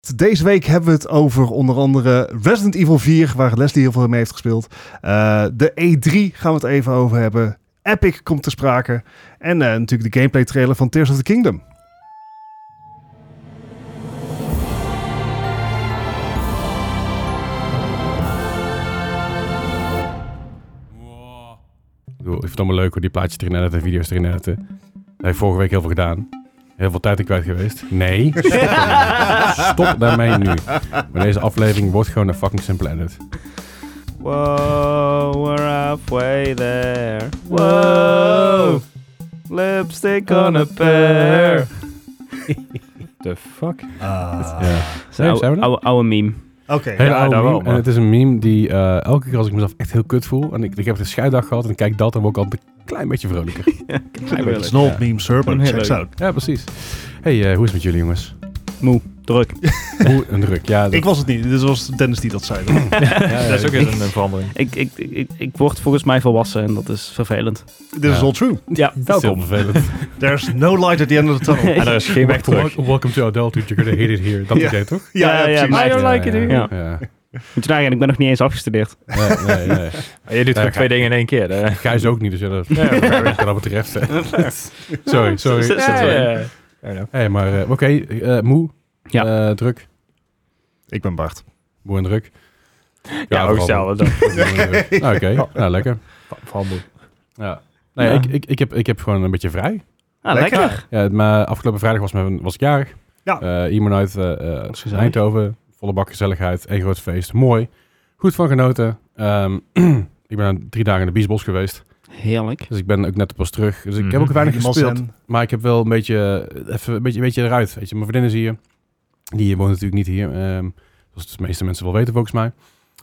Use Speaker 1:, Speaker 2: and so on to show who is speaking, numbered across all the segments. Speaker 1: podcast. Deze week hebben we het over onder andere Resident Evil 4, waar Leslie heel veel mee heeft gespeeld. Eh, de E3 gaan we het even over hebben. Epic komt te sprake. En eh, natuurlijk de gameplay trailer van Tears of the Kingdom.
Speaker 2: Ik bedoel, Ik vind het allemaal leuk hoor, die plaatjes erin editen, video's erin editen. Daar heeft vorige week heel veel gedaan. Heel veel tijd in kwijt geweest. Nee, stop, daarmee. Stop daarmee nu. Maar deze aflevering wordt gewoon een fucking simple edit.
Speaker 3: Whoa, we're halfway there. Whoa, lipstick on a pear. The fuck?
Speaker 2: Ja.
Speaker 3: Zijn
Speaker 2: zijn we dat?
Speaker 3: Oude meme.
Speaker 1: Oké.
Speaker 2: Hele
Speaker 3: Ja,
Speaker 2: oude
Speaker 3: daar wel,
Speaker 2: meme. En
Speaker 3: maar-
Speaker 2: het is een meme die eh, elke keer als ik mezelf echt heel kut voel. En ik, ik heb een scheidag gehad en ik kijk dat en word ik altijd een klein beetje vrolijker.
Speaker 1: It's an old meme, sir, but
Speaker 3: Heel
Speaker 1: checks
Speaker 3: leuk.
Speaker 1: out.
Speaker 2: Ja, precies. hey, eh, hoe is het met jullie jongens?
Speaker 3: Moe, druk.
Speaker 2: Hoe een druk. Ja, dat-
Speaker 1: Ik was het niet. Dit was Dennis die dat zei.
Speaker 2: ja,
Speaker 4: Dat is ook
Speaker 2: ja.
Speaker 4: weer een, een verandering.
Speaker 3: Ik, ik, ik, ik- ik word volgens mij volwassen en dat is vervelend.
Speaker 1: This is
Speaker 2: Ja.
Speaker 1: all true.
Speaker 3: Ja,
Speaker 2: Dat is heel vervelend.
Speaker 1: There's no light at the end of the tunnel.
Speaker 4: En er is geen weg terug.
Speaker 2: Welcome to adulthood, you're gonna hate it here. Dat
Speaker 1: Ja.
Speaker 2: idee toch?
Speaker 1: ja, ja,
Speaker 3: Ja, ja,
Speaker 1: precies.
Speaker 3: maar- I don't
Speaker 2: Ja,
Speaker 3: like it
Speaker 2: ja,
Speaker 3: here.
Speaker 2: ja.
Speaker 3: moet je nagaan, ik ben nog niet eens afgestudeerd.
Speaker 2: Nee, nee, nee.
Speaker 4: Je doet
Speaker 2: Ja,
Speaker 4: gewoon twee dingen in één keer. hè.
Speaker 2: Gijs ook niet, dus ja, dat
Speaker 4: Ja, fair
Speaker 2: wat dat betreft. hè. sorry,
Speaker 3: Zo-
Speaker 2: sorry.
Speaker 3: zo-
Speaker 4: Ja,
Speaker 3: zo-
Speaker 4: ja, ja. Fair enough.
Speaker 2: Hey, maar eh, oké, eh, moe,
Speaker 3: Ja.
Speaker 2: Eh, druk,
Speaker 1: Ik ben Bart.
Speaker 2: moe en druk.
Speaker 4: Ja, ook
Speaker 2: vooral moe.
Speaker 4: hetzelfde.
Speaker 2: Moe en druk. Nou, Oké, nou lekker.
Speaker 4: Vooral moe.
Speaker 2: Ja. Nee,
Speaker 3: Ja.
Speaker 2: Ik, ik, ik, heb, ik heb gewoon een beetje vrij.
Speaker 3: Ah,
Speaker 1: Lekker.
Speaker 3: lekker.
Speaker 2: Ja, maar afgelopen vrijdag was, mijn, was ik jarig.
Speaker 1: Ja.
Speaker 2: Eh, iemand uit eh, eh,
Speaker 3: is gezellig.
Speaker 2: Eindhoven, volle bak gezelligheid, één groot feest, mooi. Goed van genoten. Ehm, ik ben drie dagen in de biesbos geweest,
Speaker 3: Heerlijk.
Speaker 2: dus ik ben ook net pas terug. Dus ik heb
Speaker 4: Mhm.
Speaker 2: ook weinig
Speaker 1: Helemaal
Speaker 2: gespeeld.
Speaker 1: zen.
Speaker 2: Maar ik heb wel een beetje, eh, even een beetje, een beetje eruit. Weet je, mijn vriendinnen zie je. Die woont natuurlijk niet hier. ehm, zoals de meeste mensen wel weten, volgens mij.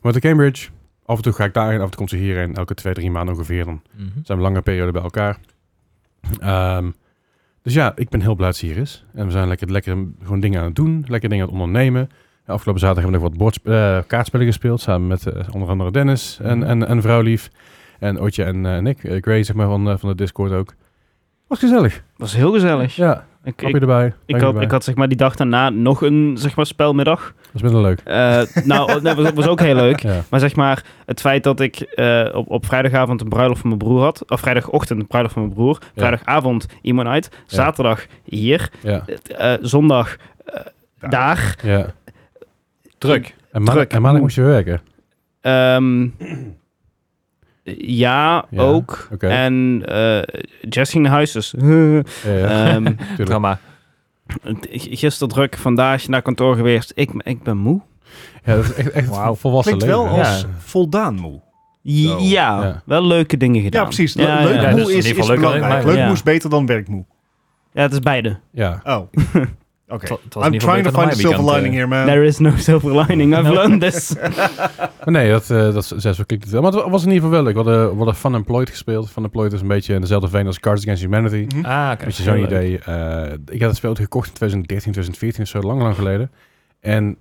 Speaker 2: Maar in Cambridge. Af en toe ga ik daarheen, af en toe komt ze hierheen. Elke twee, drie maanden ongeveer. Dan zijn we lange perioden bij elkaar. Ehm, dus ja, ik ben heel blij dat ze hier is. En we zijn lekker, lekker gewoon dingen aan het doen. Lekker dingen aan het ondernemen. En afgelopen zaterdag hebben we nog wat bordsp- eh, kaartspellen gespeeld. Samen met eh, onder andere Dennis en, en, en vrouwlief. En Otje en eh, Nick. eh, Gray, zeg maar, van, eh, van de Discord ook. Was gezellig.
Speaker 3: was heel gezellig.
Speaker 2: Ja,
Speaker 3: Ik,
Speaker 2: Kopje
Speaker 3: ik,
Speaker 2: erbij.
Speaker 3: ik,
Speaker 2: drankje
Speaker 3: had,
Speaker 2: erbij.
Speaker 3: ik had zeg maar die dag daarna nog een zeg maar, spelmiddag.
Speaker 2: Dat is minder leuk.
Speaker 3: Eh, nou, dat was, was ook heel leuk.
Speaker 2: Ja.
Speaker 3: Maar zeg maar, het feit dat ik eh, op, op vrijdagavond een bruiloft van mijn broer had. Of vrijdagochtend een bruiloft van mijn broer. Vrijdagavond iemand uit. Zaterdag hier.
Speaker 2: Ja.
Speaker 3: eh, eh, zondag eh,
Speaker 1: Daar.
Speaker 3: daar.
Speaker 2: ja.
Speaker 4: Druk.
Speaker 2: En maandag,
Speaker 3: Druk.
Speaker 2: en maandag moest je weer werken.
Speaker 3: Ehm, ja,
Speaker 2: Ja,
Speaker 3: ook.
Speaker 2: oké.
Speaker 3: En eh Jesse in huis. Dus,
Speaker 2: Ja,
Speaker 1: Eh,
Speaker 2: ja.
Speaker 3: ehm,
Speaker 2: Tuurlijk.
Speaker 4: Drama.
Speaker 3: gisteren druk, vandaag naar kantoor geweest. Ik, ik ben moe.
Speaker 2: Ja, dat is echt, echt
Speaker 4: Wauw.
Speaker 2: volwassen
Speaker 1: Klinkt
Speaker 2: leven.
Speaker 1: wel
Speaker 2: hè?
Speaker 1: als
Speaker 2: Ja.
Speaker 1: voldaan moe.
Speaker 3: Ja,
Speaker 2: Ja.
Speaker 3: wel leuke dingen gedaan.
Speaker 1: Ja, precies. Le-
Speaker 3: Ja,
Speaker 1: leuk
Speaker 3: ja.
Speaker 4: Ja,
Speaker 1: moe
Speaker 4: dus in
Speaker 1: is,
Speaker 4: ieder
Speaker 1: is
Speaker 4: geval leuk
Speaker 1: belangrijk. Leuk
Speaker 4: alleen
Speaker 3: maar.
Speaker 1: moe
Speaker 3: Ja.
Speaker 1: is beter dan werkmoe.
Speaker 3: Ja, het is beide.
Speaker 2: Ja.
Speaker 1: Oh. Oké.
Speaker 4: Het was
Speaker 1: I'm
Speaker 4: in ieder geval
Speaker 1: trying to
Speaker 4: beter dan
Speaker 1: find a
Speaker 4: mijn
Speaker 1: silver
Speaker 4: weekend,
Speaker 1: lining
Speaker 4: eh.
Speaker 1: here, man.
Speaker 3: There is no silver lining. I've learned this.
Speaker 2: Maar nee, dat, eh dat is- zo klinkt het wel. Maar het was in ieder geval wel leuk. We hadden, we hadden Fun Employed gespeeld. Fun Employed is een beetje in dezelfde veen als Cards Against Humanity.
Speaker 1: Mhm.
Speaker 4: Ah, oké.
Speaker 2: Weet je, zo'n
Speaker 4: Heel leuk.
Speaker 2: idee. eh, ik had het spel gekocht in 2013, 2014 of zo, lang, lang geleden. En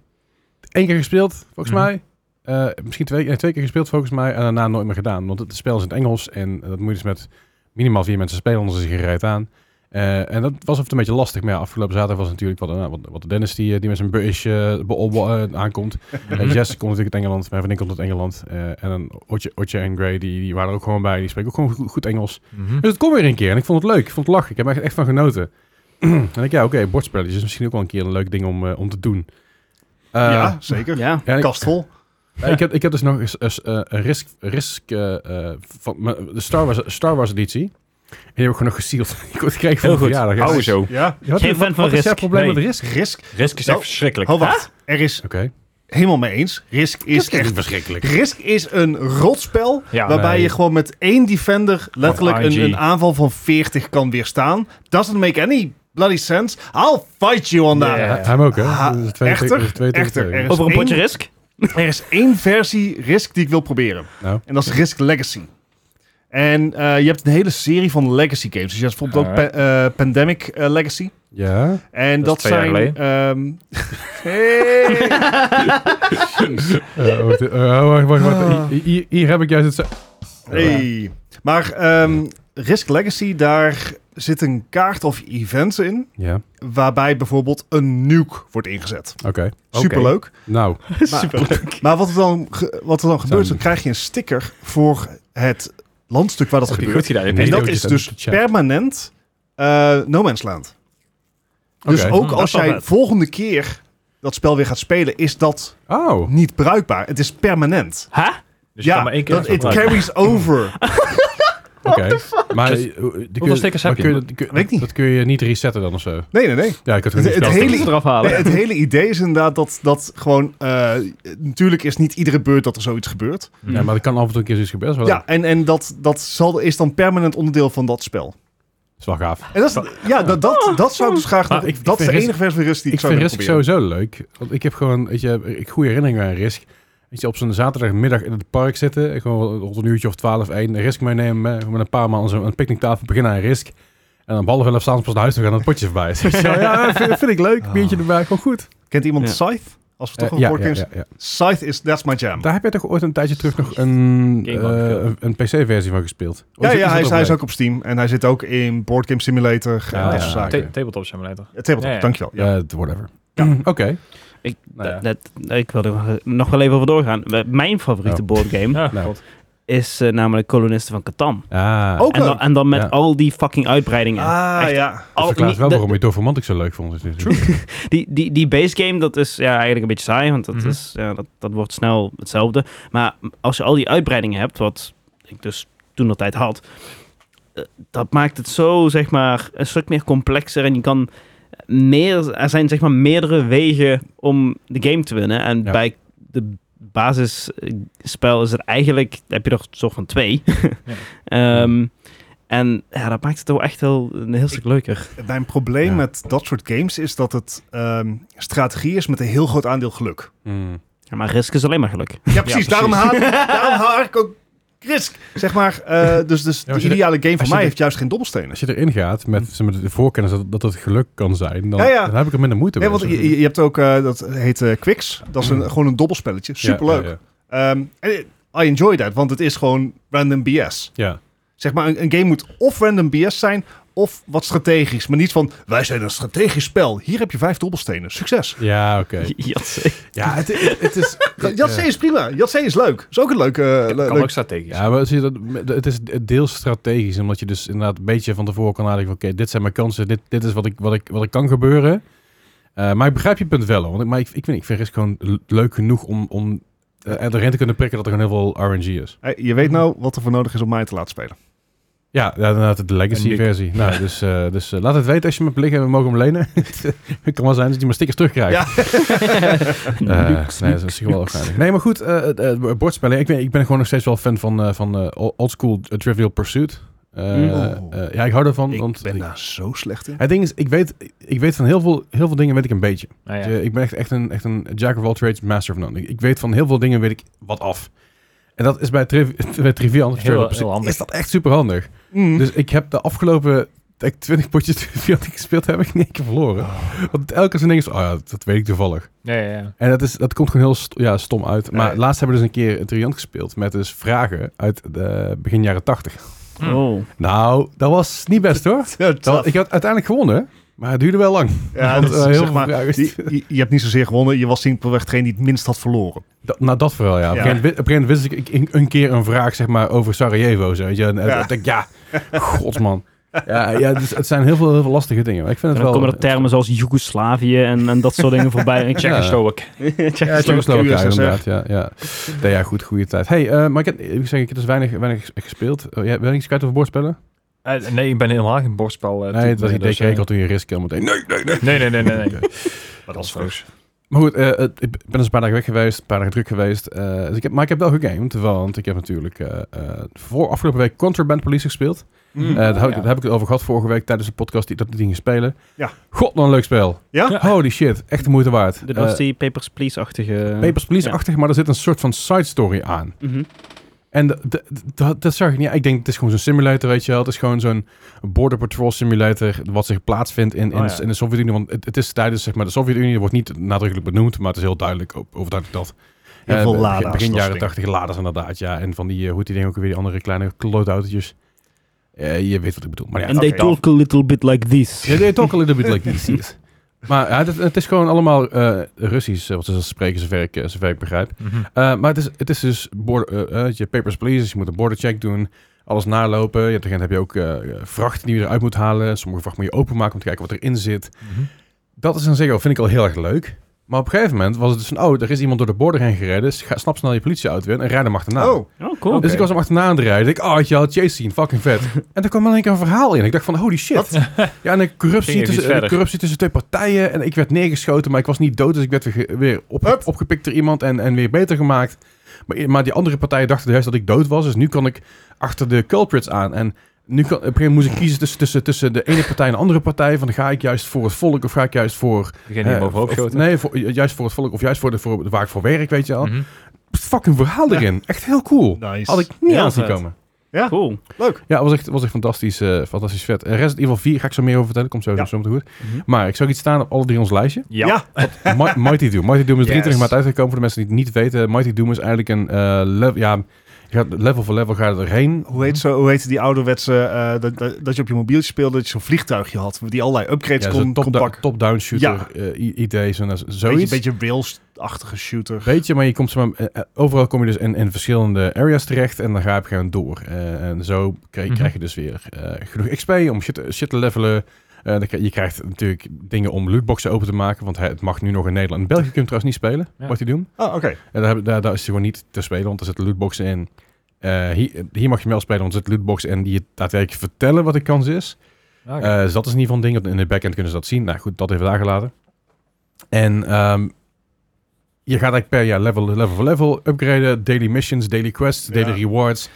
Speaker 2: één keer gespeeld, volgens
Speaker 4: Mhm.
Speaker 2: mij. Eh, misschien twee, nee, twee keer gespeeld, volgens mij. En daarna nooit meer gedaan. Want het spel is in het Engels. En dat moet je dus met minimaal vier mensen spelen, anders is je gereid aan. Eh, en dat was een beetje lastig. Maar ja, afgelopen zaterdag was natuurlijk wat, nou, wat, wat de Dennis die, eh, die met zijn busje eh, be- be- eh, aankomt. Eh, Jess komt natuurlijk uit Engeland. Mijn vriendin komt uit Engeland. Eh, en dan Otje, Otje en Gray, die, die waren er ook gewoon bij. Die spreken ook gewoon goed- goed Engels.
Speaker 4: Mhm.
Speaker 2: Dus het kon weer een keer en ik vond het leuk. Ik vond het lachen. Ik heb er echt- echt van genoten. en ik, ja, oké, bordspelletjes is misschien ook wel een keer een leuk ding om, eh, om te doen. Eh,
Speaker 1: Ja, zeker.
Speaker 3: ja.
Speaker 2: ja, en ik,
Speaker 1: Kast vol.
Speaker 2: eh, ik heb, ik heb dus nog eens eens, eh, een risk, risk eh, eh, van me- de Star Wars, Star Wars editie. En die heb ik gewoon nog gesealed. ik kreeg van
Speaker 4: Heel
Speaker 2: mijn
Speaker 4: goed. Oh,
Speaker 2: verjaardag.
Speaker 4: Hou zo.
Speaker 1: Ja.
Speaker 2: Ja, wat-
Speaker 3: Geen fan
Speaker 2: wat-
Speaker 3: van
Speaker 2: wat is jouw
Speaker 3: Risk.
Speaker 2: probleem
Speaker 4: Nee.
Speaker 2: met risk?
Speaker 1: Risk.
Speaker 4: Risk is
Speaker 1: Nou,
Speaker 4: echt verschrikkelijk.
Speaker 1: Ho, wacht. Er is
Speaker 2: Oké.
Speaker 1: helemaal mee eens. Risk is echt...
Speaker 2: verschrikkelijk.
Speaker 1: Risk is een rotspel
Speaker 4: Ja,
Speaker 1: waarbij
Speaker 2: nee.
Speaker 1: je gewoon met één defender letterlijk
Speaker 4: RNG.
Speaker 1: een, een aanval van 40 kan weerstaan. Doesn't make any bloody sense. I'll fight you on that.
Speaker 4: Ja.
Speaker 2: Hij hem ook, hè?
Speaker 1: Ha,
Speaker 2: Dus twee tegen-
Speaker 1: echter,
Speaker 2: dus twee tegen
Speaker 1: echter,
Speaker 2: twee.
Speaker 1: er is-
Speaker 3: Over een
Speaker 1: één-
Speaker 3: potje risk.
Speaker 1: Er is één versie Risk die ik wil proberen.
Speaker 2: Nou.
Speaker 1: En dat is Risk Legacy. En eh, je hebt een hele serie van Legacy games. Dus je hebt bijvoorbeeld ook Pa- eh, Pandemic eh, Legacy.
Speaker 2: Ja.
Speaker 1: En dat,
Speaker 4: Dat is twee jaar
Speaker 1: zijn... ehm, hey.
Speaker 2: Eh, wacht, eh, wacht, wacht,
Speaker 1: Ah.
Speaker 2: wacht. Hier- Hier, hier heb ik juist het... zo-
Speaker 1: Hey. Maar ehm, Risk Legacy, daar zit een kaart of events in,
Speaker 2: Ja,
Speaker 1: waarbij bijvoorbeeld een nuke wordt ingezet.
Speaker 2: oké.
Speaker 1: Superleuk.
Speaker 2: Nou,
Speaker 3: Superleuk.
Speaker 1: Maar wat er dan, ge- wat er dan gebeurt, dan
Speaker 2: Zo'n-
Speaker 1: krijg je een sticker voor het landstuk waar dat
Speaker 4: heb je
Speaker 1: gebeurt.
Speaker 4: goed gedaan.
Speaker 2: Nee.
Speaker 1: En dat
Speaker 2: Videootjes
Speaker 1: is
Speaker 2: en
Speaker 1: dus
Speaker 2: de chat.
Speaker 1: permanent eh No Man's Land. Dus
Speaker 2: Oké.
Speaker 1: ook
Speaker 3: Hm,
Speaker 1: als
Speaker 3: dat is wel
Speaker 1: jij
Speaker 3: vet.
Speaker 1: volgende keer dat spel weer gaat spelen, is dat
Speaker 2: oh.
Speaker 1: niet bruikbaar. Het is permanent.
Speaker 3: Hè?
Speaker 4: Dus je kan maar één keer
Speaker 1: dat, it
Speaker 4: gebruiken.
Speaker 1: carries over.
Speaker 2: Oké. Maar eh, die kun
Speaker 4: Hoeveel stickers
Speaker 2: maar
Speaker 4: heb je?
Speaker 2: Kun dat, kun-
Speaker 1: Weet ik niet.
Speaker 2: Dat kun je niet resetten dan of zo.
Speaker 1: Nee, nee, nee.
Speaker 2: Ja, ik
Speaker 1: Het-
Speaker 2: had het niet
Speaker 1: het
Speaker 2: verteld.
Speaker 1: hele-
Speaker 3: Hele eraf halen.
Speaker 1: Nee, het hele idee is inderdaad dat, dat gewoon... eh, natuurlijk is niet iedere beurt dat er zoiets gebeurt.
Speaker 2: Ja, maar dat kan af en toe een keer zoiets gebeuren. Dat is wel-
Speaker 1: Ja, en, en dat, dat zal, is dan permanent onderdeel van dat spel.
Speaker 2: dat is wel gaaf.
Speaker 1: En dat, is, ja, dat, dat, dat zou ik dus graag...
Speaker 2: Maar
Speaker 1: nog-
Speaker 2: ik- ik
Speaker 1: dat is
Speaker 2: vind
Speaker 1: de
Speaker 2: Risk-
Speaker 1: enige versie van Risk die ik,
Speaker 2: Ik
Speaker 1: zou willen
Speaker 2: vind Risk
Speaker 1: proberen.
Speaker 2: sowieso leuk. Want ik heb gewoon, weet je, ik goede herinneringen aan Risk. Weet je, op zo'n zaterdagmiddag in het park zitten. en Gewoon rond een uurtje of twaalf, één. Risk meenemen. eh, Met een paar man zo'n picknicktafel beginnen aan Risk. En om half elf s'avonds pas naar huis te gaan en het potje voorbij. is. Dus ja, ja, vind, vind ik leuk. Biertje erbij, gewoon goed.
Speaker 1: Kent iemand
Speaker 3: Ja.
Speaker 1: Scythe? Als we toch
Speaker 2: Eh,
Speaker 1: een
Speaker 2: ja,
Speaker 1: board
Speaker 2: ja,
Speaker 1: games-
Speaker 2: ja, ja.
Speaker 1: Scythe is, that's my jam.
Speaker 2: Daar heb je toch ooit een tijdje terug nog een,
Speaker 4: Game Boy
Speaker 2: eh,
Speaker 4: gespeeld.
Speaker 2: een- een PC-versie van gespeeld? Of
Speaker 1: Ja,
Speaker 2: is-
Speaker 1: ja
Speaker 2: dat
Speaker 1: hij, is,
Speaker 2: op
Speaker 1: hij is
Speaker 2: leuk?
Speaker 1: ook op Steam. En hij zit ook in Board Game Simulator en
Speaker 2: Ja,
Speaker 1: dat
Speaker 2: ja,
Speaker 1: soort
Speaker 2: ja.
Speaker 1: zaken.
Speaker 2: Oké.
Speaker 4: Ta- Tabletop simulator.
Speaker 1: Ja, Tabletop,
Speaker 4: Ja, ja.
Speaker 1: dankjewel. Ja.
Speaker 2: Ja, Eh, whatever. Oké.
Speaker 3: Ik,
Speaker 2: Nou ja.
Speaker 3: dat- dat- ik wil er nog wel even over doorgaan. Mijn favoriete
Speaker 2: Ja.
Speaker 3: boardgame
Speaker 4: Ja,
Speaker 2: Nou.
Speaker 4: god.
Speaker 3: is eh, namelijk Kolonisten van Catan.
Speaker 2: Ah,
Speaker 1: Ook
Speaker 3: En dan, en dan met
Speaker 2: Ja.
Speaker 3: al die fucking uitbreidingen.
Speaker 1: Ah,
Speaker 3: Echt
Speaker 1: ja.
Speaker 2: dat
Speaker 3: Al-
Speaker 2: verklaart
Speaker 3: niet-
Speaker 2: wel
Speaker 3: de-
Speaker 2: waarom je Dove Romantic zo leuk vond. True.
Speaker 3: Die, die, die base game, dat is ja, eigenlijk een beetje saai, want dat,
Speaker 4: Mhm.
Speaker 3: is, ja, dat, dat wordt snel hetzelfde. Maar als je al die uitbreidingen hebt, wat ik dus toen de tijd had, eh, dat maakt het zo, zeg maar, een stuk meer complexer. En je kan meer, er zijn zeg maar meerdere wegen om de game te winnen. En
Speaker 2: Ja.
Speaker 3: bij de basisspel is het eigenlijk, heb je er een soort van twee. Ehm, en ja, dat maakt het wel echt heel, een heel stuk leuker.
Speaker 1: Mijn probleem
Speaker 2: Ja.
Speaker 1: met dat soort games is dat het ehm, strategie is met een heel groot aandeel geluk.
Speaker 2: Hmm.
Speaker 3: Ja, maar risk is alleen maar geluk.
Speaker 1: Ja, precies.
Speaker 4: precies.
Speaker 1: Daarom, haat, daarom haat ik ook Risk. Zeg maar, eh, dus, dus
Speaker 2: Ja,
Speaker 1: de
Speaker 2: als je de-
Speaker 1: ideale game van
Speaker 2: als je
Speaker 1: mij
Speaker 2: de-
Speaker 1: heeft juist geen dobbelstenen.
Speaker 2: Als je erin gaat met, zeg maar, de voorkennis dat, dat het geluk kan zijn, dan,
Speaker 1: Mm. Ja, ja.
Speaker 2: dan heb ik er minder moeite
Speaker 1: Nee,
Speaker 2: mee.
Speaker 1: want je, je hebt ook, eh, dat heet eh Quicks. Dat is een, gewoon een dobbelspelletje. Superleuk.
Speaker 2: Mm. Ja, ja,
Speaker 1: Ehm, en I enjoy that, want het is gewoon random BS.
Speaker 2: ja. Ja.
Speaker 1: Zeg maar, een, een game moet of random BS zijn, of wat strategisch. Maar niet van, wij zijn een strategisch spel. Hier heb je vijf dobbelstenen. Succes.
Speaker 2: Ja, oké.
Speaker 3: Jatse.
Speaker 2: Ja, het, het is...
Speaker 1: Jatse is prima. Jatse is leuk. Is ook een leuke... eh, le-
Speaker 4: Kan
Speaker 1: leuk-
Speaker 4: ook strategisch.
Speaker 2: Ja, maar zie je dat, het is deels strategisch, omdat je dus inderdaad een beetje van tevoren kan nadenken van, oké, dit zijn mijn kansen, dit, dit is wat ik, wat, ik, wat ik kan gebeuren. Eh, maar ik begrijp je punt wel, hoor, want ik, maar ik, ik, weet niet, ik vind risk gewoon le- leuk genoeg om, om eh, erin te kunnen prikken dat er gewoon heel veel RNG is.
Speaker 1: Hey, je weet nou wat er voor nodig is om mij te laten spelen.
Speaker 2: Ja, ja, inderdaad, de
Speaker 4: Een
Speaker 2: legacy
Speaker 4: dik.
Speaker 2: versie. Nou, dus eh, dus eh, laat het weten als je me liggen en we mogen hem lenen. het kan wel zijn dat je maar stickers terugkrijgt.
Speaker 1: Ja.
Speaker 2: Eh, nee, dat is wel waarschijnlijk. Nee, maar goed, eh, eh, eh, bordspellen. Ik ben, ik ben gewoon nog steeds wel fan van, eh, van eh, old oldschool eh, Trivial Pursuit. Eh,
Speaker 3: Mm.
Speaker 1: Oh.
Speaker 2: eh, ja, ik hou daarvan.
Speaker 1: ik
Speaker 2: want
Speaker 1: ben daar zo slecht in.
Speaker 2: Het ding is, ik weet, ik weet van heel veel, heel veel dingen weet ik een beetje.
Speaker 4: Nou ja.
Speaker 2: Dus, eh, ik ben echt, echt, een, echt een jack of all trades, master of none. Ik, ik weet van heel veel dingen weet ik wat af. En dat is bij, triv bij Trivial Trivial
Speaker 4: Heel,
Speaker 2: Pursuit
Speaker 4: heel handig.
Speaker 2: is dat echt super handig.
Speaker 3: Hm?
Speaker 1: Mm.
Speaker 2: Dus ik heb de afgelopen denk, 20 potjes Trivial die ik gespeeld heb, heb ik in één keer verloren.
Speaker 3: Ah.
Speaker 2: Want elke keer zo'n ding is, oh ja, dat- dat weet ik toevallig.
Speaker 4: Ja, ja, ja.
Speaker 2: En dat, is, dat komt gewoon heel st- ja, stom uit. Maar
Speaker 1: Nee.
Speaker 2: laatst hebben we dus een keer een triant gespeeld met dus vragen uit de begin jaren 80.
Speaker 3: Oh.
Speaker 2: Nou, dat was niet best hoor.
Speaker 1: Ja,
Speaker 2: Dat-
Speaker 1: tough.
Speaker 2: ik had uiteindelijk gewonnen, maar het duurde wel lang.
Speaker 1: Ja,
Speaker 2: Want,
Speaker 1: dat is,
Speaker 2: eh, heel
Speaker 1: zeg
Speaker 2: veel
Speaker 1: maar,
Speaker 2: vragen.
Speaker 1: je, je- je hebt niet zozeer gewonnen. Je was simpelweg degene die het minst had verloren.
Speaker 2: Dat- nou, dat vooral ja. Op
Speaker 1: Ja.
Speaker 2: een gegeven moment- op een gegeven moment wist ik een, een keer een vraag zeg maar, over Sarajevo. Zo, weet je? En, en
Speaker 1: Ja.
Speaker 2: ik denk, ja, godsman. Ja, ja dus het zijn heel veel, heel veel lastige dingen. Maar ik vind
Speaker 3: En
Speaker 2: het
Speaker 3: dan
Speaker 2: wel... eh,
Speaker 3: komen er termen zoals Joegoslavië en, en dat soort dingen voorbij. En ik zeg,
Speaker 2: Ja.
Speaker 4: Slowak.
Speaker 2: Ja, Tsjechoslowakije
Speaker 1: Slowakije,
Speaker 2: inderdaad. Ja, ja. Nee, ja, goed, goede tijd. hey, eh, maar ik heb, ik zeg, ik heb dus weinig, weinig gespeeld. Oh, jij, ben je iets kwijt over bordspellen?
Speaker 4: Eh, nee, ik ben helemaal geen borstspel. eh,
Speaker 2: Nee,
Speaker 4: type,
Speaker 2: dat was die
Speaker 4: dus,
Speaker 2: dikke rekel
Speaker 4: eh,
Speaker 2: toen je risk al meteen. Nee, nee, nee.
Speaker 4: Nee, nee, nee, nee. nee.
Speaker 1: Maar dat is
Speaker 4: Alsloos.
Speaker 1: fris.
Speaker 2: Maar goed, eh, het- ik ben dus een paar dagen weg geweest, een paar dagen druk geweest. eh, dus ik heb, maar ik heb wel gegamed, want ik heb natuurlijk eh, eh, voor afgelopen week Contraband Police gespeeld.
Speaker 1: Mm.
Speaker 2: Eh, daar, heb ik,
Speaker 4: Ja.
Speaker 2: daar heb ik het over gehad vorige week tijdens de podcast die dat die ging spelen.
Speaker 1: Ja.
Speaker 2: God, wat een leuk spel.
Speaker 1: Ja?
Speaker 2: Holy shit, echt de moeite waard.
Speaker 3: dit was
Speaker 2: Eh,
Speaker 3: die Papers, Please-achtige...
Speaker 2: Papers, Please-achtig, maar er zit een soort van side story aan.
Speaker 3: Mhm.
Speaker 2: En d- d- d- dat, dat zag ik niet. Ik denk, het is gewoon zo'n simulator, weet je wel. Het is gewoon zo'n border patrol simulator... wat zich plaatsvindt in, in,
Speaker 4: Oh,
Speaker 2: de-
Speaker 4: ja.
Speaker 2: in de Sovjet-Unie. Want het, het is tijdens zeg maar, de Sovjet-Unie... wordt niet nadrukkelijk benoemd, maar het is heel duidelijk op, overduidelijk dat.
Speaker 1: Heel
Speaker 2: Eh,
Speaker 1: veel
Speaker 2: begin-
Speaker 1: lada's.
Speaker 2: Begin
Speaker 1: dat
Speaker 2: jaren
Speaker 1: soort dingen.
Speaker 2: 80 laders inderdaad, ja. En van die, eh, hoe heet die dingen ook weer, die andere kleine klootautootjes. Eh, je weet wat ik bedoel. Maar ja,
Speaker 3: And they
Speaker 4: oké.
Speaker 3: talk a little bit like this.
Speaker 2: Ja, they talk a little bit like this. yes. Maar ja, het, het is gewoon allemaal eh, Russisch, eh, wat ze spreken, zover ik, eh, zover ik begrijp. Eh, maar het is, het is dus border, eh, eh, je papers, please. Dus je moet een bordercheck doen. Alles nalopen. Je hebt, op een gegeven moment heb je ook eh, eh, vrachten die je eruit moet halen. Sommige vracht moet je openmaken om te kijken wat erin zit. Dat is een zin, vind ik al heel erg leuk. Maar op een gegeven moment was het dus van, oh, er is iemand door de border heen gereden. Dus ga, snap snel je politieauto in en rijd hem achterna.
Speaker 1: Oh,
Speaker 3: Oh, cool.
Speaker 2: Dus ik was hem achterna aan het rijden. Ik, oh, je had Chase zien, fucking vet. en er kwam in één keer een verhaal in. Ik dacht van, holy shit. Ja, en een corruptie,
Speaker 4: Ging er iets
Speaker 2: tussen, een
Speaker 4: verder?
Speaker 2: corruptie tussen twee partijen. En ik werd neergeschoten, maar ik was niet dood. Dus ik werd weer, ge- weer op-
Speaker 1: Wat?
Speaker 2: opgepikt door iemand en, en weer beter gemaakt. Maar, maar die andere partijen dachten juist dat ik dood was. Dus nu kan ik achter de culprits aan. En nu kan, op een gegeven moment moest ik kiezen tussen, tussen, tussen de ene partij en de andere partij. Van ga ik juist voor het volk of ga ik juist voor...
Speaker 4: Degene die
Speaker 2: eh,
Speaker 4: bovenop
Speaker 2: of-
Speaker 4: schoten.
Speaker 2: Nee, voor, juist voor het volk of juist voor, de, voor waar ik voor werk, weet je al.
Speaker 4: Mhm.
Speaker 2: Fucking verhaal
Speaker 1: Ja.
Speaker 2: erin. Echt heel cool.
Speaker 1: nice.
Speaker 2: Had ik niet
Speaker 3: Heel
Speaker 2: aan zien
Speaker 3: vet.
Speaker 2: komen.
Speaker 3: Cool.
Speaker 1: Leuk.
Speaker 2: Ja, was echt, was echt fantastisch, eh, fantastisch vet. Eh, Resident Evil 4 ga ik zo meer over vertellen. Komt zo,
Speaker 1: Ja.
Speaker 2: zo meteen goed. Maar ik zag iets staan op alle drie ons lijstje.
Speaker 4: Mhm. Ja.
Speaker 2: Mi- Mighty Doom. Mighty Doom is
Speaker 4: Yes.
Speaker 2: 23 maart uitgekomen. Voor de mensen die het niet weten. Mighty Doom is eigenlijk een eh, level... Ja, je gaat level voor level gaat erheen.
Speaker 1: Hoe heet, zo, hoe heet die ouderwetse, eh, dat, dat, dat je op je mobieltje speelde, dat je zo'n vliegtuigje had, die allerlei upgrades
Speaker 2: Ja,
Speaker 1: kon,
Speaker 2: zo'n
Speaker 1: kon
Speaker 2: top-
Speaker 1: pakken.
Speaker 2: top-down shooter eh, i- idee. Zo'n, eh,
Speaker 1: Beetje,
Speaker 2: zoiets.
Speaker 1: beetje rails-achtige shooter.
Speaker 2: Weet je, maar je komt zeg maar, eh, eh, overal kom je dus in, in verschillende areas terecht en dan ga je op een gegeven moment door. Eh, en zo krijg,
Speaker 4: Mhm.
Speaker 2: krijg je dus weer eh, genoeg XP om shit, shit te levelen. Eh, dan krijg- je krijgt natuurlijk dingen om lootboxen open te maken, want hij- het mag nu nog in Nederland. In België kun je hem trouwens niet spelen,
Speaker 4: Ja.
Speaker 2: wat hij doen.
Speaker 1: Oh, oké.
Speaker 2: En daar, heb- daar, daar is hij gewoon niet te spelen, want er zitten lootboxen in. Eh, hier, hier mag je hem wel spelen, want er zitten lootboxen in die je daadwerkelijk vertellen wat de kans is.
Speaker 4: Oké.
Speaker 2: Eh, dus dat is in ieder geval een ding. In de backend kunnen ze dat zien. Nou goed, dat even daar gelaten. En ehm, je gaat eigenlijk per jaar level, level voor level upgraden. Daily missions, daily quests,
Speaker 1: Ja.
Speaker 2: daily rewards.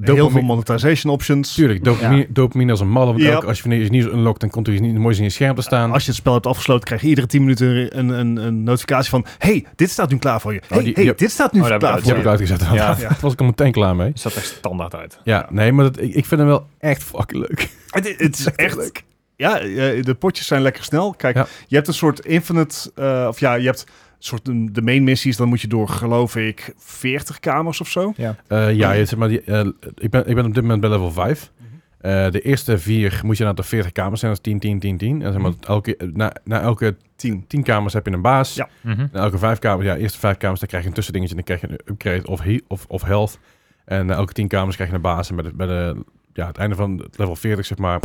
Speaker 1: Heel veel
Speaker 2: Dopamine-
Speaker 1: monetization options.
Speaker 2: Tuurlijk, dopamine, dopamine als een malle. Want
Speaker 1: Ja.
Speaker 2: elke, als je wanneer je nieuws unlockt, dan komt er iets nieuws moois in je scherm te staan.
Speaker 1: Als je het spel hebt afgesloten, krijg je iedere 10 minuten een, een, een notificatie van... hey, dit staat nu klaar voor je. hey,
Speaker 2: die-
Speaker 1: hey,
Speaker 2: die-
Speaker 1: dit staat nu
Speaker 4: Oh, daar
Speaker 1: klaar
Speaker 4: heb
Speaker 2: dat heb
Speaker 1: voor
Speaker 2: ik
Speaker 1: je.
Speaker 2: uitgezet. Ja.
Speaker 4: Ja.
Speaker 2: Daar was ik al meteen klaar mee.
Speaker 4: Het staat echt standaard uit.
Speaker 2: Ja, nee, maar dat, ik, ik vind hem wel echt fucking leuk.
Speaker 1: Het, het is echt...
Speaker 2: leuk.
Speaker 1: Ja, eh, de potjes zijn lekker snel. Kijk,
Speaker 2: Ja.
Speaker 1: je hebt een soort infinite... eh, of ja, je hebt een soort een- de main missies. Dan moet je door, geloof ik, 40 kamers of zo.
Speaker 2: Eh, ja, je- zeg maar, die, eh, ik, ben, ik ben op dit moment bij level 5.
Speaker 1: Mhm.
Speaker 2: Eh, de eerste vier moet je naar de 40 kamers zijn. Dat is 10, 10, 10, 10. En
Speaker 1: Mhm.
Speaker 2: zeg maar, elke, eh, na, na elke
Speaker 1: 10.
Speaker 2: 10 kamers heb je een baas.
Speaker 1: Ja.
Speaker 4: Mhm.
Speaker 2: Na elke vijf kamers, ja, eerste vijf kamers, dan krijg je een tussendingetje. En dan krijg je een upgrade of, he- of, of health. En na elke 10 kamers krijg je een baas. En bij, de, bij de, ja, het einde van het level 40, zeg maar,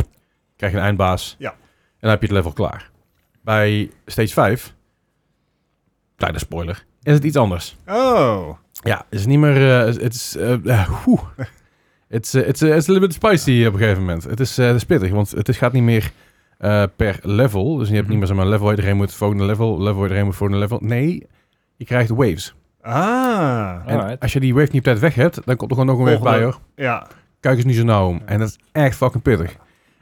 Speaker 2: krijg je een eindbaas.
Speaker 1: Ja.
Speaker 2: En dan heb je het level klaar. Bij stage 5, kleine spoiler, is het iets anders.
Speaker 1: Oh.
Speaker 2: Ja, het is niet meer. eh, Het is. eh, eh, oeh. Het is, eh, het is, eh, het is a little bit spicy op een gegeven moment. Het is, eh, het is pittig, want het is, gaat niet meer eh, per level. Dus je hebt niet meer zomaar level, iedereen moet volgende level, level, iedereen moet volgende level. Nee, je krijgt waves.
Speaker 1: Ah.
Speaker 2: En
Speaker 4: Alright.
Speaker 2: als je die wave niet op tijd weg hebt, dan komt er gewoon nog een wave bij
Speaker 1: Volgende.
Speaker 2: hoor.
Speaker 1: Ja.
Speaker 2: Kijk eens niet zo nauw om. En dat is echt fucking pittig.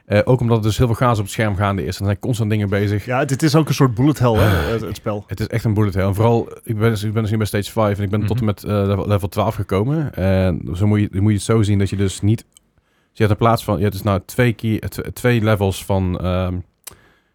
Speaker 2: Eh, ook omdat er dus heel veel gaas op het scherm gaande is. En er zijn constant dingen bezig.
Speaker 1: ja, dit is ook een soort bullet hell, hè,
Speaker 2: Ah.
Speaker 1: het, het spel.
Speaker 2: Het is echt een bullet hell. En vooral, ik ben, dus- ik ben dus nu bij stage 5 en ik ben
Speaker 4: Mhm.
Speaker 2: tot en met eh, level, level 12 gekomen. En zo moet je, dan moet je het zo zien dat je dus niet... Dus je hebt in plaats van... Je hebt dus nou twee, keer, eh, tw- twee levels van... ehm,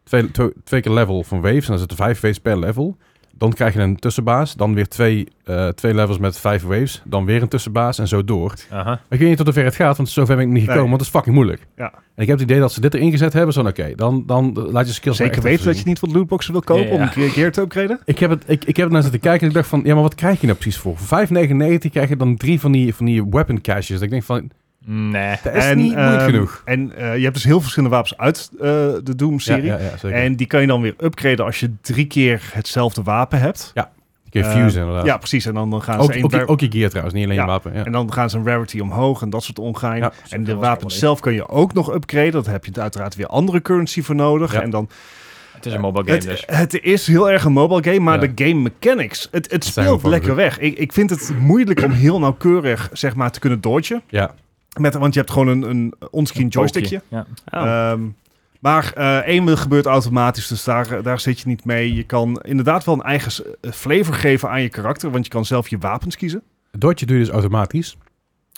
Speaker 2: twee, tw- twee keer level van waves. En dan zitten vijf waves per level. Dan krijg je een tussenbaas. Dan weer twee, eh, twee levels met vijf waves. Dan weer een tussenbaas en zo door.
Speaker 4: Aha.
Speaker 2: Maar ik weet niet tot hoever het gaat, want zover ben ik niet gekomen.
Speaker 1: Nee.
Speaker 2: Want het is fucking moeilijk.
Speaker 1: Ja.
Speaker 2: En ik heb het idee dat ze dit erin gezet hebben. Zo, van, oké, dan, dan eh, laat je skills maar
Speaker 1: Zeker
Speaker 2: echt
Speaker 1: weten
Speaker 2: even
Speaker 1: dat je niet wat lootboxen wil kopen
Speaker 4: Ja,
Speaker 1: om
Speaker 4: ja.
Speaker 1: een keer- keer te upgraden?
Speaker 2: ik heb, het, ik, ik heb het naar zitten kijken en ik dacht van, ja, maar wat krijg je nou precies voor? Voor 5,99 krijg je dan drie van die, van die weapon caches. Dat ik denk van,
Speaker 4: Nee.
Speaker 2: dat is niet goed
Speaker 1: ehm,
Speaker 2: genoeg.
Speaker 1: En eh, je hebt dus heel verschillende wapens uit eh, de Doom-serie.
Speaker 2: Ja, ja, ja, zeker.
Speaker 1: En die kan je dan weer upgraden als je drie keer hetzelfde wapen hebt.
Speaker 2: Die kun je
Speaker 1: eh,
Speaker 2: fusen inderdaad.
Speaker 1: Ja, precies. En dan, dan gaan ze
Speaker 2: ook,
Speaker 1: een
Speaker 2: ook,
Speaker 1: ra-
Speaker 2: je- ook je gear trouwens, niet alleen
Speaker 1: Ja.
Speaker 2: je wapen. Ja.
Speaker 1: en dan gaan ze een rarity omhoog en dat soort ongein.
Speaker 2: Ja.
Speaker 1: en de wapens zelf kun je ook nog upgraden. Daar heb je het uiteraard weer andere currency voor nodig.
Speaker 2: Ja.
Speaker 1: En dan,
Speaker 4: Het is een mobile game
Speaker 1: het,
Speaker 4: dus.
Speaker 1: het is heel erg een mobile game, maar
Speaker 2: Ja.
Speaker 1: de game mechanics, het, het
Speaker 2: zijn
Speaker 1: speelt
Speaker 2: wel
Speaker 1: lekker weg. Ik, ik vind het moeilijk om heel nauwkeurig zeg maar, te kunnen dodgen.
Speaker 2: Ja.
Speaker 1: Met, want je hebt gewoon een, een onscreen joystickje.
Speaker 4: Ja.
Speaker 3: Oh.
Speaker 1: Ehm, maar eh één gebeurt automatisch, dus daar, daar zit je niet mee. Je kan inderdaad wel een eigen s- eh, flavor geven aan je karakter, want je kan zelf je wapens kiezen.
Speaker 2: Het Dodge doe je dus automatisch.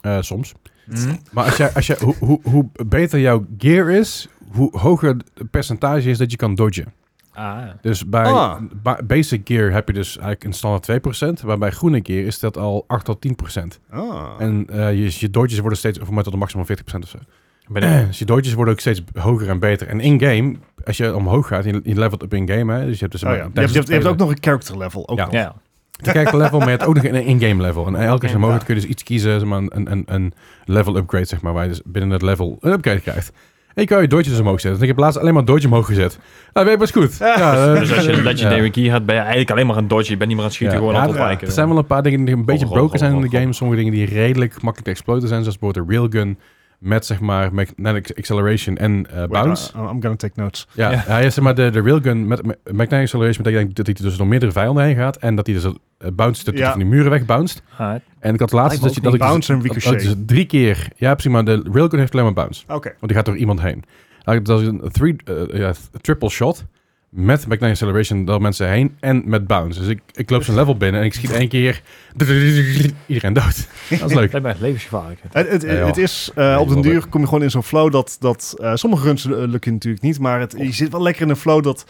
Speaker 2: Eh, soms.
Speaker 4: Mhm.
Speaker 2: Maar als jij, als jij, hoe, hoe, hoe beter jouw gear is, hoe hoger het percentage is dat je kan dodgen.
Speaker 4: Ah.
Speaker 2: Dus bij,
Speaker 1: Ah.
Speaker 2: bij basic gear heb je dus eigenlijk een standaard 2%. Maar bij groene gear is dat al 8 tot 10%.
Speaker 1: Ah.
Speaker 2: En eh, je, je dodges worden steeds verminderd tot een maximaal 40% of zo.
Speaker 4: Ben ik-
Speaker 2: Dus je dodges worden ook steeds hoger en beter. En in-game, als je omhoog gaat, je, je levelt op in-game. Hè? Dus je hebt dus
Speaker 1: Oh ja, Je, hebt, je, hebt, je hebt ook nog een character level. Ook
Speaker 2: Ja.
Speaker 1: nog.
Speaker 4: ja.
Speaker 2: Te kijken level, maar je hebt ook nog een in-game level. En elke keer
Speaker 3: Oké.
Speaker 2: zo mogelijk kun je dus iets kiezen, zeg maar, een, een, een level upgrade, zeg maar, waar je dus binnen het level een upgrade krijgt. En je kan je dodges omhoog zetten. Dus ik heb laatst alleen maar dodge omhoog gezet. Nou, weet je, best goed. Ja, eh,
Speaker 4: Dus als je een legendary
Speaker 2: ja.
Speaker 4: key had, ben je eigenlijk alleen maar een dodge. Je bent niet meer aan het schieten,
Speaker 2: Ja.
Speaker 4: gewoon
Speaker 2: Ja,
Speaker 4: aan het
Speaker 1: ja.
Speaker 4: ontwijken.
Speaker 2: Er zijn wel een paar dingen die een beetje
Speaker 4: Goh, goh,
Speaker 2: broken zijn
Speaker 4: goh,
Speaker 2: in de
Speaker 4: goh,
Speaker 2: game. Sommige dingen die redelijk makkelijk te exploiten zijn, zoals bijvoorbeeld de railgun met, zeg maar, magnetic acceleration en eh,
Speaker 1: Wait, ah,
Speaker 2: bounce.
Speaker 1: I- I'm gonna take notes.
Speaker 2: Ja,
Speaker 4: Ja.
Speaker 2: hij is zeg maar de, de railgun met, met magnetic acceleration betekent dat hij dus door meerdere vijanden heen gaat en dat hij dus eh, bounce dat hij
Speaker 1: Ja.
Speaker 2: van die muren wegbounced.
Speaker 4: Alright.
Speaker 2: En ik had laatst
Speaker 4: Lijkt me
Speaker 2: dat, je,
Speaker 4: ook
Speaker 2: dat ik dus-
Speaker 1: Bounce en
Speaker 2: dat- dat ik
Speaker 1: ricochet.
Speaker 2: dus drie keer... Ja, precies, maar de railgun heeft alleen maar bounce.
Speaker 1: Oké.
Speaker 2: Want die gaat door iemand heen. Eigenlijk dat is een three, eh, ja, th- triple shot met magnetic acceleration door mensen heen en met bounce. Dus ik, ik loop zijn level binnen en ik schiet één keer iedereen dood. Dat is leuk.
Speaker 4: Lijkt mij levensgevaarlijk.
Speaker 1: Het, het,
Speaker 2: Ja, joh.
Speaker 1: het is, eh,
Speaker 2: Nee,
Speaker 1: op den
Speaker 2: wel
Speaker 1: duur
Speaker 2: leuk.
Speaker 1: kom je gewoon in zo'n flow dat, dat eh, sommige runs eh, lukken natuurlijk niet, maar het, je zit wel lekker in een flow dat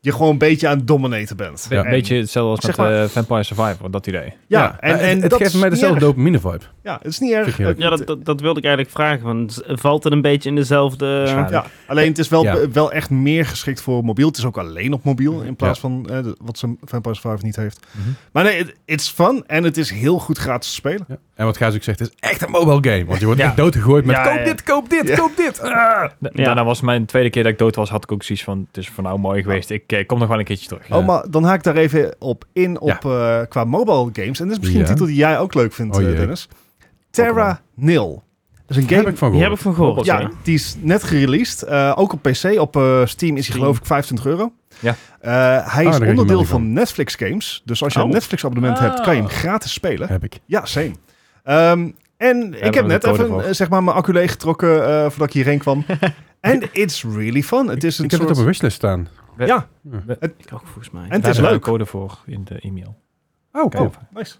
Speaker 1: je gewoon een beetje aan het dominaten bent.
Speaker 4: Een
Speaker 1: En-
Speaker 4: beetje hetzelfde als
Speaker 1: Zeg
Speaker 4: met
Speaker 1: maar-
Speaker 4: eh, Vampire Survivor, dat idee.
Speaker 1: Ja,
Speaker 2: en,
Speaker 1: en, en
Speaker 2: het,
Speaker 1: dat
Speaker 2: geeft
Speaker 1: is
Speaker 2: mij dus
Speaker 1: niet
Speaker 2: dezelfde
Speaker 1: erg.
Speaker 2: dopamine vibe.
Speaker 1: Ja, het is niet erg.
Speaker 2: Vind ik heerlijk.
Speaker 3: Ja, dat, dat, dat wilde ik eigenlijk vragen. Van, z- valt het een beetje in dezelfde...
Speaker 4: Waarschijnlijk.
Speaker 1: Ja, alleen het is wel,
Speaker 2: Ja.
Speaker 1: wel echt meer geschikt voor mobiel. Het is ook alleen op mobiel in plaats van eh, de- wat zijn Vampire Survivor niet heeft.
Speaker 2: Mhm.
Speaker 1: Maar nee, het is fun en het is heel goed gratis te spelen.
Speaker 2: Ja. En wat Gijs ook zegt, het is echt een mobile game. Want je wordt
Speaker 4: Ja.
Speaker 2: echt doodgegooid met
Speaker 1: Ja,
Speaker 2: koop
Speaker 1: ja.
Speaker 2: dit, koop dit,
Speaker 1: Ja.
Speaker 2: koop dit. Ah.
Speaker 4: Da-
Speaker 3: Ja.
Speaker 4: Daarna was mijn tweede keer dat ik dood was, had ik ook zoiets van, het is voor nou mooi geweest. Ik eh, kom nog wel een keertje terug.
Speaker 2: Ja.
Speaker 1: Oh, maar dan haak ik daar even op in op, eh, qua mobile games. En dit is misschien
Speaker 2: Ja.
Speaker 1: een titel die jij ook leuk vindt,
Speaker 2: Oh,
Speaker 1: eh,
Speaker 2: jee.
Speaker 1: Dennis. Terra Nil. Dat is een
Speaker 2: Daar heb
Speaker 1: game
Speaker 2: ik van
Speaker 3: Die heb ik
Speaker 2: gehoord.
Speaker 3: van gehoord.
Speaker 4: Klopt,
Speaker 1: Ja, die is net gereleased. Eh, ook op PC. Op eh, Steam is hij
Speaker 4: Steam.
Speaker 1: geloof ik 25 euro.
Speaker 4: Ja.
Speaker 1: Eh, hij
Speaker 2: Ah,
Speaker 1: is
Speaker 2: daar weet ik
Speaker 1: onderdeel
Speaker 2: nog
Speaker 1: van
Speaker 2: van.
Speaker 1: Netflix Games. Dus als je een
Speaker 4: Oh.
Speaker 1: Netflix abonnement hebt, kan je hem
Speaker 4: Ah.
Speaker 1: gratis spelen.
Speaker 2: Heb ik.
Speaker 1: Ja, same. Ehm, en ik heb
Speaker 4: een
Speaker 1: net
Speaker 4: code
Speaker 1: even
Speaker 4: voor.
Speaker 1: eh, zeg maar, mijn accu leeggetrokken eh, voordat ik hierheen kwam. En it's really fun. Het is een
Speaker 2: Ik heb het op
Speaker 1: soort...
Speaker 2: mijn wishlist staan.
Speaker 1: Ja,
Speaker 3: Ik ook, volgens mij.
Speaker 1: En-
Speaker 4: Daar
Speaker 1: is
Speaker 4: hebben we
Speaker 1: leuk.
Speaker 4: een code voor in de e-mail.
Speaker 2: Oh,
Speaker 4: Kijk,
Speaker 1: nice.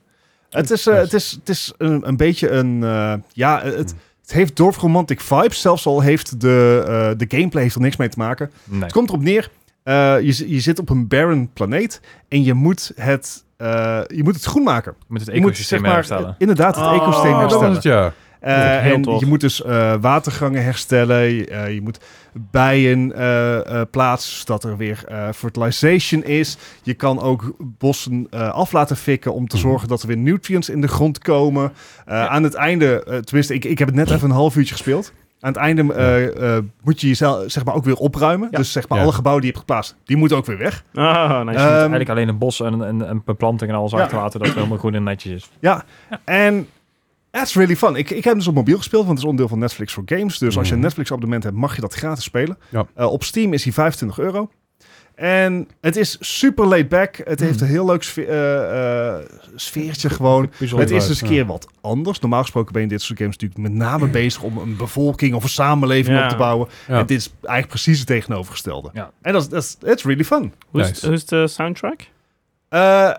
Speaker 1: Het is, eh,
Speaker 2: Nice.
Speaker 1: het is, het is een, een beetje een... eh, ja, eh, het, het heeft dorfromantic vibes. Zelfs al heeft de, eh, de gameplay heeft er niks mee te maken.
Speaker 4: Nee.
Speaker 1: Het komt erop neer. eh, je, zi- je zit op een barren planeet en je moet het, eh, je moet het groen maken.
Speaker 4: Met het
Speaker 1: Je moet
Speaker 4: ecosysteem
Speaker 1: zeg maar,
Speaker 4: herstellen.
Speaker 1: Inderdaad, het
Speaker 3: Oh,
Speaker 1: ecosysteem
Speaker 2: Oh, dat
Speaker 1: herstellen.
Speaker 2: was het, ja.
Speaker 1: Eh,
Speaker 3: Dat is heel
Speaker 1: en
Speaker 3: tof.
Speaker 1: je moet dus eh, watergangen herstellen. Je, eh, je moet bijen eh, eh, plaatsen, zodat er weer eh, fertilization is. Je kan ook bossen eh, af laten fikken om
Speaker 2: Mhm.
Speaker 1: te zorgen dat er weer nutrients in de grond komen. Eh, Aan het einde, eh, tenminste, ik, ik heb het net even een half uurtje gespeeld. Aan het einde eh, eh, moet je jezelf zeg maar, ook weer opruimen. Dus zeg maar,
Speaker 2: Ja.
Speaker 1: alle gebouwen die je hebt geplaatst, die moeten ook weer weg. Eh,
Speaker 3: Ah, nice.
Speaker 4: je moet
Speaker 1: ehm,
Speaker 4: eigenlijk alleen een bos en, en, en beplanting en alles
Speaker 1: Ja.
Speaker 4: achterlaten dat het helemaal groen en netjes is.
Speaker 1: En that's really fun. Ik, ik heb hem dus op mobiel gespeeld, want het is onderdeel van Netflix voor Games. Dus als je een
Speaker 2: Mhm.
Speaker 1: Netflix abonnement hebt, mag je dat gratis spelen.
Speaker 2: Ja.
Speaker 1: Eh, op Steam is hij 25 euro. En het is super laid back. Het
Speaker 2: Mhm.
Speaker 1: heeft een heel leuk sfe- eh, eh, sfeertje gewoon.
Speaker 2: Puzzel
Speaker 1: Het is
Speaker 2: eruit,
Speaker 1: eens een
Speaker 2: ja.
Speaker 1: keer wat anders. Normaal gesproken ben je in dit soort games natuurlijk met name bezig om een bevolking of een samenleving
Speaker 3: Ja.
Speaker 1: op te bouwen.
Speaker 2: Ja.
Speaker 1: En dit is eigenlijk precies het tegenovergestelde.
Speaker 4: Ja.
Speaker 1: En dat is dat is- it's really fun.
Speaker 3: hoe, is,
Speaker 2: nice.
Speaker 3: hoe is de soundtrack?
Speaker 1: Eh,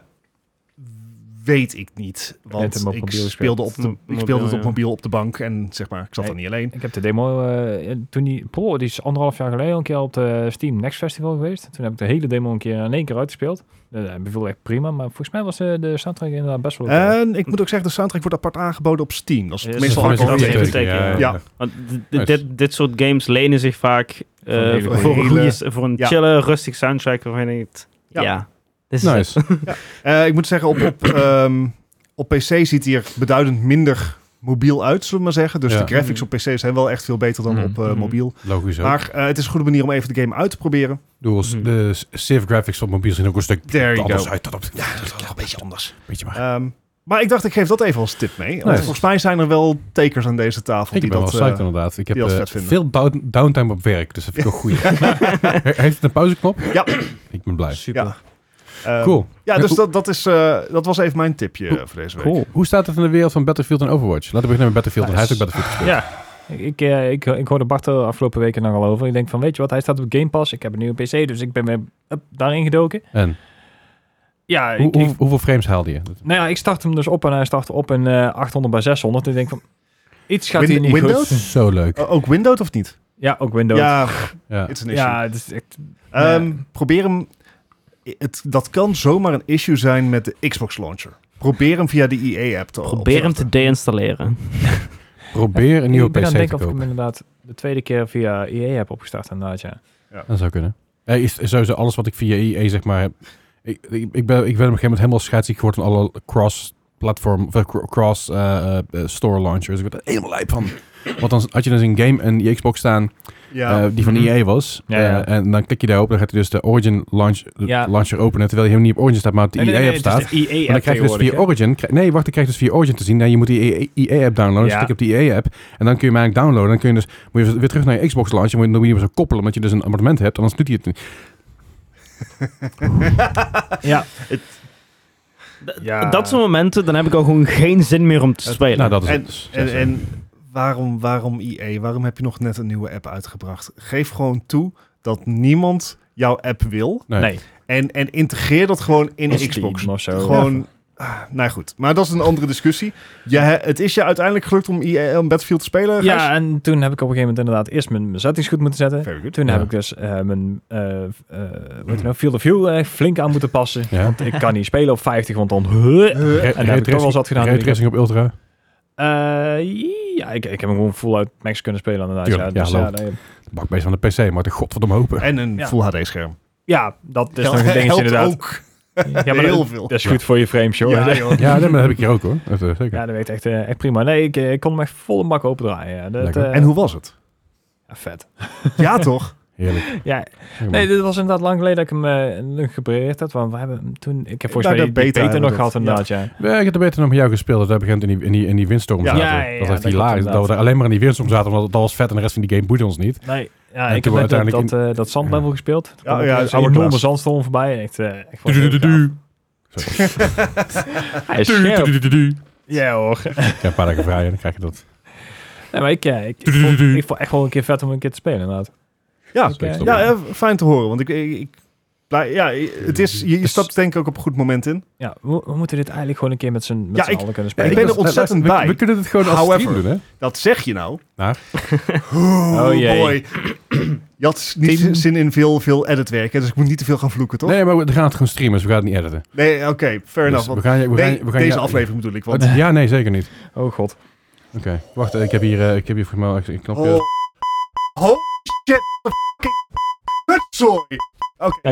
Speaker 1: weet ik niet.
Speaker 4: hebt hem
Speaker 1: Want
Speaker 4: op
Speaker 1: ik
Speaker 4: mobiel
Speaker 1: speelde, op de,
Speaker 3: Mo-
Speaker 1: ik
Speaker 3: mobiel,
Speaker 1: speelde het op
Speaker 3: ja.
Speaker 1: mobiel op de bank en zeg maar, ik zat
Speaker 4: Nee.
Speaker 1: er niet alleen.
Speaker 4: Ik heb de demo, eh, toen die, poh, die is anderhalf jaar geleden al een keer op de Steam Next Festival geweest. Toen heb ik de hele demo een keer in één keer uitgespeeld. Dat eh, beviel echt prima, maar volgens mij was eh, de soundtrack inderdaad best wel... oké.
Speaker 1: En ik moet ook zeggen, de soundtrack wordt apart aangeboden op Steam. Dat is
Speaker 4: Ja,
Speaker 1: het
Speaker 4: dat is
Speaker 1: meestal
Speaker 2: Van
Speaker 3: ook
Speaker 2: is
Speaker 1: apart.
Speaker 3: altijd
Speaker 2: het
Speaker 3: even
Speaker 2: ook
Speaker 3: steken,
Speaker 2: ja,
Speaker 1: ja.
Speaker 2: ja.
Speaker 1: Ja.
Speaker 3: Want d- d-
Speaker 2: Nice.
Speaker 3: dit, dit soort games lenen zich vaak eh,
Speaker 4: een hele goeie-
Speaker 3: voor, een goede,
Speaker 1: hele-
Speaker 3: voor een
Speaker 1: Ja.
Speaker 3: chille, rustig soundtrack waarvan je denkt,
Speaker 1: Ja.
Speaker 3: ja, dit is het.
Speaker 2: Nice.
Speaker 1: Eh, ik moet zeggen, op, op, ehm, op PC ziet hij er beduidend minder mobiel uit, zullen we maar zeggen. Dus
Speaker 2: Ja.
Speaker 1: de graphics op PC zijn wel echt veel beter dan
Speaker 4: Mhm.
Speaker 1: op eh,
Speaker 3: Mhm.
Speaker 1: mobiel.
Speaker 2: Logisch ook.
Speaker 1: Maar eh, het is een goede manier om even de game uit te proberen.
Speaker 2: Doe als
Speaker 3: Mhm.
Speaker 2: de Civ graphics op mobiel zien ook een stuk
Speaker 1: Hmm. There you
Speaker 2: anders
Speaker 1: go.
Speaker 2: uit. Dat op,
Speaker 1: Ja, dat is wel een beetje anders.
Speaker 2: Weet je maar.
Speaker 1: Ehm, maar ik dacht, ik geef dat even als tip mee. Want
Speaker 2: Nice.
Speaker 1: volgens mij zijn er wel tekers aan deze tafel.
Speaker 2: ik
Speaker 1: die
Speaker 2: ben wel
Speaker 1: dat, eh,
Speaker 2: psyched inderdaad. Ik heb
Speaker 1: die dat
Speaker 2: eh,
Speaker 1: vet vinden.
Speaker 2: veel down- downtime op werk, dus dat vind ik ook goed. Heeft het een pauzeknop?
Speaker 1: Ja.
Speaker 2: Ik ben blij.
Speaker 4: Super.
Speaker 1: ja. ehm,
Speaker 2: Cool.
Speaker 1: Ja,
Speaker 2: Ja,
Speaker 1: dus
Speaker 2: hoe-
Speaker 1: dat, dat, is, eh, dat was even mijn tipje eh, voor deze week.
Speaker 2: Cool. Hoe staat het in de wereld van Battlefield en Overwatch? Laten we beginnen met Battlefield, want hij
Speaker 1: Nice.
Speaker 2: heeft ook Battlefield gespeeld.
Speaker 4: Ja, ik, ik, eh, ik, ik hoorde Bart er afgelopen weken nog al over. Ik denk van, weet je wat, hij staat op Game Pass. Ik heb een nieuwe PC, dus ik ben weer up, daarin gedoken.
Speaker 2: En
Speaker 4: Ja, ik,
Speaker 2: hoe, hoe-
Speaker 4: ik-
Speaker 2: hoeveel frames haalde je?
Speaker 4: nou ja, ik start hem dus op en hij start op in eh, 800 bij 600. En ik denk van, iets gaat
Speaker 1: Win-
Speaker 4: hier niet
Speaker 1: Windows?
Speaker 4: goed.
Speaker 2: Zo leuk.
Speaker 1: Eh, ook Windows of niet?
Speaker 4: Ja, ook Windows.
Speaker 1: Ja,
Speaker 2: Ja.
Speaker 1: het is een issue.
Speaker 4: ja het is echt...
Speaker 1: Ehm,
Speaker 4: nee.
Speaker 1: Probeer hem... Het, dat kan zomaar een issue zijn met de Xbox launcher. Probeer hem via de EA-app E te
Speaker 3: Probeer hem te deinstalleren.
Speaker 2: Probeer een nieuwe
Speaker 4: ik ben aan
Speaker 2: PC te
Speaker 4: het denken of ik hem
Speaker 2: kopen.
Speaker 4: inderdaad de tweede keer via EA heb opgestart inderdaad, ja.
Speaker 2: Dat zou kunnen. Eh, is, is sowieso alles wat ik via EA zeg maar... heb. Ik, ik, ik, ben, ik ben op een gegeven moment helemaal scheidsziek geworden van alle cross-platform... of eh, cro- cross eh, eh, store launchers. Ik werd er helemaal lijp van. Want dan had je dus een game en je Xbox staan
Speaker 1: Ja.
Speaker 2: eh, die van
Speaker 4: Mhm.
Speaker 2: EA was.
Speaker 4: Ja, ja.
Speaker 2: Eh, en dan klik je daarop, dan gaat hij dus de Origin launch, de
Speaker 4: Ja.
Speaker 2: launcher openen. Terwijl je helemaal niet op Origin staat, maar op de
Speaker 4: Nee, nee,
Speaker 2: EA-app
Speaker 4: nee, het is
Speaker 2: staat.
Speaker 4: de E EA
Speaker 2: E Maar dan krijg je dus via Origin... krij- nee, wacht, dan krijg je dus via Origin te zien. Nee, je moet die EA-app downloaden. Dus
Speaker 4: Ja.
Speaker 2: klik op die EA-app. En dan kun je hem eigenlijk downloaden. Dan kun je dus moet je weer terug naar je Xbox launch. Je moet hem weer zo koppelen, omdat je dus een abonnement hebt. Anders doet hij het niet.
Speaker 4: Ja,
Speaker 3: D-
Speaker 4: Ja.
Speaker 3: Dat soort momenten, dan heb ik al gewoon geen zin meer om te
Speaker 1: Het-
Speaker 3: spelen.
Speaker 2: Nou, dat is
Speaker 1: En-
Speaker 2: het. Dus, ja,
Speaker 1: En,
Speaker 2: zo.
Speaker 1: en waarom, waarom IE? Waarom heb je nog net een nieuwe app uitgebracht? Geef gewoon toe dat niemand jouw app wil.
Speaker 2: nee.
Speaker 4: nee.
Speaker 1: En, en integreer dat gewoon in
Speaker 4: Steam
Speaker 1: Xbox.
Speaker 4: of zo.
Speaker 1: Gewoon. Ah, Nou goed, maar dat is een andere discussie. Je, het is je uiteindelijk gelukt om IE om Battlefield te spelen. Gijs?
Speaker 4: Ja, en toen heb ik op een gegeven moment inderdaad eerst mijn, mijn settings goed moeten zetten.
Speaker 1: Very good.
Speaker 4: Toen
Speaker 2: Ja.
Speaker 4: heb ik dus eh, mijn eh, eh, hoe heet het nou, field of view eh, flink aan moeten passen.
Speaker 2: Ja.
Speaker 4: Want ik kan niet spelen op 50, want dan... huh.
Speaker 1: Eh,
Speaker 2: Ray-
Speaker 4: En daar heb ik toch wel
Speaker 2: raytracing-
Speaker 4: zat gedaan.
Speaker 2: Raytracing op Ultra.
Speaker 4: Eh, ja, ik, ik heb hem gewoon full-out max kunnen spelen inderdaad.
Speaker 2: Tuurlijk,
Speaker 4: ja,
Speaker 2: ja,
Speaker 4: dus, ja,
Speaker 2: loopt.
Speaker 4: nee.
Speaker 2: Bakbeest van de PC, maar de godverdomme hopen.
Speaker 1: en een
Speaker 4: Ja.
Speaker 1: Full HD-scherm.
Speaker 4: ja, dat is nog
Speaker 1: Helpt
Speaker 4: een dingetje inderdaad.
Speaker 1: ook
Speaker 4: Ja, maar
Speaker 1: heel
Speaker 4: dat,
Speaker 1: veel.
Speaker 4: dat is goed voor je frames, joh.
Speaker 1: Ja,
Speaker 4: Ja,
Speaker 1: joh.
Speaker 2: Ja, nee, maar dat heb ik hier ook hoor. Dat, eh, zeker.
Speaker 4: dat werkt echt, eh, echt prima. Nee, ik, eh, ik kon hem echt volle mak opendraaien. Ja. Dat,
Speaker 2: Lekker.
Speaker 4: eh,
Speaker 1: En hoe was het?
Speaker 4: ja, vet.
Speaker 1: Ja, toch?
Speaker 2: Heerlijk.
Speaker 4: Ja,
Speaker 2: Zeg
Speaker 4: nee,
Speaker 2: maar.
Speaker 4: dit was inderdaad lang geleden dat ik hem eh, nog geprobeerd had. Want we hebben hem toen... Ik heb volgens
Speaker 1: Bij
Speaker 4: mij
Speaker 1: de
Speaker 4: die
Speaker 1: beta
Speaker 4: beta,
Speaker 1: hebben we
Speaker 4: nog
Speaker 1: dat,
Speaker 4: gehad
Speaker 1: ja.
Speaker 4: inderdaad, ja.
Speaker 2: Ja, ik heb er beter nog met jou gespeeld. Dat we op een gegeven moment in die, in die, in die windstorm
Speaker 1: Ja.
Speaker 2: zaten.
Speaker 4: Ja, ja, ja,
Speaker 2: dat
Speaker 4: dat
Speaker 2: was echt
Speaker 4: klopt
Speaker 2: hilarisch. Dat we
Speaker 4: inderdaad.
Speaker 2: er alleen maar in die windstorm zaten, omdat dat was vet en de rest van die game boeide ons niet.
Speaker 4: Nee, ja,
Speaker 2: En
Speaker 4: ik
Speaker 2: toen
Speaker 4: heb
Speaker 2: we
Speaker 4: net dat,
Speaker 2: uiteindelijk
Speaker 4: dat, eh, dat dus zandlevel gespeeld.
Speaker 1: Ja,
Speaker 4: Ja,
Speaker 1: ja,
Speaker 4: ja,
Speaker 1: het
Speaker 4: een
Speaker 1: oude
Speaker 4: enorme
Speaker 1: klas.
Speaker 4: zandstorm voorbij. Echt, eh, ik vond het heel gaaf.
Speaker 2: Du-du-du-du-du.
Speaker 4: Hij is scherp.
Speaker 2: Du-du-du-du-du.
Speaker 4: Ja hoor.
Speaker 2: Ja, een paar dagen vrij en dan krijg je dat.
Speaker 4: Nee, maar ik, eh, ik, ik, vond,
Speaker 2: Du-du-du-du.
Speaker 4: ik vond echt wel een keer vet om een keer te spelen inderdaad.
Speaker 1: Ja,
Speaker 4: Ik, eh,
Speaker 2: Stop.
Speaker 1: ja eh, fijn te horen. Want ik, ik, ik- blij- ja, het is, je, je
Speaker 4: Dus-
Speaker 1: stapt denk ik ook op een goed moment in.
Speaker 4: ja, we, we moeten dit eigenlijk gewoon een keer met z'n
Speaker 1: Ja,
Speaker 4: met z'n
Speaker 1: ik-
Speaker 4: allen kunnen
Speaker 1: ik
Speaker 4: spelen.
Speaker 1: ben er
Speaker 2: was-
Speaker 1: ontzettend
Speaker 2: we- we-
Speaker 1: bij.
Speaker 2: We kunnen het gewoon als
Speaker 1: However.
Speaker 2: stream doen, hè?
Speaker 1: Dat zeg je nou.
Speaker 2: Maar?
Speaker 1: Oeh,
Speaker 4: Oh, jee.
Speaker 1: boy. Je had niet
Speaker 4: Tim.
Speaker 1: zin in veel, veel editwerk, hè, dus ik moet niet te veel gaan vloeken, toch? Nee,
Speaker 2: Nee, maar we we gaan het gewoon streamen, dus we gaan het niet editen.
Speaker 1: oké, fair
Speaker 2: Dus
Speaker 1: enough.
Speaker 2: we
Speaker 1: want-
Speaker 2: gaan, je- we gaan,
Speaker 1: nee,
Speaker 2: we gaan
Speaker 1: deze
Speaker 2: je-
Speaker 1: aflevering bedoel ik, want...
Speaker 2: Het- Ja, nee, zeker niet.
Speaker 4: Oh god.
Speaker 2: Oké, wacht, eh, ik heb hier, eh, ik heb hier voor mij een knopje.
Speaker 1: Oh, holy shit, the fucking kutzooi. Oké.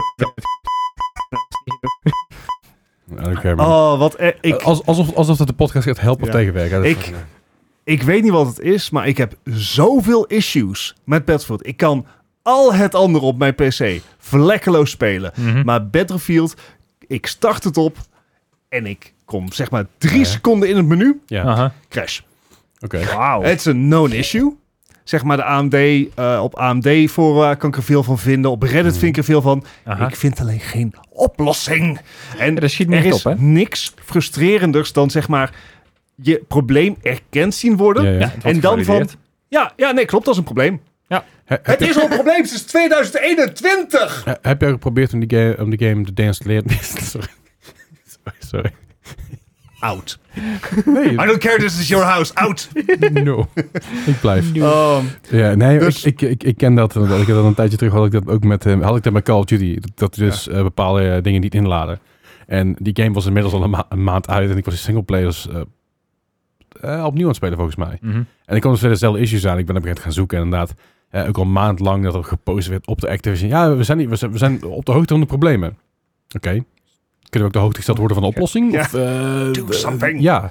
Speaker 2: I don't care, man.
Speaker 1: Oh, wat... eh, ik,
Speaker 2: Als, alsof, alsof dat de podcast gaat helpen
Speaker 1: Ja.
Speaker 2: of tegenwerken. Dat is- eh,
Speaker 1: Ik- ik weet niet wat het is, maar ik heb zoveel issues met Battlefield. Ik kan al het andere op mijn PC vlekkeloos spelen. Maar Battlefield, ik start het op en ik kom zeg maar drie
Speaker 2: Ja.
Speaker 1: seconden in het menu,
Speaker 2: Ja,
Speaker 4: Aha.
Speaker 1: crash.
Speaker 2: oké.
Speaker 4: Wauw.
Speaker 1: Het is een known issue. Zeg maar de AMD, eh, op AMD fora eh, kan ik er veel van vinden. Op Reddit vind ik er veel van.
Speaker 4: Aha.
Speaker 1: Ik vind alleen geen oplossing. En
Speaker 4: Ja, dat schiet niet
Speaker 1: er
Speaker 4: echt
Speaker 1: is
Speaker 4: op, hè?
Speaker 1: niks frustrerenders dan zeg maar je probleem erkend zien worden.
Speaker 2: Ja,
Speaker 1: Ja,
Speaker 2: ja.
Speaker 4: Ja, het wordt
Speaker 1: En dan
Speaker 4: gevalideerd.
Speaker 1: ja, nee, klopt, dat is een probleem.
Speaker 2: He-
Speaker 1: Het is al een probleem sinds 2021.
Speaker 2: he- Eh, heb jij geprobeerd om die game, om die game te deinstalleren? sorry. sorry, sorry.
Speaker 1: Out. Um,
Speaker 2: Nee,
Speaker 1: I don't care, this is your house. Out.
Speaker 2: no. ik blijf.
Speaker 1: Um,
Speaker 2: Ja, nee,
Speaker 1: Dus-
Speaker 2: ik, ik, ik, ik ken dat. inderdaad. Ik had dat een tijdje terug had ik dat ook met, eh, had ik dat met Call of Duty. Dat, dat dus eh, bepaalde eh, dingen niet inladen. En die game was inmiddels al een, ma- een maand uit en ik was die singleplayers eh eh, opnieuw aan het spelen volgens mij.
Speaker 4: Mhm.
Speaker 2: En ik kwam dus weer dezelfde issues aan. Ik ben op een gegeven moment gaan zoeken en inderdaad eh, ook al een maand lang dat er gepost werd op de Activision. Ja, we zijn, niet, we zijn, we zijn op de hoogte van de problemen. Oké. Kunnen we ook de hoogte gesteld worden van de oplossing?
Speaker 1: Ja.
Speaker 2: Of, eh,
Speaker 1: Do
Speaker 2: eh,
Speaker 1: something.
Speaker 2: Ja.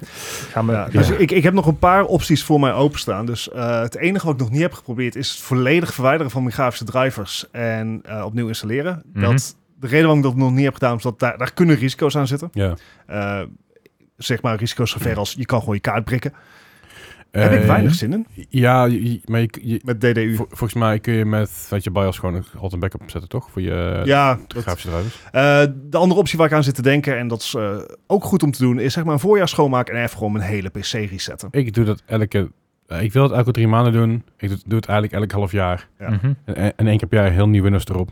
Speaker 4: Gaan we...
Speaker 1: Ja, dus ik, ik heb nog een paar opties voor mij openstaan. Dus eh, het enige wat ik nog niet heb geprobeerd is het volledig verwijderen van mijn grafische drivers en eh, opnieuw installeren.
Speaker 4: Mhm.
Speaker 1: dat, de reden waarom ik dat nog niet heb gedaan is dat daar, daar kunnen risico's aan zitten.
Speaker 2: ja.
Speaker 1: Eh, zeg maar risico's
Speaker 2: Mm.
Speaker 1: zover als je kan gewoon je kaart prikken. heb ik weinig zin in
Speaker 2: Eh, Ja, je- je- maar je, je-
Speaker 1: met DDU.
Speaker 2: Vol- volgens mij kun je met wat je BIOS gewoon een- altijd een backup zetten, toch? Voor je ja,
Speaker 1: ja, dat-
Speaker 2: grafische drivers.
Speaker 1: eh, de andere optie waar ik aan zit te denken, en dat is eh, ook goed om te doen, is zeg maar een voorjaar schoonmaken en even gewoon mijn hele PC resetten.
Speaker 2: Ik doe dat elke... eh, ik wil het elke drie maanden doen. Ik doe, doe het eigenlijk elk half jaar.
Speaker 1: Ja.
Speaker 4: Mhm.
Speaker 2: En, en één keer per jaar heel nieuw Windows erop.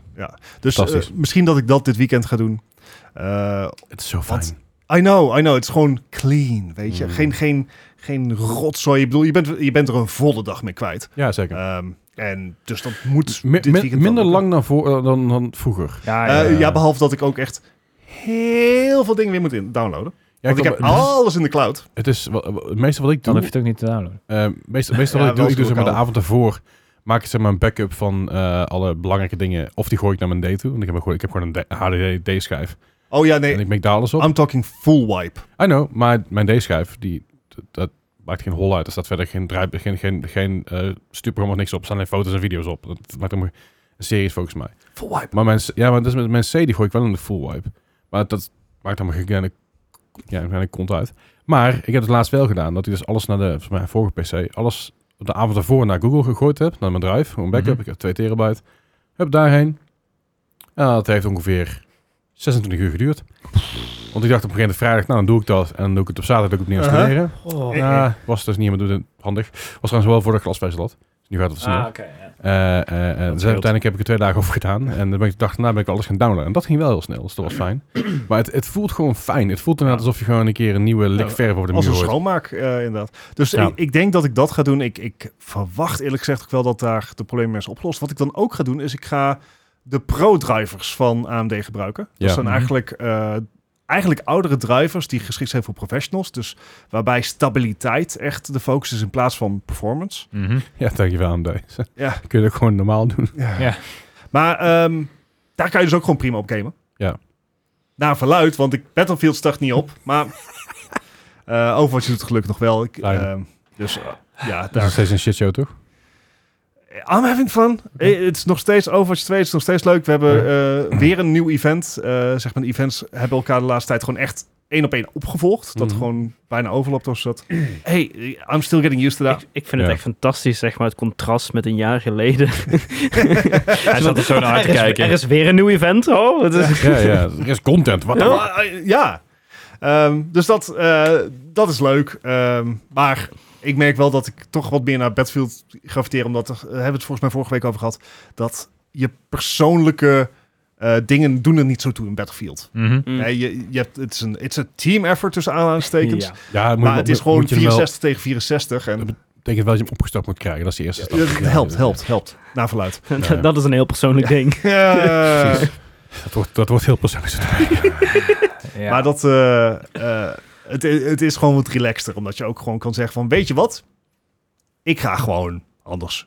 Speaker 1: Dus eh,
Speaker 2: Fantastisch.
Speaker 1: misschien dat ik dat dit weekend ga doen. Eh,
Speaker 2: Het is zo fijn.
Speaker 1: Wat? I know, I know. Het is gewoon clean, weet je.
Speaker 2: Mm.
Speaker 1: Geen, geen, geen rotzooi. Ik bedoel, je bent, je bent er een volle dag mee kwijt.
Speaker 2: Ja, zeker.
Speaker 1: Ehm, en dus dat moet
Speaker 2: Mi-
Speaker 1: dit
Speaker 2: mi-
Speaker 1: weekend
Speaker 2: minder
Speaker 1: dan ook.
Speaker 2: lang dan, voor, eh, dan, dan vroeger.
Speaker 4: Ja,
Speaker 1: Eh,
Speaker 4: ja.
Speaker 1: ja, behalve dat ik ook echt heel veel dingen weer moet in downloaden. Want ik
Speaker 2: kom-
Speaker 1: heb alles in de cloud.
Speaker 2: eh, Het is wa- wa- het meeste wat ik
Speaker 4: Dan
Speaker 2: doe.
Speaker 4: hoef je het ook niet te downloaden.
Speaker 2: eh,
Speaker 1: Ja,
Speaker 2: meestal, meestal wat ik doe,
Speaker 1: wel
Speaker 2: ik doe zeg maar de
Speaker 1: stoelkouder.
Speaker 2: avond ervoor. Maak ik zeg maar een backup van eh, alle belangrijke dingen. Of die gooi ik naar mijn D toe. Want ik heb gewoon, ik heb gewoon een HDD-schijf.
Speaker 1: Oh ja,
Speaker 2: En
Speaker 1: nee.
Speaker 2: ik make daar alles op.
Speaker 1: I'm talking full wipe.
Speaker 2: I know, maar mijn D-schijf, die, dat, dat maakt geen hol uit. Er staat verder geen, draai, geen, geen, geen eh, stuurprogramma of niks op. Er staan alleen foto's en video's op. Dat maakt helemaal een series volgens mij.
Speaker 1: Full wipe.
Speaker 2: Maar mijn, C- ja, maar dat is met mijn C, die gooi ik wel in de full wipe. Maar dat maakt helemaal geen kleine, ja, een kleine kont uit. Maar ik heb het laatst wel gedaan. Dat ik dus alles naar de, volgens mij vorige PC, alles op de avond daarvoor naar Google gegooid heb. Naar mijn drive, gewoon backup.
Speaker 4: Mhm.
Speaker 2: Ik heb 2 terabyte. Heb daarheen. En dat heeft ongeveer 26 uur geduurd. Want ik dacht op een gegeven moment vrijdag, nou dan doe ik dat. En dan doe ik het op zaterdag ook opnieuw
Speaker 1: Uh-huh.
Speaker 2: installeren.
Speaker 3: Oh.
Speaker 2: Ja, was dus niet helemaal handig. Was trouwens wel voor de glasvezel had. Dus nu gaat het snel. Eh, eh, eh, dus uiteindelijk heb ik er twee dagen over gedaan. En dan ben ik de dag daarna ben ik alles gaan downloaden. En dat ging wel heel snel, dus dat was fijn. Maar het, het voelt gewoon fijn. Het voelt inderdaad alsof je gewoon een keer een nieuwe lik
Speaker 1: Ja,
Speaker 2: verf over de
Speaker 1: Als
Speaker 2: muur
Speaker 1: een
Speaker 2: hoort.
Speaker 1: schoonmaak, eh, inderdaad. Dus
Speaker 2: Ja.
Speaker 1: ik, ik denk dat ik dat ga doen. Ik, ik verwacht eerlijk gezegd ook wel dat daar de problemen mee is opgelost. Wat ik dan ook ga doen, is ik ga de pro-drivers van AMD gebruiken.
Speaker 2: Ja.
Speaker 1: Dat zijn
Speaker 4: Mhm.
Speaker 1: eigenlijk, eh, eigenlijk oudere drivers die geschikt zijn voor professionals. Dus waarbij stabiliteit echt de focus is in plaats van performance.
Speaker 4: Mhm,
Speaker 2: Ja, dankjewel aan deze.
Speaker 1: Ja.
Speaker 2: Kun je dat gewoon normaal doen.
Speaker 4: Ja.
Speaker 1: Maar ehm, daar kan je dus ook gewoon prima op gamen.
Speaker 2: Ja.
Speaker 1: Naar verluid, want ik Battlefield start niet op. Maar eh Overwatch doet het gelukkig nog wel. Ik,
Speaker 2: Fijn.
Speaker 1: ehm, dus eh, ja,
Speaker 2: Dat is nog
Speaker 1: daar
Speaker 2: steeds een shitshow, toch?
Speaker 1: I'm having fun. Eh, Het is nog steeds Overwatch 2, het is nog steeds leuk. We hebben eh, weer een nieuw event. Eh, zeg maar, de events hebben elkaar de laatste tijd gewoon echt één op één opgevolgd. Dat
Speaker 2: Mhm.
Speaker 1: gewoon bijna overlapt of dat. Hey, I'm still getting used to that.
Speaker 3: Ik, ik vind het
Speaker 2: Ja.
Speaker 3: echt fantastisch, zeg maar, het contrast met een jaar geleden.
Speaker 5: Hij zat er zo naar
Speaker 3: er,
Speaker 5: te
Speaker 3: is,
Speaker 5: kijken.
Speaker 3: er is weer een nieuw event, oh. Het is,
Speaker 2: Ja, ja. Er is content. Wat dan?
Speaker 1: Ja. eh, ja. Ehm, dus dat, eh, dat is leuk. Ehm, maar ik merk wel dat ik toch wat meer naar Battlefield graviteer. Omdat er, eh, hebben we het volgens mij vorige week over gehad. Dat je persoonlijke eh, dingen doen er niet zo toe in Battlefield.
Speaker 4: mhm.
Speaker 3: Mm.
Speaker 1: Nee, je, je hebt, het is een it's a team effort tussen aanhalingstekens.
Speaker 4: Ja.
Speaker 2: Ja, moet,
Speaker 1: Maar het is gewoon
Speaker 2: moet je hem wel-
Speaker 1: 64 tegen 64. En
Speaker 2: Dat betekent wel dat je hem opgestapt moet krijgen. Dat is de eerste stap.
Speaker 1: Ja, het
Speaker 2: Ja,
Speaker 1: helpt,
Speaker 2: ja.
Speaker 1: helpt, helpt. Naar verluid. Eh,
Speaker 3: Dat- Dat is een heel persoonlijk ding.
Speaker 1: Ja.
Speaker 2: Precies. Dat wordt, dat wordt heel persoonlijk.
Speaker 4: Ja.
Speaker 1: Maar dat, eh, eh, het, het is gewoon wat relaxter. Omdat je ook gewoon kan zeggen van, weet je wat? Ik ga gewoon anders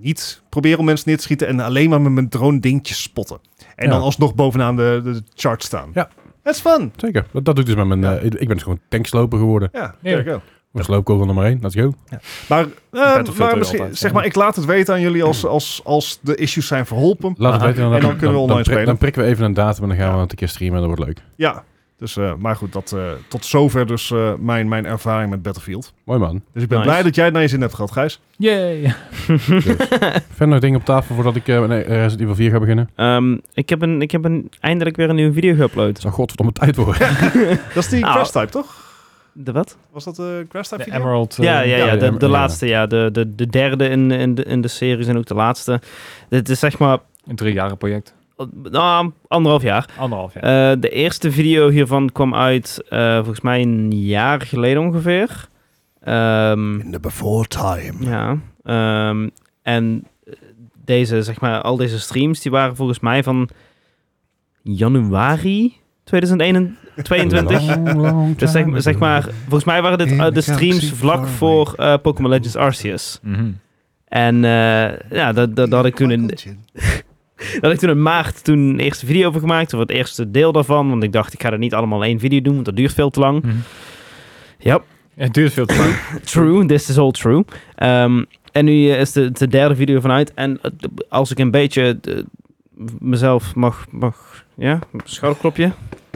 Speaker 1: niet proberen om mensen neer te schieten. En alleen maar met mijn drone dingetjes spotten. En
Speaker 2: Ja.
Speaker 1: dan alsnog bovenaan de, de chart staan.
Speaker 2: Ja.
Speaker 1: That's fun.
Speaker 2: Zeker. Dat, dat doe ik dus met mijn...
Speaker 1: Ja.
Speaker 2: eh, ik ik ben dus gewoon tanksloper geworden.
Speaker 1: Ja,
Speaker 4: Ja.
Speaker 1: there you go.
Speaker 2: Een sloopkogel nummer 1. Let's go.
Speaker 1: Maar, eh,
Speaker 5: Battlefield
Speaker 1: maar
Speaker 5: wil
Speaker 1: misschien,
Speaker 5: altijd,
Speaker 1: zeg
Speaker 5: ja.
Speaker 1: maar, ik laat het weten aan jullie als, als, als de issues zijn verholpen.
Speaker 2: Laat het weten.
Speaker 1: En dan kunnen we online
Speaker 2: prik-
Speaker 1: spelen.
Speaker 2: Dan prikken we even een datum en dan gaan we het een keer streamen. Dat wordt leuk.
Speaker 1: Ja, dus, eh, maar goed, dat, eh, tot zover dus eh, mijn, mijn ervaring met Battlefield.
Speaker 2: Mooi man.
Speaker 1: Dus ik ben
Speaker 3: Nice.
Speaker 1: blij dat jij het naar je zin hebt gehad, Gijs.
Speaker 4: Yay.
Speaker 2: Verder nog dingen op tafel voordat ik eh nee, Resident Evil 4 ga beginnen.
Speaker 3: Ehm, ik, heb een, ik heb een, eindelijk weer een nieuwe video
Speaker 2: Het
Speaker 3: geüpload.
Speaker 2: zou godverdomme tijd worden.
Speaker 1: Dat is die
Speaker 3: Nou.
Speaker 1: Crash Type, toch?
Speaker 3: De wat?
Speaker 1: Was dat de Crash Type
Speaker 4: De
Speaker 1: video?
Speaker 4: Emerald. eh,
Speaker 3: Ja,
Speaker 2: ja,
Speaker 3: ja, ja, de,
Speaker 2: ja,
Speaker 3: de
Speaker 2: ja.
Speaker 3: laatste, ja. De, de, de derde in, in, de, in de series en ook de laatste. Dit is zeg maar
Speaker 4: Een drie jaren project.
Speaker 3: eh, nou, anderhalf jaar.
Speaker 4: Anderhalf jaar.
Speaker 3: Eh, de eerste video hiervan kwam uit eh, volgens mij een jaar geleden ongeveer. Ehm,
Speaker 1: In the before time.
Speaker 3: ja. ehm, en deze, zeg maar, al deze streams, die waren volgens mij van januari 2021.
Speaker 2: Long, long
Speaker 3: Dus zeg,
Speaker 2: time
Speaker 3: zeg
Speaker 2: ago.
Speaker 3: maar, volgens mij waren dit
Speaker 1: In
Speaker 3: eh, de
Speaker 1: the
Speaker 3: streams
Speaker 1: galaxy
Speaker 3: vlak
Speaker 1: far
Speaker 3: voor eh, Pokémon Legends Arceus.
Speaker 4: Mhm.
Speaker 3: En eh, ja, dat, dat, dat had ik toen in, dat had ik toen in maart toen een eerste video over gemaakt. Of het eerste deel daarvan. Want ik dacht, ik ga er niet allemaal één video doen, want dat duurt veel te lang.
Speaker 4: Mhm.
Speaker 3: Ja,
Speaker 4: Het duurt veel te lang.
Speaker 3: true. This is all true. Ehm, en nu eh, is de, de derde video vanuit. En eh, de- als ik een beetje eh, mezelf mag, mag... Ja, schouderklopje.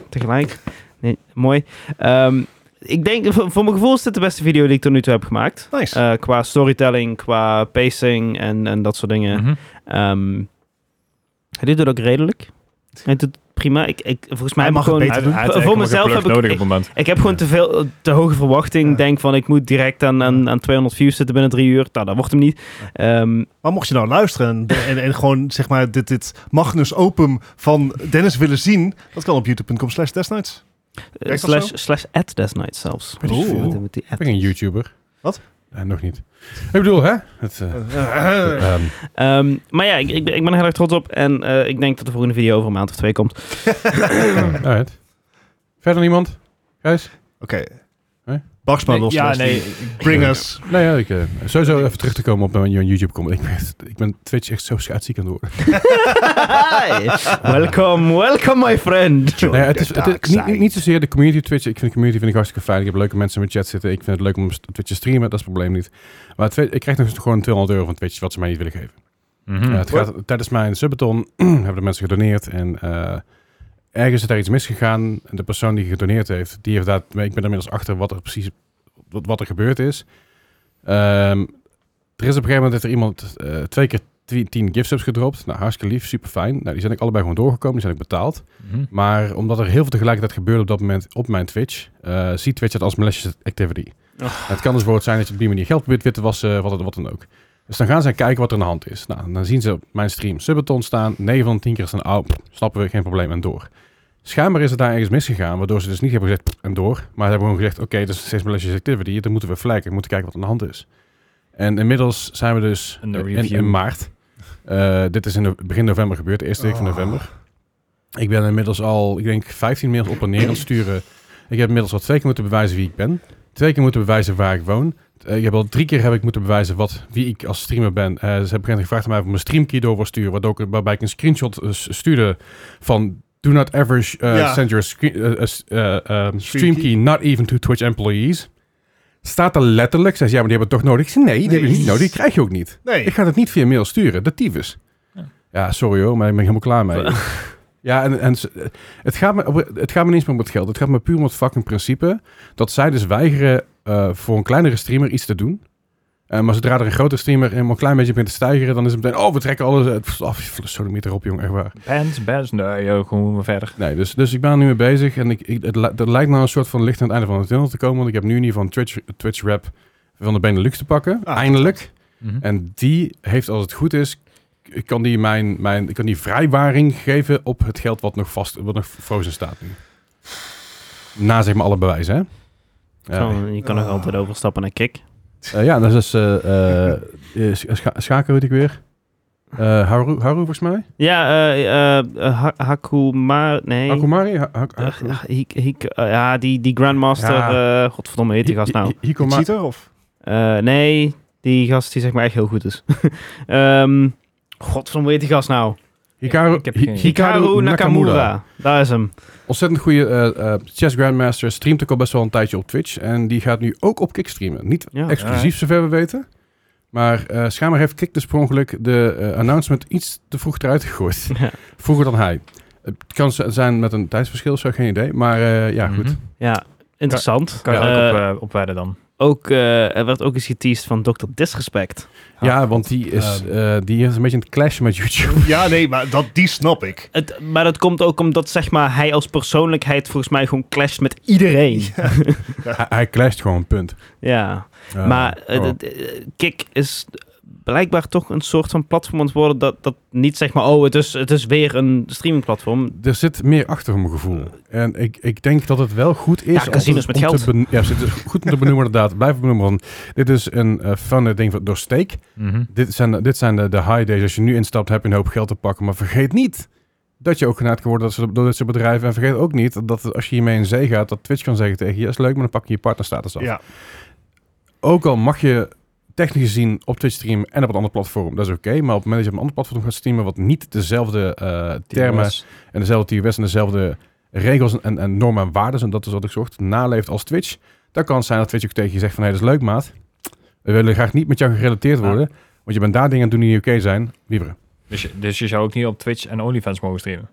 Speaker 3: Tegelijk. Nee, mooi. Ehm, ik denk, voor, voor mijn gevoel is dit de beste video die ik tot nu toe heb gemaakt.
Speaker 1: Nice.
Speaker 3: Eh, qua storytelling, qua pacing en, en dat soort dingen.
Speaker 4: Mhm.
Speaker 3: Ehm, hij doet het ook redelijk. Hij doet het prima. Ik, ik, volgens mij
Speaker 1: Hij
Speaker 3: heb
Speaker 1: mag
Speaker 3: ik gewoon,
Speaker 1: het beter doen.
Speaker 5: Hij had
Speaker 3: Voor
Speaker 5: echt nog een
Speaker 3: mezelf
Speaker 5: plug
Speaker 3: heb ik-
Speaker 5: nodig op het moment.
Speaker 3: ik heb gewoon te, veel, te hoge verwachting.
Speaker 1: Ja.
Speaker 3: Denk van, ik moet direct aan, aan, aan 200 views zitten binnen drie uur. Nou, dat wordt hem niet. Ehm,
Speaker 1: Maar mocht je nou luisteren en, en, en gewoon zeg maar dit, dit Magnus Opum van Dennis willen zien, dat kan op youtube.com slash testnights.
Speaker 3: eh,
Speaker 1: Werkt dat
Speaker 3: slash,
Speaker 1: zo?
Speaker 3: slash at Death Knight zelfs.
Speaker 2: Weet ik
Speaker 3: Oeh.
Speaker 2: veel.
Speaker 3: Wat met die
Speaker 2: Ik
Speaker 3: at.
Speaker 2: ben geen YouTuber.
Speaker 1: Wat?
Speaker 2: Nee, nog niet. Ik bedoel, hè? Het, eh, ehm,
Speaker 3: Ehm, maar ja, ik, ik, ben- ik ben er heel erg trots op. En eh, ik denk dat de volgende video over een maand of twee komt.
Speaker 2: alright. Verder niemand? Gijs?
Speaker 1: Oké.
Speaker 2: Hè?
Speaker 1: Bagsma
Speaker 4: Nee,
Speaker 1: los.
Speaker 4: ja,
Speaker 1: Leslie.
Speaker 4: nee. ik-
Speaker 1: Bring us.
Speaker 2: Nou ja, ik, eh, sowieso even terug te komen op mijn YouTube comment. Ik ben, ik ben Twitch echt zo schaatsziek aan het worden.
Speaker 3: Hi. welcome, welcome my friend.
Speaker 2: Nee, het is,
Speaker 1: the
Speaker 2: het is
Speaker 1: dark
Speaker 2: niet,
Speaker 1: side.
Speaker 2: niet, niet zozeer de community op Twitch. Ik vind de community vind ik hartstikke fijn. Ik heb leuke mensen in mijn chat zitten. Ik vind het leuk om op Twitch te streamen. Dat is het probleem niet. Maar het, ik krijg nog eens gewoon 200 euro van Twitch, wat ze mij niet willen geven.
Speaker 4: Mhm.
Speaker 2: Eh, het gaat, tijdens mijn subbeton hebben de mensen gedoneerd. En eh, ergens is daar iets misgegaan. En de persoon die gedoneerd heeft, die heeft daar, ik ben er inmiddels achter wat er precies wat, wat er gebeurd is. Ehm, er is op een gegeven moment heeft er iemand eh, twee keer twi- tien gift subs gedropt. Nou, hartstikke lief, super fijn. Nou, die zijn ik allebei gewoon doorgekomen, die zijn ik betaald.
Speaker 4: Mhm.
Speaker 2: Maar omdat er heel veel tegelijkertijd gebeurde op dat moment op mijn Twitch, eh, ziet Twitch het als malicious activity.
Speaker 3: Oh.
Speaker 2: Het kan dus bijvoorbeeld zijn dat je op die manier geld probeert wit te wassen, wat, wat dan ook. Dus dan gaan zij kijken wat er aan de hand is. Nou, dan zien ze op mijn stream Subaton staan. 9 van de 10 keer staan, oh, pff, snappen we, geen probleem, en door. Schijnbaar is het daar ergens misgegaan, waardoor ze dus niet hebben gezegd, pff, en door. Maar ze hebben gewoon gezegd, oké, dat is steeds malicious activity, dan moeten we flaggen, we moeten kijken wat aan de hand is. En inmiddels zijn we dus
Speaker 4: Een
Speaker 2: in,
Speaker 4: review.
Speaker 2: in maart. Eh, dit is in no- begin november gebeurd, de eerste week van
Speaker 1: Oh.
Speaker 2: november. Ik ben inmiddels al, ik denk, 15 mails op en neer aan het sturen. Ik heb inmiddels al twee keer moeten bewijzen wie ik ben. Twee keer moeten bewijzen waar ik woon. Eh, ik heb al drie keer heb ik moeten bewijzen wat, wie ik als streamer ben. Eh, ze hebben op een gegeven moment gevraagd aan mij of ik mijn streamkey door wil sturen. Waardoor ik, waarbij ik een screenshot eh, s- stuurde van... Do not ever sh- eh,
Speaker 1: Ja.
Speaker 2: send your screen, eh, eh, s- eh, ehm, streamkey
Speaker 1: Streamkey.
Speaker 2: not even to Twitch employees. Staat er letterlijk. Zei ze, ja, maar die hebben het toch nodig? Ik zei, nee, die hebben het niet
Speaker 1: Nee.
Speaker 2: nodig. Die krijg je ook niet.
Speaker 1: Nee.
Speaker 2: Ik ga het niet via mail sturen, de tyfus.
Speaker 4: Ja.
Speaker 2: Ja, sorry hoor, maar ik ben helemaal klaar mee. ja, en, en ze- het, gaat me, op- het gaat me niet eens meer om het geld. Het gaat me puur om het fucking principe dat zij dus weigeren eh, voor een kleinere streamer iets te doen. Eh, maar zodra er een grote streamer helemaal een klein beetje begint te stijgen, dan is het meteen, oh, we trekken alles uit. Pff, Af, sodomiet erop, jong, echt waar.
Speaker 4: Bands, bands. Nee, joh, gewoon maar verder.
Speaker 2: Nee, dus, dus ik ben er nu mee bezig en ik, ik, het, li- dat lijkt nou een soort van licht aan het einde van de tunnel te komen. Want ik heb nu in ieder geval een Twitch, Twitch rap van de Benelux te pakken,
Speaker 1: Ah,
Speaker 2: eindelijk.
Speaker 4: Mhm.
Speaker 2: En die heeft, als het goed is, ik kan die, mijn, mijn, ik kan die vrijwaring geven op het geld wat nog vast, wat nog frozen staat nu. Na zeg maar alle bewijzen, hè? Ja,
Speaker 3: Zo, je kan nog
Speaker 1: Ah.
Speaker 3: altijd overstappen naar Kik.
Speaker 2: Eh, ja dat is eh eh, eh, scha- Schaken, weet ik weer. Eh, Haru, Haru, volgens mij.
Speaker 3: Ja, eh, eh, eh, Ha- Hakuma... Nee.
Speaker 2: Akumari? Ha- ha-
Speaker 3: Eh,
Speaker 2: Haku-
Speaker 3: Hik- Hik- eh, ja, die, die Grandmaster...
Speaker 2: Ja.
Speaker 3: eh, godverdomme, heet die gast nou?
Speaker 2: Hi- Hi- Hikoma-
Speaker 1: Cheater of?
Speaker 3: Eh, nee, die gast die zeg maar echt heel goed is. Ehm godverdomme, heet die gast nou?
Speaker 2: Hikaru,
Speaker 4: Ik heb geen
Speaker 2: Hi-
Speaker 4: idee.
Speaker 3: Hikaru Nakamura. Daar is hem.
Speaker 2: Ontzettend goede eh, eh, Chess Grandmaster. Streamt ook al best wel een tijdje op Twitch. En die gaat nu ook op Kick streamen. Niet
Speaker 3: Ja.
Speaker 2: exclusief, zover we weten. Maar eh schijnbaar heeft Kick dus per ongeluk de eh, announcement iets te vroeg eruit gegooid.
Speaker 3: Ja.
Speaker 2: Vroeger dan hij. Het kan z- zijn met een tijdsverschil, zo geen idee. Maar eh, ja, goed.
Speaker 4: Mhm.
Speaker 3: Ja, interessant.
Speaker 4: Kan je
Speaker 3: Eh,
Speaker 4: daar ook op, eh, op wedden dan?
Speaker 3: ook, eh, er werd ook eens geteased van Dr. Disrespect.
Speaker 2: Ja, want die is, eh, die is een beetje een clash met YouTube.
Speaker 1: Ja, nee, maar dat, die snap ik.
Speaker 3: Het, maar dat komt ook omdat zeg maar, hij als persoonlijkheid volgens mij gewoon clasht met iedereen. Ja,
Speaker 2: hij, hij clasht gewoon, punt. Ja.
Speaker 3: maar eh,
Speaker 2: Oh.
Speaker 3: d- eh, Kik is blijkbaar toch een soort van platform aan het worden dat, dat niet zeg maar, oh, het is, het is weer een streamingplatform.
Speaker 2: Er zit meer achter mijn gevoel. En ik, ik denk dat het wel goed is.
Speaker 3: Ja, casinos
Speaker 2: om,
Speaker 3: met
Speaker 2: om te
Speaker 3: geld.
Speaker 2: ben- ja, het is goed om te benoemen, inderdaad. Blijf benoemen. Want dit is een eh fun ding van- door steek.
Speaker 4: mhm.
Speaker 2: Dit zijn, de- dit zijn de, de high days. Als je nu instapt, heb je een hoop geld te pakken. Maar vergeet niet dat je ook genaaid kan worden dat ze, door dit soort bedrijven. En vergeet ook niet dat als je hiermee in zee gaat, dat Twitch kan zeggen tegen je: is leuk, maar dan pak je je partnerstatus af.
Speaker 1: Ja.
Speaker 2: Ook al mag je technisch gezien op Twitch streamen en op een ander platform, dat is oké. maar op het moment dat je op een ander platform gaat streamen, wat niet dezelfde eh, termen en dezelfde TOS en dezelfde regels en, en normen en waarden, en dat is wat ik zocht, naleeft als Twitch, dan kan het zijn dat Twitch ook tegen je zegt van, hé, dat is leuk, maat. We willen graag niet met jou gerelateerd worden, want je bent daar dingen aan het doen die niet oké zijn. Liever.
Speaker 4: Dus, je- dus je zou ook niet op Twitch en OnlyFans mogen streamen.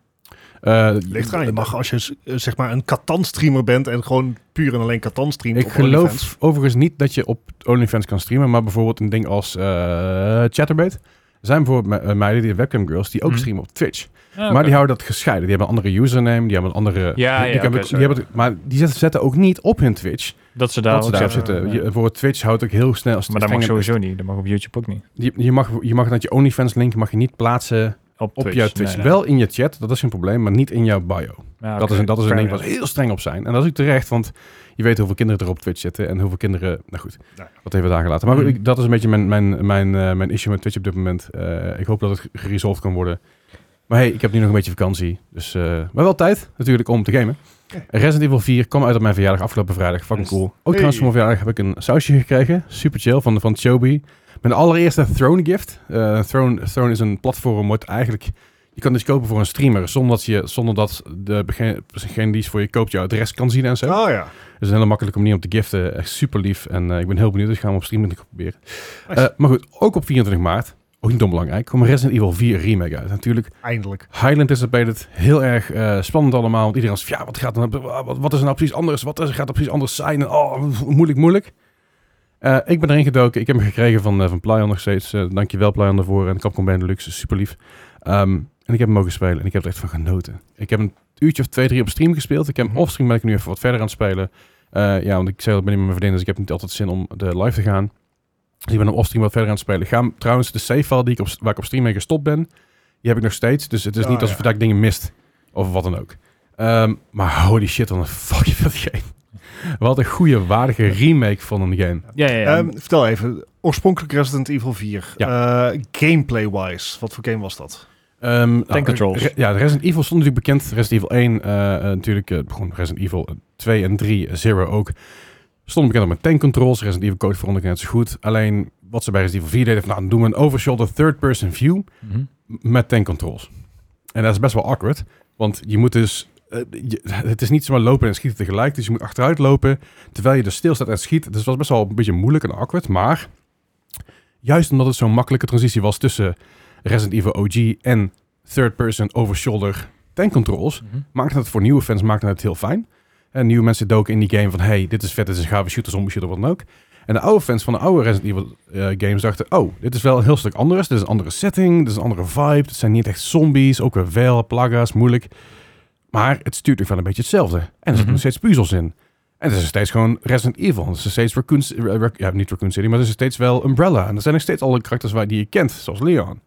Speaker 2: Eh,
Speaker 1: Ligt eraan. Je mag als je z- eh, zeg maar een Catan-streamer bent en gewoon puur en alleen Catan streamt
Speaker 2: Ik
Speaker 1: op
Speaker 2: geloof
Speaker 1: OnlyFans.
Speaker 2: overigens niet dat je op OnlyFans kan streamen, maar bijvoorbeeld een ding als eh, Chatterbait. Er zijn bijvoorbeeld me- eh, meiden, die webcam girls, die ook
Speaker 4: Mhm.
Speaker 2: streamen op Twitch.
Speaker 1: Ah,
Speaker 2: Maar die houden dat gescheiden. Die hebben een andere username, die hebben een andere...
Speaker 4: Ja,
Speaker 2: die
Speaker 4: ja,
Speaker 2: hebben-
Speaker 4: oké,
Speaker 2: die
Speaker 4: sorry.
Speaker 2: hebben, maar die zetten- zetten ook niet op hun Twitch.
Speaker 4: dat ze daar
Speaker 2: dat ze
Speaker 4: ook
Speaker 2: daarop
Speaker 4: zeggen,
Speaker 2: zitten.
Speaker 4: ja.
Speaker 2: Je, voor Twitch houdt ook heel snel...
Speaker 4: Maar dat mag sowieso niet. Dat mag op YouTube ook niet.
Speaker 2: Je, je mag, je mag dat je OnlyFans link mag je niet plaatsen op jouw Twitch.
Speaker 4: Nee, nee.
Speaker 2: Wel in je chat, dat is geen probleem, maar niet in jouw bio.
Speaker 4: Ja,
Speaker 2: Dat
Speaker 4: oké,
Speaker 2: is, een- dat is een ding
Speaker 4: fair
Speaker 2: waar
Speaker 4: enough.
Speaker 2: ze heel streng op zijn. En dat is ook terecht, want je weet hoeveel kinderen er op Twitch zitten en hoeveel kinderen... Nou goed,
Speaker 1: Nou
Speaker 2: dat even daar gelaten. Maar
Speaker 4: Mhm.
Speaker 2: goed, ik- dat is een beetje mijn, mijn, mijn, eh, mijn issue met Twitch op dit moment. Eh, ik hoop dat het geresolved kan worden. Maar hey, ik heb nu nog een beetje vakantie. Dus, eh, maar wel tijd natuurlijk om te gamen. Resident Evil 4 kwam uit op mijn verjaardag afgelopen vrijdag. Fucking
Speaker 1: Nice.
Speaker 2: cool. Ook trouwens
Speaker 1: Hey.
Speaker 2: voor mijn verjaardag heb ik een sausje gekregen. Super chill van, van Chobi. Mijn allereerste Throne gift. Eh, Throne, Throne is een platform wat eigenlijk... Je kan dus kopen voor een streamer zonder dat, je, zonder dat de, bege- degene die is voor je koopt jouw adres kan zien en zo.
Speaker 1: Oh ja.
Speaker 2: Het is een hele makkelijke manier om te giften. Echt super lief. En eh, ik ben heel benieuwd. Dus ik ga hem op stream met proberen.
Speaker 1: Nice.
Speaker 2: Eh, maar goed, ook op 24 maart, ook niet onbelangrijk, kwam Resident Evil 4 Remake uit. Natuurlijk
Speaker 1: Eindelijk.
Speaker 2: highly anticipated. Heel erg eh, spannend allemaal. Want iedereen was van, ja, wat, gaat er nou, wat, wat is er nou precies anders? Wat is, gaat er precies anders zijn? En, oh, moeilijk, moeilijk. Eh, ik ben erin gedoken. Ik heb hem gekregen van, eh, van Playon nog steeds. Eh, dankjewel Playon daarvoor. En Capcom Benelux, super lief. Ehm, en ik heb hem mogen spelen. En ik heb er echt van genoten. Ik heb een uurtje of twee, drie op stream gespeeld. Ik heb hem offstream ben ik nu even wat verder aan het spelen. Eh, ja, want ik zei dat ik ben niet met mijn vriendin. Dus ik heb niet altijd zin om de live te gaan. Dus ik ben hem offstream wat verder aan het spelen. Ik ga hem, trouwens de save file die ik op, waar ik op stream mee gestopt ben, die heb ik nog steeds. Dus het is
Speaker 1: Ah,
Speaker 2: niet alsof
Speaker 1: ja.
Speaker 2: dat ik dingen mist. Of wat dan ook. Ehm, maar holy shit, wat een fucking veel game. Wat een goede, waardige remake van een game.
Speaker 3: Ja, ja, ja.
Speaker 1: Ehm, vertel even, oorspronkelijk Resident Evil 4. Eh, Gameplay-wise, wat voor game was dat?
Speaker 2: Ehm, nou,
Speaker 5: controls.
Speaker 2: Re- ja, Resident Evil stond natuurlijk bekend. Resident Evil 1 eh, eh, natuurlijk. eh, begon Resident Evil 2 en 3, eh, Zero ook. Stonden bekend met tank controls. Resident Evil Code vond ik net zo goed. Alleen wat ze bij Resident Evil 4 deden, van, nou, dan doen we een overshoulder third-person view.
Speaker 4: Mhm.
Speaker 2: m- met tank controls. En dat is best wel awkward, want je moet dus... eh, je- het is niet zomaar lopen en schieten tegelijk, dus je moet achteruit lopen terwijl je dus stilstaat en schiet. Dus het was best wel een beetje moeilijk en awkward, maar juist omdat het zo'n makkelijke transitie was tussen Resident Evil OG en third-person over-shoulder tank controls,
Speaker 4: Mhm.
Speaker 2: maakte het voor nieuwe fans maakte het heel fijn. En nieuwe mensen doken in die game van, hey, dit is vet, dit is een gave shooter, zombie shooter, wat dan ook. En de oude fans van de oude Resident Evil eh, games dachten, oh, dit is wel een heel stuk anders. Dit is een andere setting, dit is een andere vibe. Het zijn niet echt zombies, ook weer wel, plaga's, moeilijk. Maar het stuurt ook wel een beetje hetzelfde. En er zitten
Speaker 4: Mhm.
Speaker 2: nog steeds puzzels in. En het is nog steeds gewoon Resident Evil. En Het is nog steeds Raccoon, Ci- Ra- Ra- ja, niet Raccoon City, maar het is nog steeds wel Umbrella. En er zijn nog steeds alle karakters waar die je kent, zoals Leon.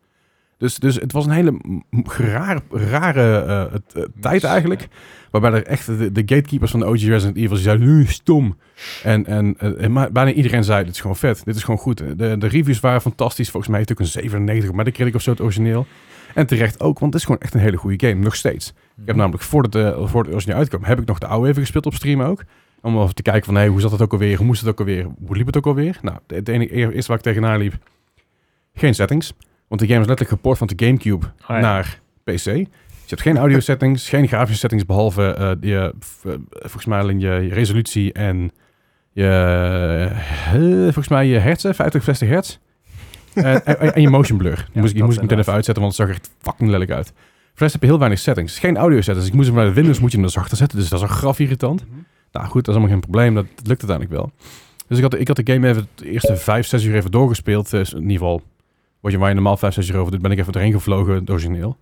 Speaker 2: Dus, dus het was een hele m- m- raar, rare eh, het- eh, tijd eigenlijk. Waarbij er echt de, de gatekeepers van de OG Resident Evil die zeiden, "Oeh, stom. En, en, eh, en maar bijna iedereen zei, dit is gewoon vet. Dit is gewoon goed. De, de reviews waren fantastisch. Volgens mij heeft het ook een 97 op Metacritic of zo het origineel. En terecht ook, want het is gewoon echt een hele goede game. Nog steeds. Ik heb nou- namelijk voordat de, voor het origineel uitkwam, heb ik nog de oude even gespeeld op stream ook. Om wel even te kijken van, hey, hoe zat het ook alweer? Hoe moest het ook alweer? Hoe liep het ook alweer? Nou, het enige eerste waar ik tegenaan liep, geen settings. Want de game is letterlijk geport van de Gamecube
Speaker 4: Oh ja.
Speaker 2: naar PC. Dus je hebt geen audio settings, geen grafische settings, behalve eh die, eh, v- eh, volgens mij alleen je, je resolutie en je, eh, volgens mij je hertzen, 50 of 60 hertz. Eh, en, en, en je motion blur. Die moest, ik- die
Speaker 4: dat
Speaker 2: moest ik meteen
Speaker 4: inderdaad.
Speaker 2: even uitzetten, want het zag er echt fucking lelijk uit. Voor de rest heb je heel weinig settings. Geen audio settings. Ik moest hem naar de Windows moet je hem dan zachter zetten, dus dat is een graf irritant. Nou goed, dat is allemaal geen probleem. Dat, dat lukt uiteindelijk wel. Dus ik had, ik had de game even de eerste 5, 6 uur even doorgespeeld. Dus in ieder geval, wat je, waar je normaal 5, 6 uur over doet, ben ik even erheen gevlogen, het origineel.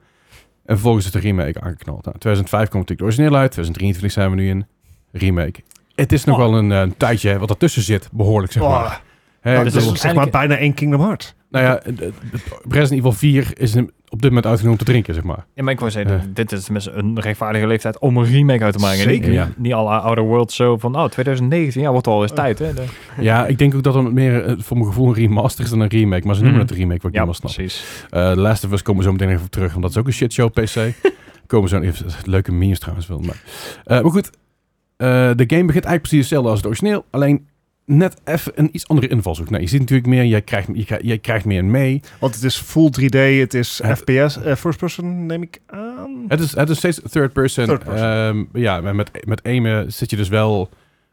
Speaker 2: En vervolgens is de remake aangeknald. Nou, 2005 komt natuurlijk de origineel uit. 2023 zijn we nu in. Remake. Het is nog wel een, eh, een tijdje hè, wat ertussen zit, behoorlijk zeg maar.
Speaker 1: Oh,
Speaker 2: Hè,
Speaker 1: nou,
Speaker 2: ik
Speaker 1: dat
Speaker 2: bedoel-
Speaker 1: is zeg maar bijna één Kingdom Hearts.
Speaker 2: nou ja, de- de- de- Resident Evil 4 is een- op dit moment uitgenomen om te drinken, zeg maar.
Speaker 4: Ja, maar ik wou zeggen,
Speaker 2: Ja.
Speaker 4: dit- dit is tenminste een rechtvaardige leeftijd om een remake uit te maken.
Speaker 1: Zeker,
Speaker 4: niet,
Speaker 2: ja.
Speaker 4: niet alle Outer World zo van, oh, 2019, ja, wordt al eens tijd, hè. De-
Speaker 2: Ja, ik denk ook dat het meer eh, voor mijn gevoel een remaster is dan een remake. Maar ze noemen
Speaker 1: Mhm.
Speaker 4: Mm.
Speaker 2: het remake, wat ik
Speaker 4: Ja,
Speaker 2: niet helemaal snap.
Speaker 4: precies.
Speaker 2: Eh The Last of Us komen we zo meteen even op terug, want dat is ook een shitshow op PC. komen zo even eh, leuke memes trouwens wel. Maar, Eh, maar goed, eh, de game begint eigenlijk precies hetzelfde als het origineel. Alleen net even een iets andere invalshoek. Nou, je ziet natuurlijk meer, jij krijgt, je, krijgt- je krijgt meer mee.
Speaker 1: Want het is full 3D, het is
Speaker 2: Het-
Speaker 1: FPS, eh, first person neem ik aan.
Speaker 2: Het is, het is steeds third person.
Speaker 1: Third person.
Speaker 2: Ehm, ja, maar met, met aimen zit je dus wel...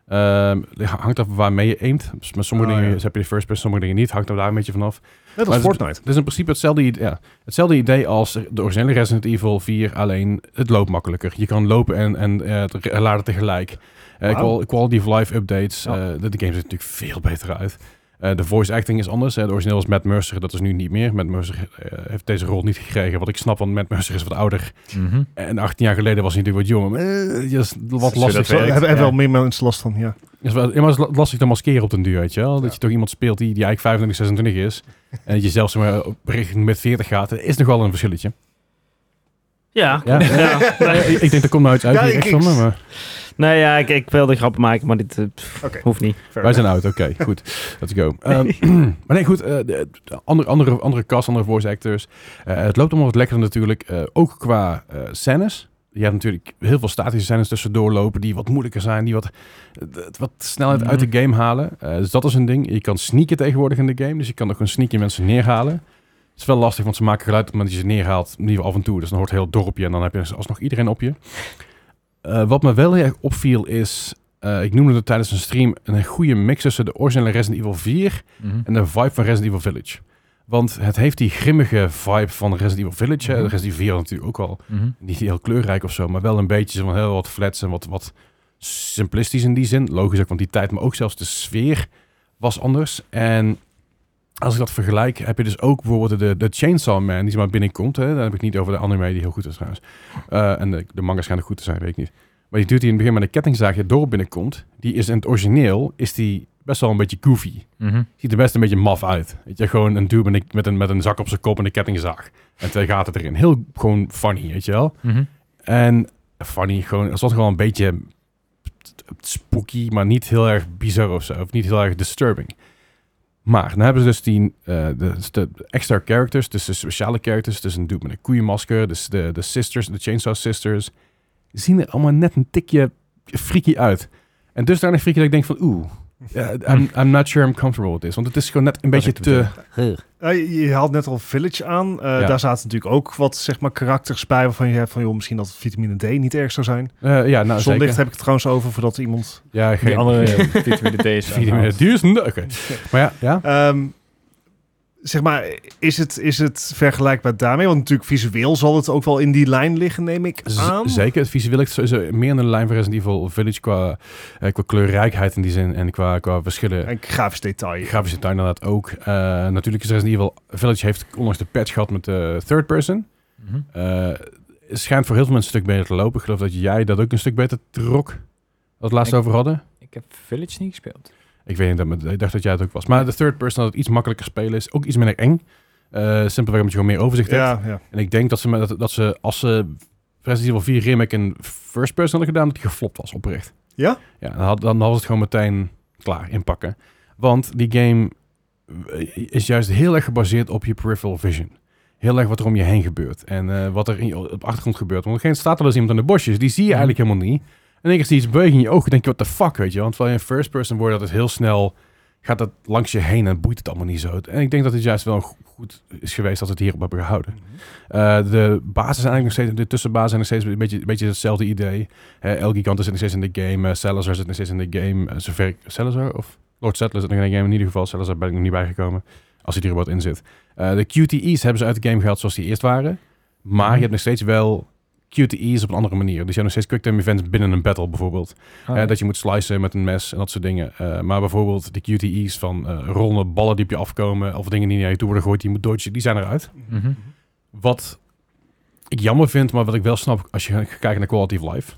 Speaker 2: ehm, hangt af waarmee je aimt. Dus Met sommige
Speaker 1: Oh,
Speaker 2: dingen
Speaker 1: ja.
Speaker 2: heb je de first person, sommige dingen niet. Hangt er daar een beetje vanaf.
Speaker 1: Net
Speaker 2: maar
Speaker 1: als
Speaker 2: het-
Speaker 1: Fortnite.
Speaker 2: Het is in principe hetzelfde, ide- ja, hetzelfde idee als de originele Resident Evil 4, alleen het loopt makkelijker. Je kan lopen en, en eh, het re- laden tegelijk. Eh,
Speaker 1: Wauw.
Speaker 2: qual- quality of life updates.
Speaker 4: Ja.
Speaker 2: eh, de, de game ziet er natuurlijk veel beter uit. Eh, de voice acting is anders. hè. Het origineel was Matt Mercer, dat is nu niet meer. Matt Mercer eh, heeft deze rol niet gekregen. Wat ik snap, want Matt Mercer is wat ouder.
Speaker 4: Mhm,
Speaker 2: En 18 jaar geleden was hij natuurlijk wat jonger. maar, eh, dat is wat
Speaker 4: Zo
Speaker 2: lastig.
Speaker 1: Daar
Speaker 4: dat werkt,
Speaker 1: hebben hebben
Speaker 4: ja.
Speaker 1: wel meer mensen last van, ja.
Speaker 2: Dat is wel, ja, maar het is la- lastig te maskeren op den duur, weet je wel? Dat
Speaker 1: Ja.
Speaker 2: je toch iemand speelt die, die eigenlijk 25, 26 is. En dat je zelfs maar op richting met 40 gaat. Dat is nog wel een verschilletje.
Speaker 3: ja.
Speaker 2: Ja.
Speaker 3: ja.
Speaker 2: Ja, ik, ik denk dat komt nou iets uit
Speaker 1: Ja,
Speaker 2: hier
Speaker 1: ik-
Speaker 2: rechts
Speaker 1: ik-
Speaker 2: van me, maar
Speaker 3: Nee, ja, ik, ik wilde grappen maken, maar dit eh, pff,
Speaker 1: Oké.
Speaker 3: hoeft niet.
Speaker 2: wij zijn oud. Oké, goed. Let's go. Ehm, maar nee, goed. eh, de- de andere, andere, andere cast, andere voice actors. Eh, het loopt allemaal wat lekkerder natuurlijk. eh, ook qua eh scènes. je hebt natuurlijk heel veel statische scènes tussendoor lopen die wat moeilijker zijn, die wat, d- wat snelheid uit de game halen. Eh, dus dat is een ding. Je kan sneaken tegenwoordig in de game, dus je kan ook een sneaky mensen neerhalen. Het is wel lastig, want ze maken geluid op het moment dat je ze neerhaalt, in ieder geval af en toe. Dus dan hoort heel het dorpje en dan heb je alsnog iedereen op je. Eh, wat me wel heel erg opviel is, eh, ik noemde het tijdens een stream, een goede mix tussen de originele Resident Evil 4
Speaker 4: Mhm.
Speaker 2: en de vibe van Resident Evil Village. Want het heeft die grimmige vibe van Resident Evil Village. hè.
Speaker 4: Mhm.
Speaker 2: Resident Evil 4 had natuurlijk ook al
Speaker 4: Mhm.
Speaker 2: niet heel kleurrijk of zo, maar wel een beetje zo van heel wat flats en wat, wat simplistisch in die zin. Logisch ook, want die tijd, maar ook zelfs de sfeer was anders. En als ik dat vergelijk, heb je dus ook bijvoorbeeld de, de Chainsaw Man die zomaar binnenkomt. Hè? Dan heb ik niet over de anime die heel goed is trouwens. Eh, en de, de manga schijnt ook goed te zijn, weet ik niet. Maar die dude die in het begin met een kettingzaagje het dorp binnenkomt, die is in het origineel is die best wel een beetje goofy
Speaker 4: Mhm.
Speaker 2: ziet er best een beetje maf uit. Weet je, gewoon een dude met een, met een, met een zak op zijn kop en een kettingzaag. En twee gaten erin. Heel gewoon funny, weet je wel.
Speaker 4: Mhm.
Speaker 2: En funny, gewoon, er zat gewoon een beetje spooky, maar niet heel erg bizar of zo. Of niet heel erg disturbing. Maar dan hebben ze dus die eh, de, de extra characters, dus de speciale characters. Dus een dude met een koeienmasker, dus de, de sisters, de Chainsaw Sisters. Zien er allemaal net een tikje freaky uit. En dus daar een freaky dat ik denk van oeh, ja, I'm, I'm not sure I'm comfortable with this. Want het is gewoon net een beetje
Speaker 1: ik
Speaker 2: te...
Speaker 1: Eh, je- je haalt net al Village aan. Eh,
Speaker 2: Ja.
Speaker 1: Daar zaten natuurlijk ook wat zeg maar, karakters bij waarvan je hebt van joh, misschien dat vitamine D niet erg zou zijn.
Speaker 2: eh, ja, nou
Speaker 1: Zonlicht
Speaker 2: zeker.
Speaker 1: heb ik het trouwens over voordat iemand.
Speaker 2: Ja, geen...
Speaker 4: Die andere vitamine D is
Speaker 2: Vitamine
Speaker 4: aangehaald.
Speaker 2: D is een- Oké. Maar ja, ja.
Speaker 1: Ehm, zeg maar, is het, is het vergelijkbaar daarmee? Want natuurlijk visueel zal het ook wel in die lijn liggen, neem ik
Speaker 2: Z-
Speaker 1: aan.
Speaker 2: zeker. Het visueel is sowieso meer in de lijn van Resident Evil Village qua, eh, qua kleurrijkheid in die zin en qua, qua verschillen.
Speaker 1: En grafisch detail.
Speaker 2: Grafische tuin inderdaad ook. Eh, natuurlijk is Resident Evil Village heeft onlangs de patch gehad met de third person.
Speaker 4: Mhm.
Speaker 2: Eh, het schijnt voor heel veel mensen een stuk beter te lopen. Ik geloof dat jij dat ook een stuk beter trok. Dat we het laatst
Speaker 4: Ik-
Speaker 2: over hadden.
Speaker 4: Ik heb Village niet gespeeld.
Speaker 2: Ik weet niet, dat, maar ik dacht dat jij het ook was. Maar de third person dat het iets makkelijker spelen is. Ook iets minder eng. Eh simpelweg omdat je gewoon meer overzicht hebt.
Speaker 1: Ja, ja.
Speaker 2: En ik denk dat ze, met- dat, dat ze als ze Resident Evil 4 remake en first person hadden gedaan, dat die geflopt was oprecht.
Speaker 1: Ja?
Speaker 2: Ja, dan, had, dan was het gewoon meteen klaar inpakken. Want die game eh, is juist heel erg gebaseerd op je peripheral vision. Heel erg wat er om je heen gebeurt. En eh, wat er in je, op de achtergrond gebeurt. Want op een gegeven moment staat er dus iemand in de bosjes. Die zie je eigenlijk helemaal niet. En ik zie iets bewegen in je ogen. denk je, what the fuck, weet je. wel. Want terwijl je een first person wordt, dat is heel snel... Gaat dat langs je heen en boeit het allemaal niet zo. En ik denk dat het juist wel go- goed is geweest dat we het hierop hebben gehouden. Eh, de basis zijn eigenlijk nog steeds, de tussenbasis zijn nog steeds een beetje, een beetje hetzelfde idee. Eh, El Gigante zit nog steeds in de game. eh, Salazar zit nog steeds in de game. eh, zover ik, Salazar of Lord Settler zit nog in de game. In ieder geval, Salazar ben ik nog niet bijgekomen. Als hij er wat in zit. Eh, de QTE's hebben ze uit de game gehaald zoals die eerst waren. Maar je hebt nog steeds wel QTE's op een andere manier. Dus je hebt nog steeds quicktime events binnen een battle bijvoorbeeld.
Speaker 4: Ah,
Speaker 2: Eh, dat je moet slicen met een mes en dat soort dingen. Eh, maar bijvoorbeeld de QTE's van eh rollen, ballen die op je afkomen... of dingen die naar je toe worden gegooid, die je moet dodgen, die zijn eruit.
Speaker 4: mhm.
Speaker 2: Wat ik jammer vind, maar wat ik wel snap als je gaat kijken naar quality of life.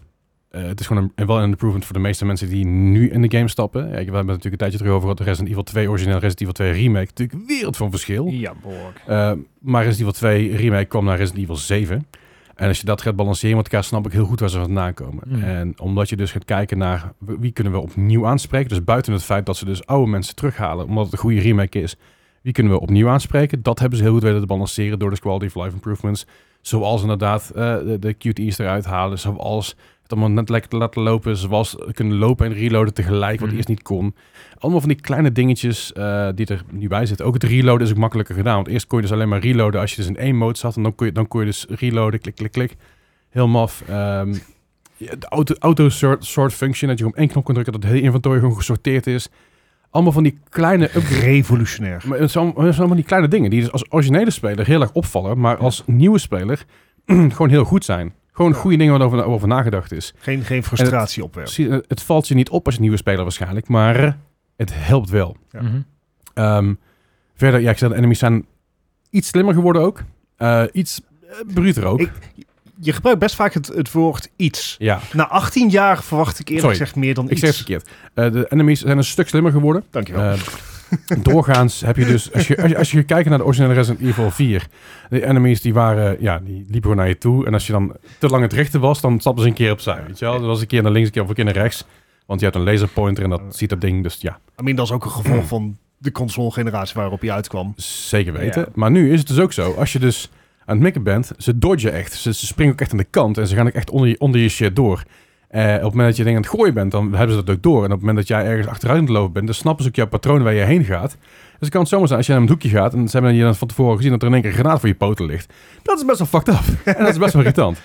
Speaker 2: Eh, het is gewoon een, en wel een improvement voor de meeste mensen die nu in de game stappen. Ja, we hebben het natuurlijk een tijdje terug over gehad. de Resident Evil 2 origineel, Resident Evil 2 remake. Natuurlijk wereld van verschil.
Speaker 4: Ja, behoorlijk.
Speaker 2: Eh, maar Resident Evil 2 remake kwam naar Resident Evil 7. En als je dat gaat balanceren met elkaar, snap ik heel goed waar ze vandaan komen.
Speaker 4: Mm.
Speaker 2: En omdat je dus gaat kijken naar w- wie kunnen we opnieuw aanspreken. Dus buiten het feit dat ze dus oude mensen terughalen, omdat het een goede remake is. Wie kunnen we opnieuw aanspreken? Dat hebben ze heel goed weten te balanceren door de quality of life improvements. Zoals inderdaad eh, de, de QTE's eruit halen. Zoals het allemaal net lekker te laten lopen. Zoals kunnen lopen en reloaden tegelijk, wat
Speaker 4: Mhm.
Speaker 2: eerst niet kon. Allemaal van die kleine dingetjes eh, die er nu bij zitten. Ook het reloaden is ook makkelijker gedaan. Want eerst kon je dus alleen maar reloaden als je dus in één mode zat. En dan kon je, dan kon je dus reloaden, klik, klik, klik. Heel maf. Ehm, ja, de auto, auto sort, sort function, dat je om één knop kan drukken, dat het hele inventory gewoon gesorteerd is. Allemaal van die kleine upgrades.
Speaker 1: Revolutionair.
Speaker 2: Maar het zijn allemaal- het zijn allemaal die kleine dingen die dus als originele speler heel erg opvallen, maar als nieuwe speler gewoon heel goed zijn. Gewoon goede dingen waarover over nagedacht is.
Speaker 1: Geen, geen frustratie opwerpen.
Speaker 2: Zie- eh, Het valt je niet op als je nieuwe speler waarschijnlijk, maar het helpt wel.
Speaker 1: Ja.
Speaker 4: Mhm.
Speaker 2: Ehm, verder, ja, ik zei, de enemies zijn iets slimmer geworden ook. Eh, iets eh, bruter ook.
Speaker 1: Ik- Je gebruikt best vaak het, het woord iets.
Speaker 2: ja,
Speaker 1: Na 18 jaar verwacht ik eerlijk
Speaker 2: Sorry,
Speaker 1: gezegd meer dan
Speaker 2: ik
Speaker 1: iets.
Speaker 2: zeg het verkeerd. Eh, de enemies zijn een stuk slimmer geworden.
Speaker 1: Dankjewel.
Speaker 2: Eh, doorgaans heb je dus, als je, als je, als je kijkt naar de originele Resident Evil 4, de enemies die waren, ja, die liepen gewoon naar je toe. En als je dan te lang het richten was, dan stapten ze een keer opzij, weet je wel. Dat was een keer naar links, een keer of een keer naar rechts. Want je hebt een laserpointer en dat ziet dat ding, dus ja,
Speaker 1: I mean, dat is ook een gevolg van de console-generatie waarop je uitkwam.
Speaker 2: zeker weten.
Speaker 1: Ja.
Speaker 2: Maar nu is het dus ook zo, als je dus aan het mikken bent, ze dodgen echt. Ze, ze springen ook echt aan de kant en ze gaan ook echt onder je, onder je shit door. Eh, op het moment dat je dingen aan het gooien bent, dan hebben ze dat ook door. En op het moment dat jij ergens achteruit aan het lopen bent, dan snappen ze ook jouw patroon waar je heen gaat. Dus het kan het zomaar zijn, als je naar een hoekje gaat en ze hebben je dan van tevoren gezien dat er in één keer een granaat voor je poten ligt. Dat is best wel fucked up. en dat is best wel irritant.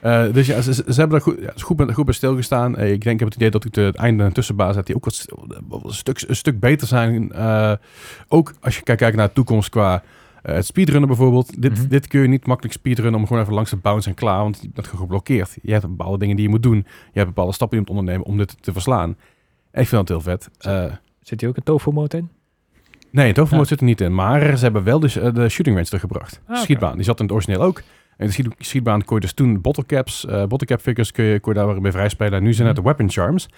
Speaker 2: Eh, dus ja, ze, ze ze hebben daar goed, ja, ze goed, bij- goed bij stilgestaan. Eh, ik denk, ik heb het idee dat ik de einde en tussenbaas heb, die ook wat, st- wel een, stuk, een stuk beter zijn. Eh, ook als je kijkt, kijkt naar de toekomst qua eh, het speedrunnen bijvoorbeeld. Dit,
Speaker 4: Mhm.
Speaker 2: dit kun je niet makkelijk speedrunnen om gewoon even langs te bounce en klaar, want je bent gewoon geblokkeerd. Je hebt bepaalde dingen die je moet doen. Je hebt bepaalde stappen die je moet ondernemen om dit te verslaan. En ik vind dat heel vet. Eh,
Speaker 4: Zit hier ook een tofu-mode in?
Speaker 2: Nee, het hoofdmoot
Speaker 4: Ja.
Speaker 2: zit er niet in. Maar ze hebben wel de, eh, de shooting range teruggebracht. De
Speaker 4: Ah, oké.
Speaker 2: schietbaan. Die zat in het origineel ook. En de schiet- schietbaan kon je dus toen bottlecaps, eh bottlecap figures kun je, kon je daar weer mee vrijspelen. En nu zijn het de
Speaker 4: Mhm.
Speaker 2: weapon charms.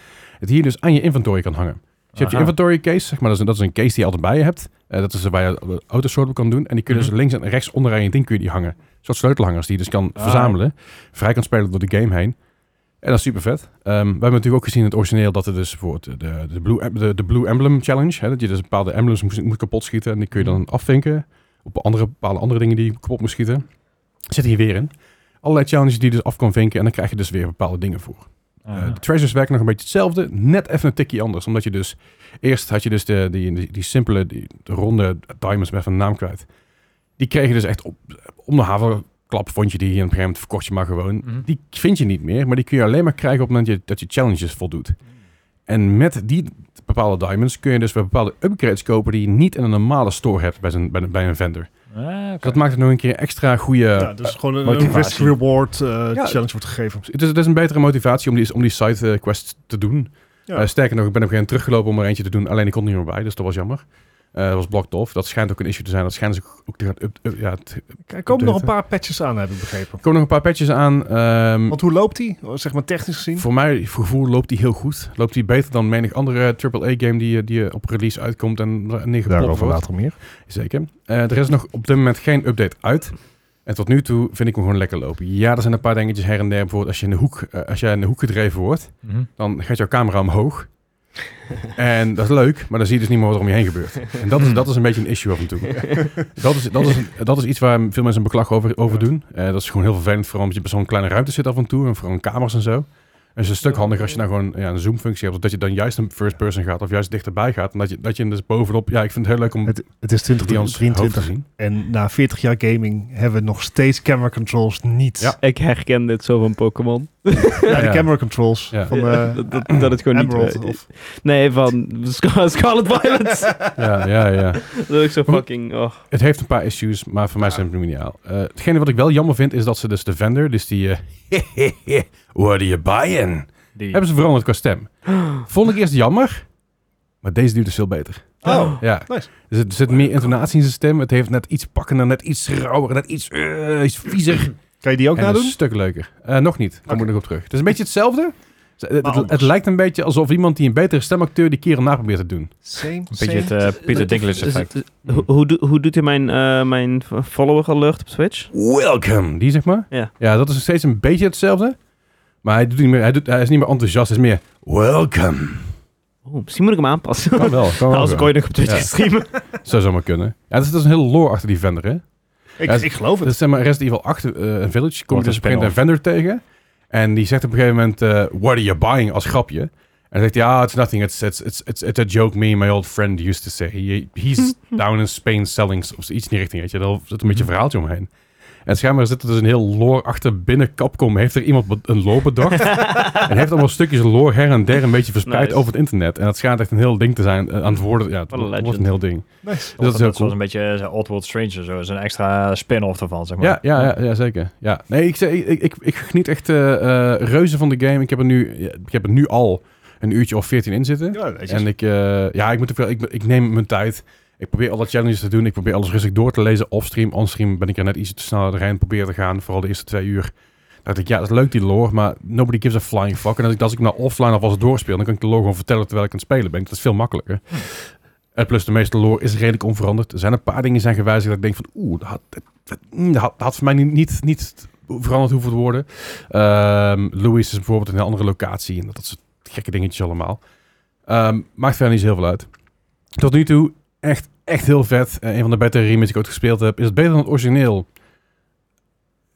Speaker 2: Het hier dus aan je inventory kan hangen. Dus je hebt je
Speaker 4: Aha.
Speaker 2: inventory case, zeg maar. Dat is, een- dat is een case die je altijd bij je hebt. Eh, dat is waar je de autosort op kan doen. En die kun je
Speaker 4: Mhm.
Speaker 2: dus links en rechts onderaan je ding kun je die hangen. Een soort sleutelhangers die je dus kan
Speaker 4: Ah.
Speaker 2: verzamelen. Vrij kan spelen door de game heen. En dat is super vet. Ehm, we hebben natuurlijk ook gezien in het origineel dat er dus bijvoorbeeld de, de, de, Blue, Em- de, de Blue Emblem Challenge, hè, dat je dus bepaalde emblems moest, moet kapot schieten en die kun je dan afvinken op andere, bepaalde andere dingen die je kapot moet schieten. Zit hier weer in. Allerlei challenges die je dus af kan vinken en dan krijg je dus weer bepaalde dingen voor.
Speaker 4: Ah,
Speaker 2: Eh, de treasures werken nog een beetje hetzelfde, net even een tikje anders. Omdat je dus, eerst had je dus de, die, die, die simpele, die, de ronde diamonds, ik ben even de naam kwijt. Die kreeg je dus echt op, om de haverklap vond je die en op een gegeven moment verkocht je maar gewoon.
Speaker 4: Mhm.
Speaker 2: Die vind je niet meer, maar die kun je alleen maar krijgen op het moment dat je, dat je challenges voldoet. En met die bepaalde diamonds kun je dus weer bepaalde upgrades kopen die je niet in een normale store hebt bij, zijn, bij, een- bij een vendor.
Speaker 4: Ah, oké.
Speaker 2: Dus dat maakt het nog een keer extra goede...
Speaker 1: ja, dus gewoon een, een
Speaker 2: motivatie.
Speaker 1: risk-reward eh,
Speaker 2: Ja.
Speaker 1: challenge wordt gegeven.
Speaker 2: Het is, het is een betere motivatie om die, om die side eh, quest te doen.
Speaker 1: Ja.
Speaker 2: Eh, sterker nog, ik ben op een gegeven moment teruggelopen om er eentje te doen. Alleen ik kon er niet meer bij, dus dat was jammer. Eh, dat was blocked off. Dat schijnt ook een issue te zijn. Dat schijnt dus ook, ook te gaan... Up, up- ja, het-
Speaker 1: Er komen nog een paar patches aan, heb ik begrepen.
Speaker 2: er komen nog een paar patches aan. ehm,
Speaker 1: Want hoe loopt die? Zeg maar technisch gezien.
Speaker 2: voor mij, voor gevoel, loopt die heel goed. Loopt die beter dan menig andere AAA-game die, je- die je op release uitkomt en neergeplopt wordt.
Speaker 1: meer.
Speaker 2: Zeker. Eh, er is nog op dit moment geen update uit. En tot nu toe vind ik hem gewoon lekker lopen. Ja, er zijn een paar dingetjes her en der. Bijvoorbeeld als je in de hoek, eh, als jij in de hoek gedreven wordt...
Speaker 4: Mhm.
Speaker 2: dan gaat jouw camera omhoog. en dat is leuk, maar dan zie je dus niet meer wat er om je heen gebeurt. En dat is, dat is een beetje een issue af en toe. dat, is, dat, is, dat is iets waar veel mensen een beklag over, over doen. Eh, dat is gewoon heel vervelend, vooral omdat je bij zo'n kleine ruimte zit af en toe. En vooral in kamers en zo. En het is een stuk handiger als je nou gewoon ja, een zoom-functie hebt. Of dat je dan juist een first person gaat, of juist dichterbij gaat. En dat je, dat je hem dus bovenop... Ja, ik vind het heel leuk om
Speaker 1: Het, het is
Speaker 2: die ons hoofd te
Speaker 1: 2023
Speaker 2: zien.
Speaker 1: en na 40 jaar gaming hebben we nog steeds camera controls niet.
Speaker 2: Ja.
Speaker 3: Ik herken dit zo van Pokémon.
Speaker 1: Ja, de
Speaker 2: Ja.
Speaker 1: camera controls
Speaker 2: Ja.
Speaker 1: van
Speaker 3: Ja,
Speaker 1: eh,
Speaker 3: dat, dat, dat het gewoon
Speaker 1: Emerald.
Speaker 2: eh,
Speaker 3: niet...
Speaker 1: of,
Speaker 3: Nee, van Scar- Scarlet Violet.
Speaker 2: Ja, ja, ja.
Speaker 3: dat ik zo fucking... Oh.
Speaker 2: Het heeft een paar issues, maar voor mij zijn het minimaal. Eh hetgene wat ik wel jammer vind, is dat ze dus de vendor, dus die... eh what are you buying?
Speaker 4: Die-
Speaker 2: Hebben ze veranderd qua stem. Vond ik eerst jammer, maar deze duurt dus veel beter.
Speaker 1: oh,
Speaker 2: Ja.
Speaker 1: Nice.
Speaker 2: Er zit, er zit meer intonatie in zijn stem. Het heeft net iets pakkender, net iets rauwer, net iets, eh, iets viezer.
Speaker 1: kan je die ook
Speaker 2: en dat is
Speaker 1: nadoen?
Speaker 2: een stuk leuker. Eh, nog niet. Daar kom
Speaker 1: Oké.
Speaker 2: ik nog op terug. Het is een beetje hetzelfde. Het- Het, het,
Speaker 1: anders.
Speaker 2: lijkt een beetje alsof iemand die een betere stemacteur die keren na probeert te doen.
Speaker 1: Same,
Speaker 4: Een beetje het eh, Peter Dinklage
Speaker 3: Is
Speaker 4: effect.
Speaker 3: Dus het- Hoe, hoe, doe- hoe doet hij mijn, eh, mijn follower alert op Twitch?
Speaker 2: Welcome. Die zeg maar.
Speaker 3: Ja.
Speaker 2: ja, dat is nog steeds een beetje hetzelfde. Maar hij, doet niet meer, hij, doet, hij is niet meer enthousiast. Hij is meer welcome.
Speaker 3: Oeh, misschien moet ik hem aanpassen.
Speaker 2: Kan wel. Kan wel
Speaker 3: Nou, Als ik
Speaker 2: gewoon.
Speaker 3: ooit nog op Twitch
Speaker 2: Ja.
Speaker 3: ga streamen.
Speaker 2: Zou zomaar kunnen. Ja, dat is, dat is een hele lore achter die vendor, hè?
Speaker 1: Ik,
Speaker 2: Ja, dus-
Speaker 1: ik geloof
Speaker 2: Dat
Speaker 1: het.
Speaker 2: is zeg maar Resident Evil 8, eh, een village. Kom je
Speaker 4: Wordt
Speaker 2: dus
Speaker 4: een
Speaker 2: op een gegeven moment een vendor tegen. En die zegt op een gegeven moment, eh, what are you buying? Als grapje. En dan zegt hij, ah, it's nothing. It's, it's, it's, it's, it's a joke me and my old friend used to say. He- He's down in Spain selling, of iets in die richting. Weet je. Daar zit een beetje een
Speaker 3: Mhm.
Speaker 2: verhaaltje omheen. En schijnbaar zit er dus een heel lore achter binnen Capcom. Heeft er iemand be- een lore bedacht? en heeft allemaal stukjes lore her en der een beetje verspreid
Speaker 3: Nice.
Speaker 2: over het internet. En dat schijnt echt een heel ding te zijn. eh, aan het worden, ja, het
Speaker 3: Wat een
Speaker 2: wordt
Speaker 3: legend.
Speaker 2: een heel ding.
Speaker 1: Nice.
Speaker 2: Dus dat is heel cool.
Speaker 4: zoals een beetje eh, zo'n Oddworld Stranger, zo. Dat is een extra spin-off ervan, zeg maar.
Speaker 2: Ja, ja, ja, ja, zeker. Ja. Nee, ik, zeg- ik, ik, ik, ik geniet echt eh, eh, reuze van de game. Ik heb, er nu, ja, ik heb er nu al een uurtje of veertien in zitten.
Speaker 1: Ja, netjes.
Speaker 2: en ik, eh, ja, ik, moet ook wel, ik, ik neem mijn tijd. Ik probeer alle challenges te doen. Ik probeer alles rustig door te lezen. Offstream, onstream ben ik er net iets te snel doorheen proberen te gaan. Vooral de eerste twee uur. Dat ik, ja, dat is leuk die lore, maar nobody gives a flying fuck. En als ik, als ik hem nou offline alvast doorspeel, dan kan ik de lore gewoon vertellen terwijl ik aan het spelen ben. Dat is veel makkelijker. En plus de meeste lore is redelijk onveranderd. Er zijn een paar dingen zijn gewijzigd dat ik denk van... Oeh, dat had, dat- dat- mm, dat had, dat had voor mij niet, niet, niet veranderd hoeven te worden. Ehm Louis is bijvoorbeeld in een andere locatie. En dat, dat soort gekke dingetjes allemaal. Ehm, maakt verder niet zo heel veel uit. Tot nu toe echt, echt heel vet. Eh, een van de betere remakes die ik ooit gespeeld heb. Is het beter dan het origineel?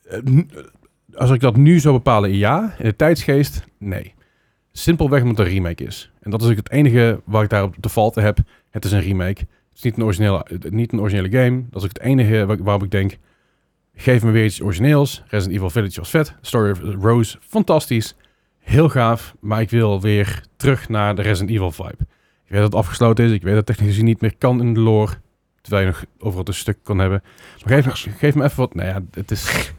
Speaker 2: eh, n- als ik dat nu zou bepalen, ja. In de tijdsgeest, nee. Simpelweg omdat het een remake is. En dat is ook het enige waar ik daarop te valte heb. Het is een remake. Het is niet een originele, eh, niet een originele game. Dat is ook het enige waar- waarop ik denk... Geef me weer iets origineels. Resident Evil Village was vet. Story of Rose, fantastisch. Heel gaaf. Maar ik wil weer terug naar de Resident Evil vibe. Ik weet dat het afgesloten is. Ik weet dat het technisch gezien niet meer kan in de lore. Terwijl je nog overal een stuk kan hebben. Maar geef, me- geef me even wat... Nou ja, het is...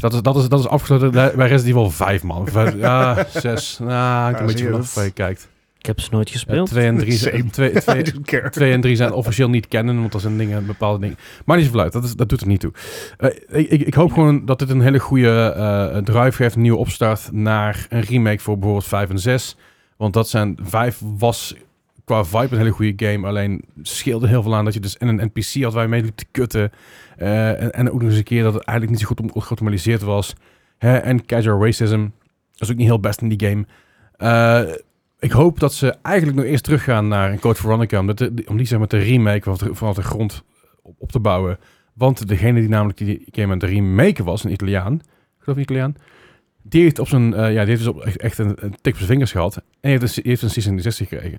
Speaker 2: Dat is, dat, is, dat is afgesloten bij Resident Evil 5, man. Vijf- Ja, 6. Nou,
Speaker 1: Ja,
Speaker 2: ik een
Speaker 1: zie
Speaker 2: beetje
Speaker 1: je
Speaker 2: vanaf
Speaker 1: dat?
Speaker 2: waar je kijkt.
Speaker 3: Ik heb ze nooit
Speaker 2: Ja,
Speaker 3: gespeeld.
Speaker 2: 2 en 3 zijn,
Speaker 1: Same.
Speaker 2: twee,
Speaker 1: I
Speaker 2: twee,
Speaker 1: don't care.
Speaker 2: twee en drie zijn officieel niet kennen, want dat zijn dingen, bepaalde dingen. Maar niet zo uit, dat, is, dat doet er niet toe. Eh, ik, ik, ik hoop gewoon dat dit een hele goede eh, drive geeft, een nieuwe opstart naar een remake voor bijvoorbeeld 5 en 6. Want dat zijn, 5 was qua vibe een hele goede game, alleen scheelde heel veel aan dat je dus en een NPC had waar je mee liep te kutten. eh, en, en ook nog eens een keer dat het eigenlijk niet zo goed om- geautomatiseerd was. Hè, en casual racism, dat is ook niet heel best in die game. Eh, ik hoop dat ze eigenlijk nog eerst teruggaan naar een Code Veronica. Om, dat, om die zeg maar te remake vanaf de, vanaf de grond op, op te bouwen. Want degene die namelijk die game aan het remaken was, een Italiaan. Ik geloof een Italiaan. Die heeft op zijn, eh, ja, die heeft dus op echt, echt een, een tik op zijn vingers gehad. En die heeft een, die heeft een 66 gekregen.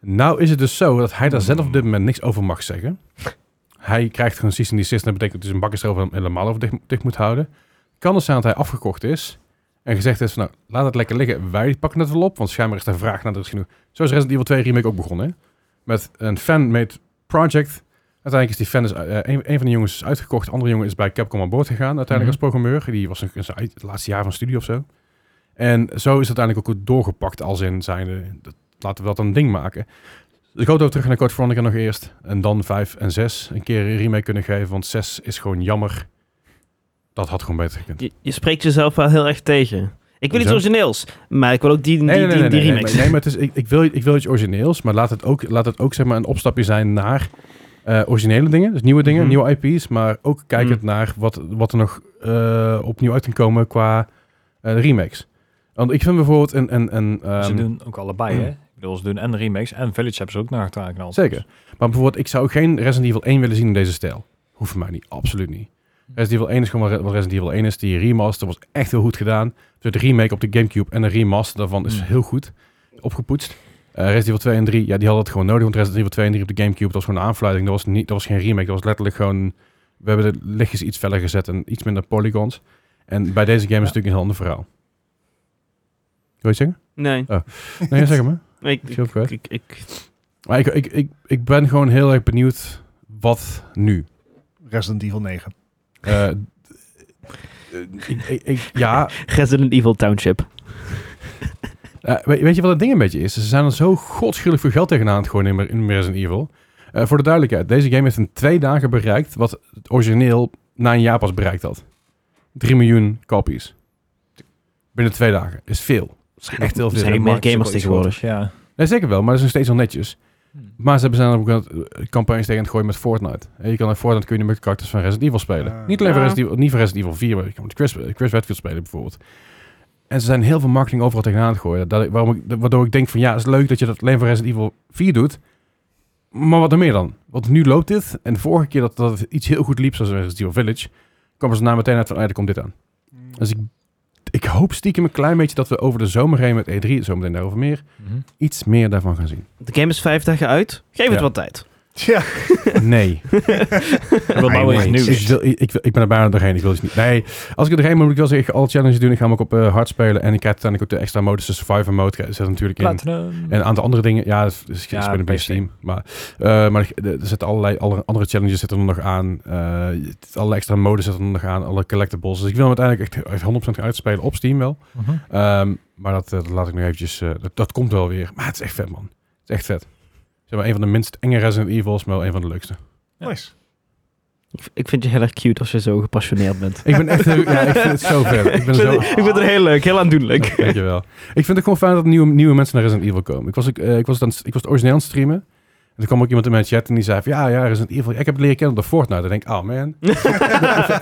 Speaker 2: Nou is het dus zo dat hij daar zelf op dit moment niks over mag zeggen. Hij krijgt gewoon 66 en dat betekent dat hij zijn bakkenstroof hem helemaal over dicht, dicht moet houden. Kan het zijn dat hij afgekocht is en gezegd heeft van nou, laat het lekker liggen. Wij pakken het wel op, want schijnbaar is de vraag naar de genoeg. Zo is Resident Evil 2 Remake ook begonnen. hè? Met een fan-made project. Uiteindelijk is die fan, is, eh, een, een van de jongens is uitgekocht. De andere jongen is bij Capcom aan boord gegaan. Uiteindelijk als programmeur. Die was nog in zijn uit- het laatste jaar van studie of zo. En zo is het uiteindelijk ook doorgepakt als in zijnde, dat, laten we dat een ding maken. Dus ik hoop dat we terug naar Code Veronica nog eerst. En dan 5 en 6 een keer een remake kunnen geven. Want 6 is gewoon jammer. Dat had gewoon beter gekund.
Speaker 3: Je, je spreekt jezelf wel heel erg tegen. Ik wil iets
Speaker 2: Hoezo?
Speaker 3: origineels, maar ik wil ook die, die,
Speaker 2: Nee, nee,
Speaker 3: die,
Speaker 2: nee,
Speaker 3: die
Speaker 2: nee, nee,
Speaker 3: remix.
Speaker 2: maar- nee, maar het is, ik, ik, wil, ik wil iets origineels, maar laat het ook, laat het ook zeg maar, een opstapje zijn naar eh, originele dingen. Dus nieuwe dingen,
Speaker 3: Mhm.
Speaker 2: nieuwe IP's, maar ook kijkend
Speaker 3: Mhm.
Speaker 2: naar wat, wat er nog eh, opnieuw uit kan komen qua eh, remakes. Want ik vind bijvoorbeeld een... een, een
Speaker 4: ze
Speaker 2: ehm, hmm.
Speaker 4: doen ook allebei, hè? Ik bedoel, ze doen en de remakes en Village hebben ze ook naar elkaar geknald.
Speaker 2: Zeker. Maar bijvoorbeeld, ik zou geen Resident Evil 1 willen zien in deze stijl. Hoeft voor mij niet, absoluut niet. Resident Evil 1 is gewoon wat Re- wat Resident Evil 1 is. Die remaster was echt heel goed gedaan. Dus de remake op de Gamecube en de remaster daarvan is
Speaker 4: Mm.
Speaker 2: heel goed opgepoetst. Eh, Resident Evil 2 en 3, ja, die hadden het gewoon nodig. Want Resident Evil 2 en 3 op de Gamecube, dat was gewoon een aanfluiting. Dat was, niet, dat was geen remake, dat was letterlijk gewoon... We hebben de lichtjes iets feller gezet en iets minder polygons. En bij deze game is het natuurlijk een heel ander verhaal. Wil je het zeggen?
Speaker 3: Nee,
Speaker 2: Nee, zeg het maar.
Speaker 3: ik,
Speaker 2: Ik
Speaker 3: ik,
Speaker 2: zie ook, hè.
Speaker 3: ik, ik-
Speaker 2: Maar ik, ik, ik, ik ben gewoon heel erg benieuwd wat nu.
Speaker 1: Resident Evil 9.
Speaker 2: Eh, d- eh, ik, ik, ik- ja,
Speaker 3: Resident Evil Township.
Speaker 2: eh, weet, weet je wat het ding een beetje is? Ze zijn er zo godschuwelijk veel geld tegenaan aan het gooien in, in Resident Evil. Eh, voor de duidelijkheid, deze game heeft in twee dagen bereikt wat het origineel na een jaar pas bereikt had. 3 miljoen copies. Binnen twee dagen. Is veel. Echt heel
Speaker 3: Er
Speaker 2: veel.
Speaker 3: zijn ook
Speaker 2: De
Speaker 3: meer
Speaker 2: markt is
Speaker 3: gamers
Speaker 2: ook wel iets groter.
Speaker 3: tegenwoordig.
Speaker 4: Ja.
Speaker 2: Nee, zeker wel, maar dat is nog steeds al netjes. Maar ze hebben zijn ook aan het, eh, campagnes tegen aan het gooien met Fortnite. En je kan in Fortnite kun je nu met karakters van Resident Evil spelen.
Speaker 1: Ah.
Speaker 2: niet alleen voor
Speaker 3: Ja.
Speaker 2: Resident Evil, niet voor Resident Evil 4, maar je kan met Chris, Chris Redfield spelen bijvoorbeeld. En ze zijn heel veel marketing overal tegenaan aan het gooien. Dat, ik- waarom ik, dat- waardoor ik denk van ja, het is leuk dat je dat alleen voor Resident Evil 4 doet. Maar wat er meer dan? Want nu loopt dit. En de vorige keer dat, dat het iets heel goed liep, zoals Resident Evil Village, kwamen ze na meteen uit van, ah, er komt dit aan. Dus ik, ik hoop stiekem een klein beetje dat we over de zomer heen met E3, zometeen daarover meer, iets meer daarvan gaan zien.
Speaker 3: De game is vijf dagen uit. Geef
Speaker 2: Ja.
Speaker 3: het wat tijd.
Speaker 1: Ja,
Speaker 2: Nee.
Speaker 4: Ik wil nou
Speaker 1: Anyway,
Speaker 4: eens nieuws.
Speaker 2: Ik, wil, ik, ik, wil- ik ben er bijna doorheen. Ik wil dus niet. Nee, als ik er doorheen moet, moet ik wel zeggen, ik ga alle challenges doen. Ik ga hem ook op eh, hard spelen. En ik krijg uiteindelijk ook de extra modus, de survivor mode. Ik Zet natuurlijk in.
Speaker 4: Platinum.
Speaker 2: En een aantal andere dingen. Ja, dat is
Speaker 4: Ja,
Speaker 2: ja, een
Speaker 4: PC.
Speaker 2: beetje Steam. Maar, eh, maar er- er zitten allerlei alle andere challenges zitten er nog aan. Eh alle extra modes zitten er nog aan. Alle collectibles. Dus ik wil hem uiteindelijk echt, echt 100% gaan uitspelen op Steam wel.
Speaker 4: Mhm.
Speaker 2: Ehm, maar dat, eh, dat laat ik nu eventjes... eh, dat, dat komt wel weer. Maar het is echt vet, man. Het is echt vet. Zeg maar, een van de minst enge Resident Evils, maar wel een van de leukste.
Speaker 1: nice.
Speaker 3: Ik, ik vind je heel erg cute als je zo gepassioneerd bent.
Speaker 2: Ik ben echt... heel- ja, ik vind het zo vet. Ik ben
Speaker 3: Ik
Speaker 2: zo
Speaker 3: vind, ik vind het heel leuk, heel aandoenlijk.
Speaker 2: Ja, Dankjewel. Ik vind het gewoon fijn dat nieuwe, nieuwe mensen naar Resident Evil komen. Ik was, ook, eh, ik was, het aan het- ik was het origineel aan het streamen. En toen kwam ook iemand in mijn chat en die zei van... Ja, ja, Resident Evil. Ik heb het leren kennen op de Fortnite. Dan denk ik, oh man. dat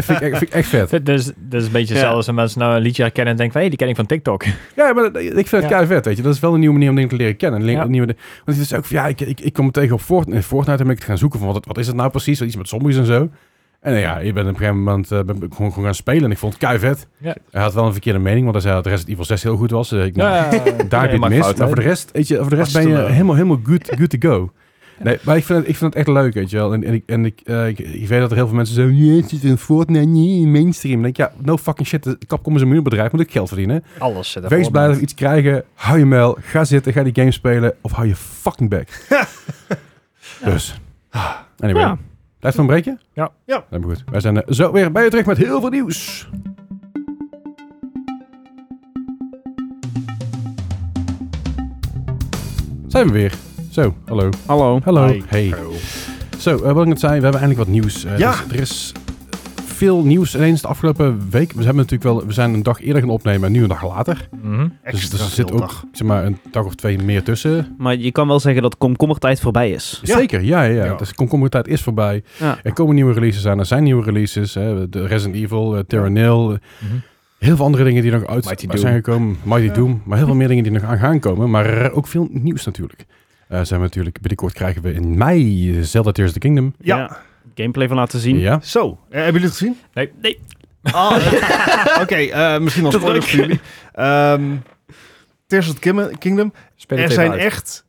Speaker 2: vind, ik echt- vind ik echt vet.
Speaker 4: Dit is, dit is een beetje
Speaker 3: Ja.
Speaker 4: zelfs als mensen nou een liedje herkennen en denken van, hé, die ken ik van TikTok.
Speaker 2: Ja, maar dat- ik vind het
Speaker 4: Ja.
Speaker 2: kei vet, weet je. Dat is wel een nieuwe manier om dingen te leren kennen. Een le-
Speaker 4: Ja.
Speaker 2: nieuwe, de- want het is ook van, ja, ik, ik, ik kom het tegen op Fortnite. In Fortnite heb ik het gaan zoeken van, wat, wat is het nou precies? Iets met zombies en zo. En eh, ja, ik ben op een gegeven moment eh, ben ik gewoon, gewoon gaan spelen en ik vond het kei vet.
Speaker 4: Ja.
Speaker 2: Hij had wel een verkeerde mening, want hij zei dat Resident Evil 6 heel goed was. Eh, ik,
Speaker 4: Ja,
Speaker 2: Daar heb je het mis. Maar voor de rest, weet je, voor de rest ben je
Speaker 3: Barcelona.
Speaker 2: helemaal, helemaal good, good to go. Nee, maar ik vind, het, ik vind het echt leuk, weet je wel. En, en, ik, en ik, eh, ik, ik weet dat er heel veel mensen zeggen... "Ja, het zit in Fortnite, niet in mainstream. Dan denk ik, ja, no fucking shit. de Capcom is een miljoenbedrijf, moet ik geld verdienen.
Speaker 5: Alles. zit er
Speaker 2: Wees
Speaker 5: vol
Speaker 2: blij dat
Speaker 5: met.
Speaker 2: we iets krijgen. Hou je mail, ga zitten, ga die game spelen. Of hou je fucking back. Dus, anyway.
Speaker 3: Ja.
Speaker 2: Blijft van breken?
Speaker 4: Ja.
Speaker 1: Ja.
Speaker 2: Helemaal goed. Wij zijn eh, zo weer bij je terug met heel veel nieuws. Zijn we weer. Zo, hallo.
Speaker 3: Hallo.
Speaker 2: Hallo.
Speaker 1: Hi.
Speaker 2: Hey. Zo, eh, wat ik net zei, we hebben eindelijk wat nieuws. Eh,
Speaker 1: Ja.
Speaker 2: dus er is veel nieuws ineens de afgelopen week. We, hebben natuurlijk wel, we zijn een dag eerder gaan opnemen en nu een dag later.
Speaker 4: Mhm.
Speaker 1: Extra
Speaker 2: dus er zit
Speaker 1: veel
Speaker 2: ook
Speaker 1: dag.
Speaker 2: zeg maar, een dag of twee meer tussen.
Speaker 3: Maar je kan wel zeggen dat komkommertijd voorbij is.
Speaker 1: Ja.
Speaker 2: Zeker, ja, ja. ja.
Speaker 1: Ja.
Speaker 2: Dus komkommertijd is voorbij.
Speaker 3: Ja.
Speaker 2: Er komen nieuwe releases aan. Er zijn nieuwe releases. Hè. De Resident Evil, eh, Terranil. eh,
Speaker 4: Mhm.
Speaker 2: Heel veel andere dingen die nog uit
Speaker 5: Mighty
Speaker 2: uit zijn gekomen. Mighty
Speaker 1: Ja.
Speaker 2: Doom. Maar heel veel meer dingen die nog aan gaan komen. Maar eh, ook veel nieuws natuurlijk. Eh, zijn we natuurlijk binnenkort krijgen we in mei eh, Zelda Tears of the Kingdom.
Speaker 1: Ja.
Speaker 3: Gameplay van laten zien.
Speaker 2: Ja.
Speaker 1: Zo, eh, hebben jullie het gezien?
Speaker 4: Nee.
Speaker 3: Nee.
Speaker 1: Ah, Oké, eh, misschien nog
Speaker 3: Te
Speaker 1: spoiler voor
Speaker 3: druk.
Speaker 1: jullie. Ehm, Tears of the Kim- Kingdom.
Speaker 4: Speel
Speaker 1: er
Speaker 4: het
Speaker 1: zijn
Speaker 4: even uit.
Speaker 1: echt...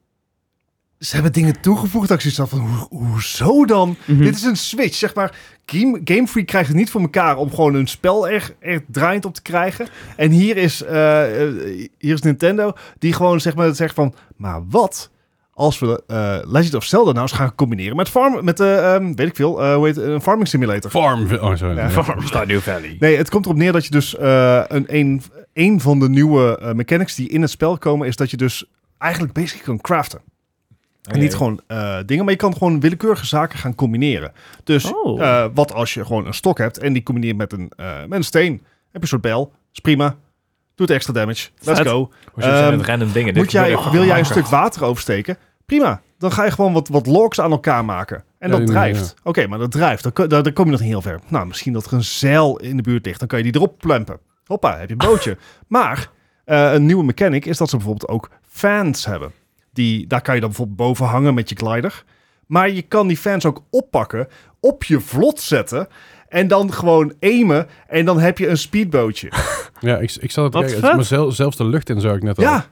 Speaker 1: Ze hebben dingen toegevoegd dat ik zoiets had van, hoe- hoezo dan?
Speaker 4: Hm.
Speaker 3: Mhm.
Speaker 1: Dit is een switch, zeg maar. Game, Game Freak krijgt het niet voor elkaar om gewoon een spel er, er draaiend op te krijgen. En hier is, eh, eh, hier is Nintendo die gewoon zeg maar, zegt van... Maar wat als we eh, Legend of Zelda nou eens gaan combineren met, farm, met eh, ehm, weet ik veel, eh, hoe heet het, een farming simulator.
Speaker 2: Farm. Oh, sorry.
Speaker 1: Ja.
Speaker 2: Ja.
Speaker 5: Stardew Valley.
Speaker 1: Nee, het komt erop neer dat je dus eh, een, een, een van de nieuwe eh, mechanics die in het spel komen, is dat je dus eigenlijk basically kan craften. En niet gewoon eh, dingen, maar je kan gewoon willekeurige zaken gaan combineren. Dus
Speaker 3: Oh.
Speaker 1: eh, wat als je gewoon een stok hebt en die combineert met een, eh, met een steen, heb je een soort bijl, is prima, doet extra damage, let's
Speaker 3: Vet.
Speaker 1: go.
Speaker 4: Hoe zit het
Speaker 1: Ehm,
Speaker 4: met random dingen? Dit
Speaker 1: Moet jij,
Speaker 4: gebeurt echt
Speaker 1: wil jij een
Speaker 4: vaker.
Speaker 1: stuk water oversteken? Prima, dan ga je gewoon wat, wat logs aan elkaar maken. En
Speaker 2: Ja,
Speaker 1: dat
Speaker 2: die-
Speaker 1: drijft. Oké, maar dat drijft. Dan, ko- dan, dan kom je nog niet heel ver. Nou, misschien dat er een zeil in de buurt ligt. Dan kan je die erop plempen. Hoppa, heb je een bootje. maar eh, een nieuwe mechanic is dat ze bijvoorbeeld ook fans hebben. Die, daar kan je dan bijvoorbeeld boven hangen met je glider. Maar je kan die fans ook oppakken, op je vlot zetten... en dan gewoon aimen en dan heb je een speedbootje.
Speaker 2: Ja, ik, ik zal het
Speaker 3: Wat
Speaker 2: kijken.
Speaker 3: vet.
Speaker 2: Maar zel- zelfs de lucht in zou ik net al.
Speaker 1: Ja,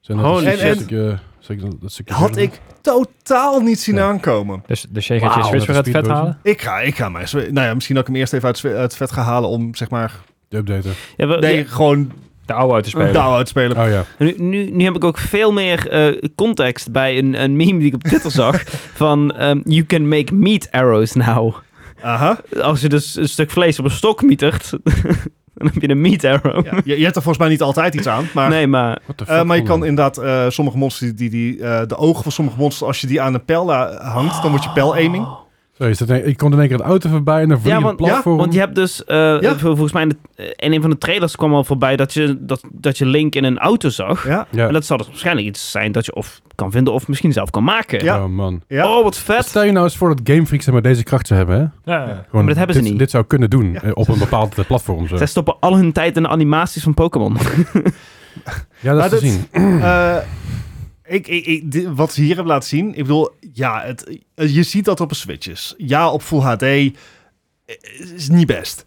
Speaker 2: Zijn dat
Speaker 3: Holy
Speaker 2: een
Speaker 1: shit.
Speaker 2: stukje- eh, stukje- dat stukje-
Speaker 1: had ik totaal niet zien
Speaker 2: Ja.
Speaker 1: aankomen.
Speaker 4: Dus, dus jij gaat
Speaker 2: Wauw,
Speaker 4: je
Speaker 2: dat
Speaker 4: Switch weer
Speaker 2: is
Speaker 4: uit het vet
Speaker 2: speedboot.
Speaker 4: halen?
Speaker 1: Ik ga, ik ga mij. Nou ja, misschien dat ik hem eerst even uit, zwe- uit het vet ga halen om zeg maar.
Speaker 2: De updater.
Speaker 3: Ja, we-
Speaker 1: Nee,
Speaker 3: ja,
Speaker 1: gewoon
Speaker 4: De oude uit te spelen.
Speaker 1: dauw uitspelen.
Speaker 2: Oh ja.
Speaker 3: nu, nu, nu heb ik ook veel meer eh, context bij een, een meme die ik op Twitter zag. Van ehm, You can make meat arrows now.
Speaker 1: Aha.
Speaker 3: Als je dus een stuk vlees op een stok mietert, dan heb je een meat arrow.
Speaker 1: Ja, je, je hebt er volgens mij niet altijd iets aan. Maar,
Speaker 3: Nee, maar
Speaker 2: What the
Speaker 1: Eh,
Speaker 2: fuck,
Speaker 1: maar je kan
Speaker 2: man.
Speaker 1: inderdaad eh, sommige monsters, die, die, eh, de ogen van sommige monsters, als je die aan een pijl eh, hangt, dan
Speaker 3: Oh.
Speaker 1: wordt je pijl aiming.
Speaker 2: Sorry, is dat een- ik kon in één keer het auto voorbij en dan vlieg
Speaker 3: Ja,
Speaker 2: je
Speaker 3: want-
Speaker 2: een
Speaker 1: ja,
Speaker 2: platform.
Speaker 3: Want je hebt dus, eh, vol- volgens mij, in, de- eh, in een van de trailers kwam al voorbij dat je, dat, dat je Link in een auto zag.
Speaker 1: Ja,
Speaker 2: Ja.
Speaker 3: En dat zal dus waarschijnlijk iets zijn dat je of kan vinden of misschien zelf kan maken.
Speaker 1: Ja.
Speaker 2: Oh man.
Speaker 1: ja.
Speaker 3: Oh, wat vet.
Speaker 2: Stel je nou eens voor dat Game Freak zeg maar, deze kracht zou hebben, hè?
Speaker 4: Ja.
Speaker 1: Ja.
Speaker 2: Gewoon,
Speaker 3: dat hebben ze
Speaker 2: dit,
Speaker 3: niet.
Speaker 2: Dit zou kunnen doen
Speaker 1: Ja.
Speaker 2: eh, op een bepaald eh, platform. Zo.
Speaker 3: Zij stoppen al hun tijd in de animaties van Pokémon.
Speaker 2: Ja, dat
Speaker 1: Maar dat-
Speaker 2: is te zien.
Speaker 1: Eh, ik, ik, ik, di- wat ze hier hebben laten zien, ik bedoel, ja, het, eh, je ziet dat op een Switch is. Ja, op Full HD eh, is niet best.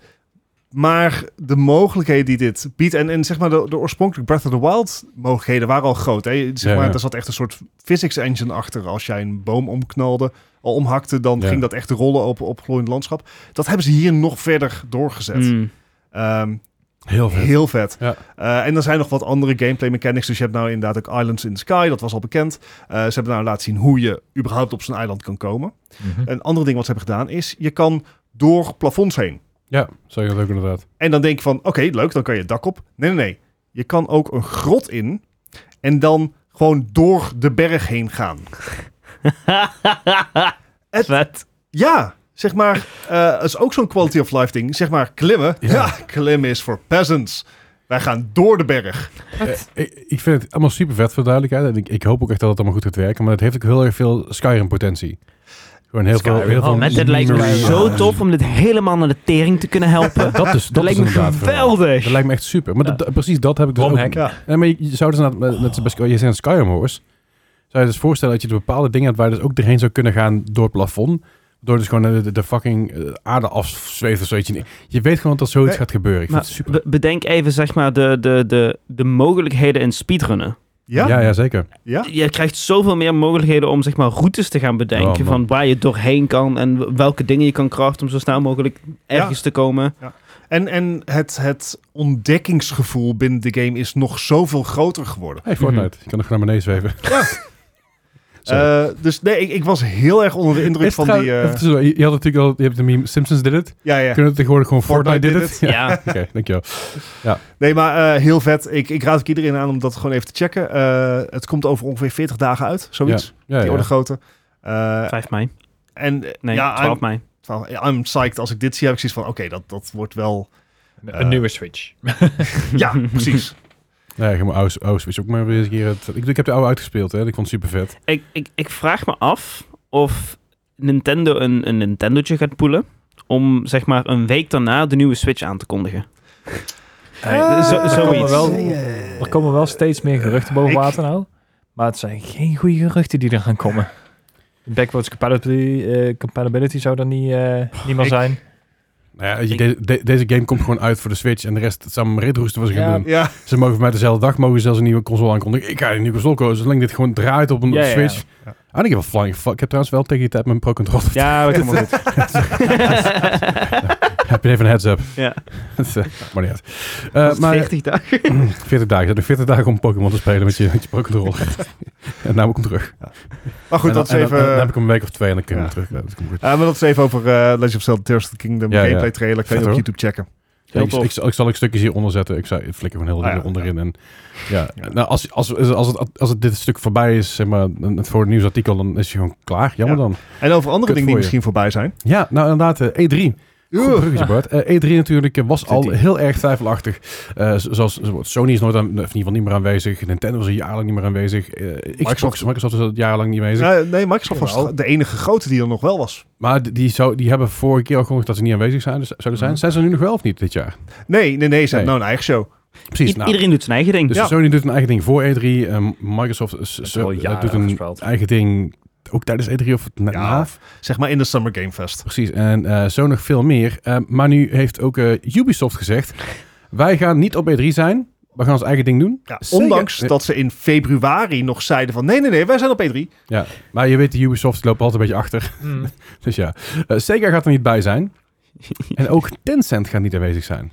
Speaker 1: Maar de mogelijkheden die dit biedt, en, en zeg maar de, de oorspronkelijke Breath of the Wild mogelijkheden waren al groot. Hè? Zeg
Speaker 2: Ja,
Speaker 1: maar,
Speaker 2: ja.
Speaker 1: Er zat echt een soort physics engine achter. Als jij een boom omknalde, al omhakte, dan
Speaker 2: Ja.
Speaker 1: ging dat echt rollen op, op glooiend landschap. Dat hebben ze hier nog verder doorgezet.
Speaker 3: Mm.
Speaker 1: Ehm,
Speaker 2: Heel veel.
Speaker 1: Heel vet.
Speaker 2: Ja.
Speaker 1: Eh, en er zijn nog wat andere gameplay mechanics. Dus je hebt nou inderdaad ook Islands in the Sky. Dat was al bekend. Eh, ze hebben nou laten zien hoe je überhaupt op zo'n eiland kan komen.
Speaker 4: Mhm.
Speaker 1: Een ander ding wat ze hebben gedaan is... je kan door plafonds heen.
Speaker 2: Ja, zou je dat ook inderdaad.
Speaker 1: En dan denk je van... oké, leuk, dan kan je het dak op. Nee, nee, nee. Je kan ook een grot in... en dan gewoon door de berg heen gaan. Het-
Speaker 3: vet.
Speaker 1: Ja, zeg maar... eh, dat is ook zo'n quality of life ding. Zeg maar klimmen.
Speaker 2: Ja.
Speaker 1: ja klimmen is voor peasants. Wij gaan door de berg.
Speaker 2: Eh, ik, ik vind het allemaal super vet voor de duidelijkheid. En ik, ik hoop ook echt dat het allemaal goed gaat werken. Maar het heeft ook heel erg veel Skyrim-potentie. Gewoon heel veel.
Speaker 4: Skyrim.
Speaker 2: Heel veel
Speaker 4: Oh,
Speaker 3: Maar dit lijkt me
Speaker 2: memory.
Speaker 3: zo tof om dit helemaal naar de tering te kunnen helpen.
Speaker 2: Dat is, Dus dat
Speaker 3: Dat
Speaker 2: is
Speaker 3: lijkt me
Speaker 2: inderdaad vooral.
Speaker 3: geweldig.
Speaker 2: Dat lijkt me echt super. Maar
Speaker 4: Ja.
Speaker 2: dat- dat- precies dat heb ik dus ook.
Speaker 4: Romhack.
Speaker 1: Ja.
Speaker 2: Nee, maar je, je zou dus inderdaad met, met, bij Sky- je zegt dus Skyrim Horse. Zou je dus voorstellen dat je de bepaalde dingen hebt waar je dus ook doorheen zou kunnen gaan door het plafond. Door dus gewoon eh, de, de fucking eh, aarde afzweeft of zoiets. Je- Je weet gewoon dat zoiets
Speaker 1: Nee.
Speaker 2: gaat gebeuren. Ik
Speaker 3: Maar
Speaker 2: vind het super.
Speaker 3: be- bedenk even zeg maar de, de, de, de mogelijkheden in speedrunnen.
Speaker 1: Ja?
Speaker 2: Ja, ja, zeker.
Speaker 1: Ja?
Speaker 3: Je krijgt zoveel meer mogelijkheden om zeg maar routes te gaan
Speaker 2: Oh,
Speaker 3: bedenken
Speaker 2: man.
Speaker 3: van waar je doorheen kan en welke dingen je kan craften om zo snel mogelijk ergens te komen.
Speaker 1: En, en het, het ontdekkingsgevoel binnen de game is nog zoveel groter geworden.
Speaker 2: Hey, Fortnite. Je kan nog naar beneden zweven. Sorry.
Speaker 1: Eh, dus nee, ik, ik was heel erg onder de indruk
Speaker 2: Is
Speaker 1: van
Speaker 2: het
Speaker 1: die...
Speaker 2: trouw-
Speaker 1: eh,
Speaker 2: even tussendoor, je je had natuurlijk al, je hebt de meme Simpsons did it.
Speaker 1: ja, ja.
Speaker 2: Kunnen we tegenwoordig gewoon Fortnite,
Speaker 1: Fortnite
Speaker 2: did it?
Speaker 1: did
Speaker 3: Ja.
Speaker 2: Oké, dankjewel.
Speaker 1: Nee, maar eh, heel vet. Ik, ik raad ook iedereen aan om dat gewoon even te checken. Eh, het komt over ongeveer 40 dagen uit, zoiets.
Speaker 2: Ja,
Speaker 1: Die
Speaker 2: ja.
Speaker 1: orde grootte. Eh,
Speaker 3: 5 mei.
Speaker 1: en eh,
Speaker 3: Nee,
Speaker 1: ja,
Speaker 3: 12
Speaker 1: I'm,
Speaker 3: mei.
Speaker 1: 12 ja, I'm psyched. Als ik dit zie, heb ik zoiets van, oké, dat, dat wordt wel...
Speaker 4: Een een nieuwe Switch.
Speaker 1: Ja, precies.
Speaker 2: Nee, ik heb mijn oude, oude Switch ook maar weer eens een keer. het- ik, ik heb de oude uitgespeeld, hè. Ik vond het super vet.
Speaker 3: Ik, ik, ik vraag me af of Nintendo een, een Nintendo'tje gaat poelen om zeg maar een week daarna de nieuwe Switch aan te kondigen.
Speaker 4: Hey,
Speaker 3: zo-
Speaker 1: Ah,
Speaker 4: er,
Speaker 3: zoiets.
Speaker 4: komen wel,
Speaker 1: Eh,
Speaker 4: er komen wel steeds meer geruchten boven
Speaker 1: Ik-
Speaker 4: water nou. Maar het zijn geen goede geruchten die er gaan komen. Backwards compatibility, eh, compatibility zou dan niet, eh, niet meer
Speaker 1: Ik-
Speaker 4: zijn.
Speaker 2: Nou ja, je-
Speaker 3: Ik-
Speaker 2: de- de- deze game komt gewoon uit voor de Switch en de rest samen met Redrooster was ik gaan
Speaker 4: Ja.
Speaker 2: doen.
Speaker 1: Ja,
Speaker 2: Ze mogen voor mij dezelfde dag mogen ze zelfs een nieuwe console aankondigen. Ik ga een nieuwe console kozen, zolang dit gewoon draait op een
Speaker 4: Ja, ja, ja.
Speaker 2: Switch. Ja,
Speaker 1: Ja.
Speaker 2: Ah, ik heb wel flying fuck. Ik heb trouwens wel tegen die tijd mijn Pro Controller.
Speaker 4: Ja, dat komt wel goed.
Speaker 2: heb je even een heads up.
Speaker 3: Ja.
Speaker 2: Dat, eh, maar niet uit. Eh, maar
Speaker 3: 40 dagen.
Speaker 2: 40 dagen. Je hebt nog 40 dagen om Pokémon te spelen met je, met je Pro Controller. en nou moet ik hem terug.
Speaker 1: maar goed,
Speaker 2: En dan-
Speaker 1: dat is
Speaker 2: en dan-
Speaker 1: even...
Speaker 2: Dan, heb ik hem een week of twee en dan kun je
Speaker 1: Ja.
Speaker 2: hem terug. Ja, dat komt goed.
Speaker 1: Eh, maar dat is even over eh, Legend of Zelda Tears of the Kingdom
Speaker 2: Ja, ja.
Speaker 1: gameplay trailer. Kan
Speaker 2: Vet,
Speaker 1: je op
Speaker 2: hoor.
Speaker 1: YouTube checken.
Speaker 2: Ja,
Speaker 3: Heel
Speaker 2: ik,
Speaker 3: tof.
Speaker 2: ik, zal- ik zal ook stukjes hieronder zetten. Ik, zei, ik flikker gewoon heel
Speaker 1: Ah,
Speaker 2: dingen
Speaker 1: ja.
Speaker 2: onderin. En, ja.
Speaker 1: Ja.
Speaker 2: Nou, als, als, als, als, het, als het dit stuk voorbij is, zeg maar, en het voor het nieuwsartikel, dan is je gewoon klaar. Jammer
Speaker 1: Ja.
Speaker 2: dan.
Speaker 1: En over andere dingen
Speaker 2: Kut voor
Speaker 1: die
Speaker 2: je.
Speaker 1: misschien voorbij zijn.
Speaker 2: Ja, nou inderdaad, eh, E3. Goed bruggetje, Bart. Eh, E3 natuurlijk eh, was
Speaker 4: Zit
Speaker 2: al
Speaker 4: ie.
Speaker 2: heel erg twijfelachtig. Eh, z- zoals Sony is nooit aan, of in ieder geval niet meer aanwezig. Nintendo was een jaar lang niet meer aanwezig. Eh, Xbox,
Speaker 1: Microsoft.
Speaker 2: Microsoft was al jarenlang niet aanwezig.
Speaker 1: Eh, nee, Microsoft was
Speaker 4: Jawel.
Speaker 1: de enige grote die er nog wel was.
Speaker 2: Maar d- die, zou, die hebben vorige keer al gehoord dat ze niet aanwezig zijn, dus zouden zijn.
Speaker 4: Mhm.
Speaker 2: Zijn ze nu nog wel of niet dit jaar?
Speaker 1: Nee, nee, nee, ze
Speaker 2: Nee.
Speaker 1: hebben nou een eigen show.
Speaker 2: Precies.
Speaker 3: I-
Speaker 2: nou,
Speaker 3: Iedereen doet zijn eigen ding.
Speaker 2: Dus
Speaker 1: Ja.
Speaker 2: Sony doet een eigen ding voor E3. eh, Microsoft s-
Speaker 4: is
Speaker 2: s-
Speaker 4: al
Speaker 2: eh,
Speaker 4: jaren
Speaker 2: doet een
Speaker 4: gespeeld.
Speaker 2: eigen ding ook tijdens E3 of na.
Speaker 1: Ja. Zeg maar in de Summer Game Fest.
Speaker 2: Precies, en eh, zo nog veel meer. Eh, maar nu heeft ook eh, Ubisoft gezegd, wij gaan niet op E3 zijn. We gaan ons eigen ding doen.
Speaker 1: Ja,
Speaker 2: Sega-
Speaker 1: ondanks dat ze in februari nog zeiden van... Nee, nee, nee, wij zijn op E3.
Speaker 2: Ja, maar je weet, de Ubisoft loopt altijd een beetje achter.
Speaker 4: Mm.
Speaker 2: Dus ja, Eh, Sega gaat er niet bij zijn. en ook Tencent gaat niet aanwezig zijn.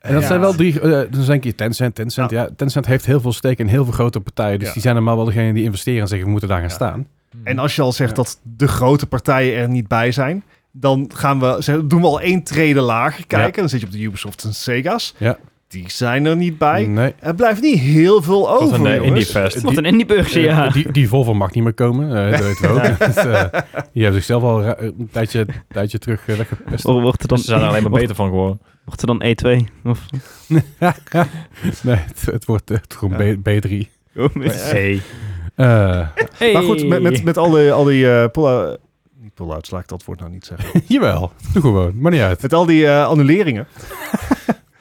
Speaker 2: En dat
Speaker 1: Ja.
Speaker 2: zijn wel drie... eh dan denk je, Tencent, Tencent. Ja. Tencent heeft heel veel steken in heel veel grote partijen. Dus
Speaker 1: Ja.
Speaker 2: die zijn normaal wel degene die investeren en zeggen, we moeten daar gaan
Speaker 1: Ja.
Speaker 2: staan.
Speaker 1: En als je al zegt
Speaker 2: Ja.
Speaker 1: dat de grote partijen er niet bij zijn... dan gaan we, ze- doen we al één trede lager kijken. Dan zit je op de Ubisoft en Sega's.
Speaker 2: Ja. Mhm.
Speaker 1: Die zijn er niet bij.
Speaker 2: Nee.
Speaker 1: Er blijft niet heel veel
Speaker 5: Tot
Speaker 1: over,
Speaker 5: een eh,
Speaker 1: jongens.
Speaker 5: indie fest.
Speaker 3: Wat een indiebeurtje,
Speaker 2: Eh,
Speaker 3: ja.
Speaker 2: die, die Volvo mag niet meer komen, eh, dat weten we ook. Dus, eh, die hebben zichzelf al ra- een tijdje, een tijdje terug eh, weggepest.
Speaker 3: Of wordt er dan,
Speaker 4: Ze zijn er alleen maar beter van geworden.
Speaker 3: Wordt er dan E2? Of,
Speaker 2: nee, het, het wordt eh, het gewoon
Speaker 1: Ja.
Speaker 2: B, Eh, 3
Speaker 5: Hey.
Speaker 1: Maar goed, met, met, met al die, al die eh, pull-out... Niet pull-outs, laat ik dat woord nou niet zeggen.
Speaker 2: jawel, doe gewoon, maar niet uit.
Speaker 1: Met al die eh, annuleringen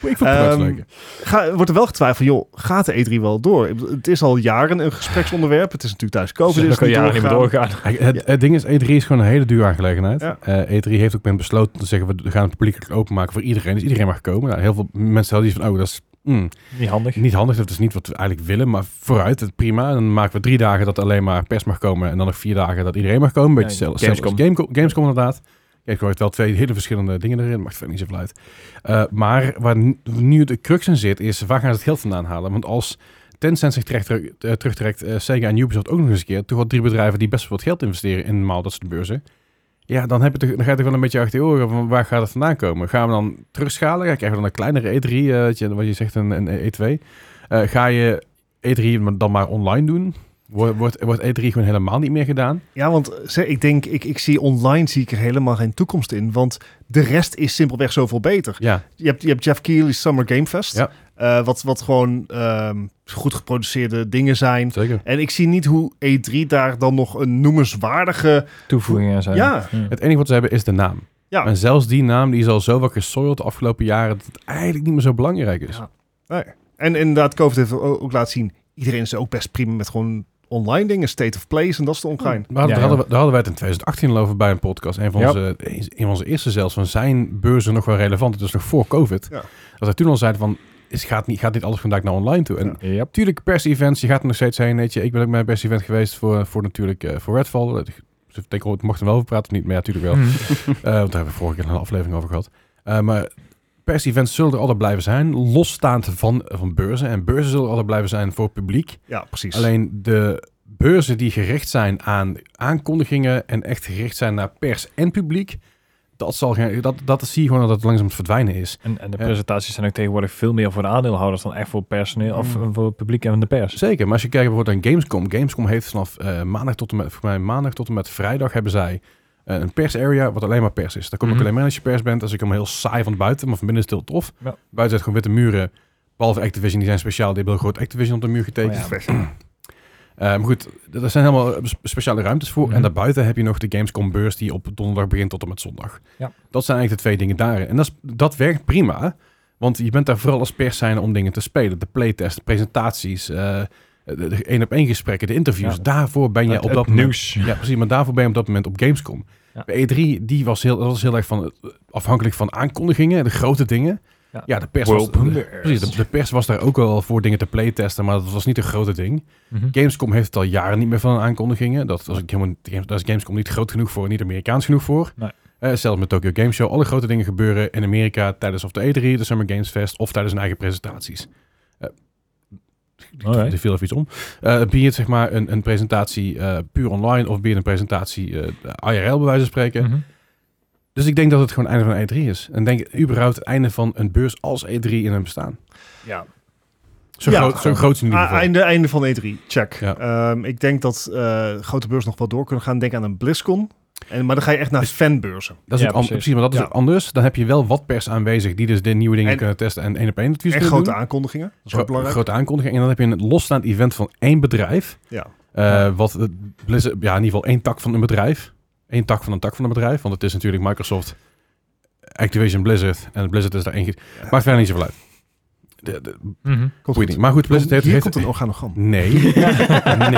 Speaker 2: Ik vond het
Speaker 1: Ehm,
Speaker 2: leuk.
Speaker 1: ga, wordt er wel getwijfeld, joh, gaat de E3 wel door? Ik bedoel, Het is al jaren een gespreksonderwerp. Het is natuurlijk thuis COVID.
Speaker 4: Ze
Speaker 1: Is
Speaker 4: kan
Speaker 1: niet
Speaker 4: jaren niet meer
Speaker 1: doorgegaan.
Speaker 4: doorgaan.
Speaker 2: Kijk, Het, het ding is, E3 is gewoon een hele dure aangelegenheid.
Speaker 1: Ja.
Speaker 2: Eh, E3 heeft ook men besloten te zeggen, we gaan het publiekelijk openmaken voor iedereen. Dus iedereen mag komen. Nou, heel veel mensen hadden iets van, oh, dat is mm,
Speaker 4: Niet handig.
Speaker 2: niet handig. Dat is niet wat we eigenlijk willen, maar vooruit, het prima. En dan maken we drie dagen dat alleen maar pers mag komen. En dan nog vier dagen dat iedereen mag komen. Een beetje
Speaker 4: Ja,
Speaker 2: zelfs
Speaker 4: Gamescom.
Speaker 2: zelfs Gamecom- Gamescom inderdaad. Gamescom heeft wel twee hele verschillende dingen erin. Maakt verder niet zoveel uit. Eh, maar waar nu- nu de crux in zit, is waar gaan ze het geld vandaan halen? Want als Tencent zich terecht, eh, terugtrekt, eh, Sega en Ubisoft ook nog eens een keer. Toch wel drie bedrijven die best wel wat geld investeren in normaal dat soort beurzen. Ja, dan, heb je toch, dan ga je toch wel een beetje achter je oren van waar gaat het vandaan komen? Gaan we dan terugschalen? Ja, krijgen we dan een kleinere E3, eh, wat je- wat je zegt, een, een E2? Eh, ga je E3 maar- dan maar online doen? Wordt, wordt, wordt E3 gewoon helemaal niet meer gedaan?
Speaker 1: Ja, want eh, ze- ik denk, ik, ik zie online zie ik er helemaal geen toekomst in. Want de rest is simpelweg zoveel beter.
Speaker 2: Ja,
Speaker 1: Je hebt, je hebt Jeff Keighley's Summer Game Fest.
Speaker 2: Ja.
Speaker 1: eh, wat, wat gewoon ehm, goed geproduceerde dingen zijn.
Speaker 2: zeker.
Speaker 1: En ik zie niet hoe E3 daar dan nog een noemenswaardige...
Speaker 4: Toevoegingen aan zijn.
Speaker 1: Ja.
Speaker 4: Mm.
Speaker 2: Het enige wat ze hebben is de naam.
Speaker 1: Ja.
Speaker 2: En zelfs die naam die is al zo wat gesoild de afgelopen jaren dat het eigenlijk niet meer zo belangrijk is.
Speaker 1: Ja. En inderdaad, COVID heeft o- ook laten zien... iedereen is ook best prima met gewoon online dingen, State of Plays en dat soort ongein.
Speaker 2: Maar
Speaker 4: Ja,
Speaker 2: daar,
Speaker 4: ja.
Speaker 2: hadden we, daar hadden wij het in 2018 al over bij een podcast. Een van,
Speaker 4: Ja.
Speaker 2: onze, een van onze eerste zelfs. Van zijn beurzen nog wel relevant? Het is nog voor COVID.
Speaker 1: Ja.
Speaker 2: Dat hij toen al zei van, is, gaat, niet, gaat dit alles vandaag naar online toe? En
Speaker 1: Ja.
Speaker 4: Yep.
Speaker 2: natuurlijk pers-events. Je gaat er nog steeds heen. Weet je. Ik ben ook bij een pers-event geweest voor, voor natuurlijk eh, voor Redfall. Eh, Ik denk, oh, ik mocht er wel over praten of niet? Maar ja, natuurlijk wel.
Speaker 4: Hmm.
Speaker 2: Eh, want daar hebben we vorige keer een aflevering over gehad. Eh, maar pers-events zullen er altijd blijven zijn. Losstaand van, van beurzen. En beurzen zullen er altijd blijven zijn voor het publiek.
Speaker 1: Ja, precies.
Speaker 2: Alleen de beurzen die gericht zijn aan aankondigingen en echt gericht zijn naar pers en publiek, dat, zal geen, dat, dat zie je gewoon dat het langzaam aan het verdwijnen is.
Speaker 4: En, en de
Speaker 2: Ja.
Speaker 4: presentaties zijn ook tegenwoordig veel meer voor de aandeelhouders dan echt voor personeel of
Speaker 2: Mm.
Speaker 4: eh, voor het publiek en de pers.
Speaker 2: Zeker, maar als je kijkt bijvoorbeeld aan Gamescom. Gamescom heeft vanaf eh, maandag tot en met, voor mij maandag tot en met vrijdag hebben zij eh, een persarea wat alleen maar pers is. Daar kom ik
Speaker 4: Mhm.
Speaker 2: alleen maar als je pers bent. Als ik hem heel saai van buiten, maar van binnen is het heel tof.
Speaker 4: Ja.
Speaker 2: Buiten zijn gewoon witte muren. Behalve Activision, die zijn speciaal. Die hebben heel groot Activision op de muur getekend.
Speaker 4: Oh ja.
Speaker 2: Eh, maar goed, er zijn helemaal eh, spe- speciale ruimtes voor.
Speaker 4: Mhm.
Speaker 2: En daarbuiten heb je nog de Gamescom beurs die op donderdag begint tot en met zondag.
Speaker 4: Ja.
Speaker 2: Dat zijn eigenlijk de twee dingen daarin. En dat, is- dat werkt prima. Want je bent daar vooral als pers zijn om dingen te spelen. De playtest, de presentaties, eh, de de één-op-één gesprekken, de interviews.
Speaker 4: Ja.
Speaker 2: Daarvoor ben je
Speaker 4: Het-
Speaker 2: op
Speaker 4: het
Speaker 2: dat moment...
Speaker 4: nieuws.
Speaker 2: Ja, precies. Maar daarvoor ben je op dat moment op Gamescom.
Speaker 4: Ja.
Speaker 2: Bij E3, die was heel, dat was heel erg van, eh, afhankelijk van aankondigingen, de grote dingen.
Speaker 4: Ja.
Speaker 2: Ja, de pers
Speaker 4: World
Speaker 2: was... de-
Speaker 4: premieres.
Speaker 2: precies, de, de pers was daar ook wel voor dingen te playtesten, maar dat was niet een grote ding.
Speaker 4: Mhm.
Speaker 2: Gamescom heeft het al jaren niet meer van aankondigingen. Dat was ik helemaal, niet- daar is Gamescom niet groot genoeg voor, niet Amerikaans genoeg voor.
Speaker 4: Nee.
Speaker 2: Eh, zelfs met Tokyo Game Show. Alle grote dingen gebeuren in Amerika tijdens of de E3, de Summer Games Fest of tijdens hun eigen presentaties. Eh,
Speaker 4: Alright.
Speaker 2: Er viel even iets om. Eh ben je het zeg maar een, een presentatie eh, puur online of ben je een presentatie eh, IRL bij wijze van spreken?
Speaker 4: Mhm.
Speaker 2: Dus ik denk dat het gewoon het einde van E3 is. En denk überhaupt het einde van een beurs als E3 in hem bestaan.
Speaker 4: Ja.
Speaker 2: Zo,
Speaker 1: Ja.
Speaker 2: groot, zo groot is het in ieder
Speaker 1: Ah,
Speaker 2: geval.
Speaker 1: einde, einde van E3, check.
Speaker 2: Ja.
Speaker 1: Ehm, ik denk dat eh, grote beurzen nog wel door kunnen gaan. Denk aan een BlizzCon. En, maar dan ga je echt naar fanbeurzen.
Speaker 2: Dat is
Speaker 4: Ja,
Speaker 2: ook an-
Speaker 4: precies.
Speaker 2: precies. maar dat is
Speaker 1: Ja.
Speaker 2: ook anders. Dan heb je wel wat pers aanwezig die dus de nieuwe dingen
Speaker 1: En-
Speaker 2: kunnen testen en één op één advies
Speaker 1: En
Speaker 2: kunnen
Speaker 1: grote
Speaker 2: doen.
Speaker 1: aankondigingen. Dat is
Speaker 2: Gro-
Speaker 1: ook belangrijk.
Speaker 2: grote aankondiging. En dan heb je een losstaand event van één bedrijf.
Speaker 1: ja.
Speaker 2: eh,
Speaker 4: Ja.
Speaker 2: Wat eh, Blizzard- ja, in ieder geval één tak van een bedrijf. Eén tak van een tak van een bedrijf. Want het is natuurlijk Microsoft, Activision, Blizzard. En Blizzard is daar één. ge- Maakt verder niet zoveel uit. De, de,
Speaker 4: Mhm.
Speaker 1: Komt
Speaker 2: boeit
Speaker 1: goed.
Speaker 2: niet. Maar goed, Blizzard heeft...
Speaker 1: Hier
Speaker 2: heeft-
Speaker 1: komt een organogram.
Speaker 2: Nee. nee.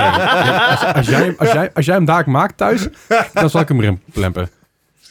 Speaker 2: Als, als, jij, als, jij, als jij hem daar maakt thuis, dan zal ik hem erin plempen.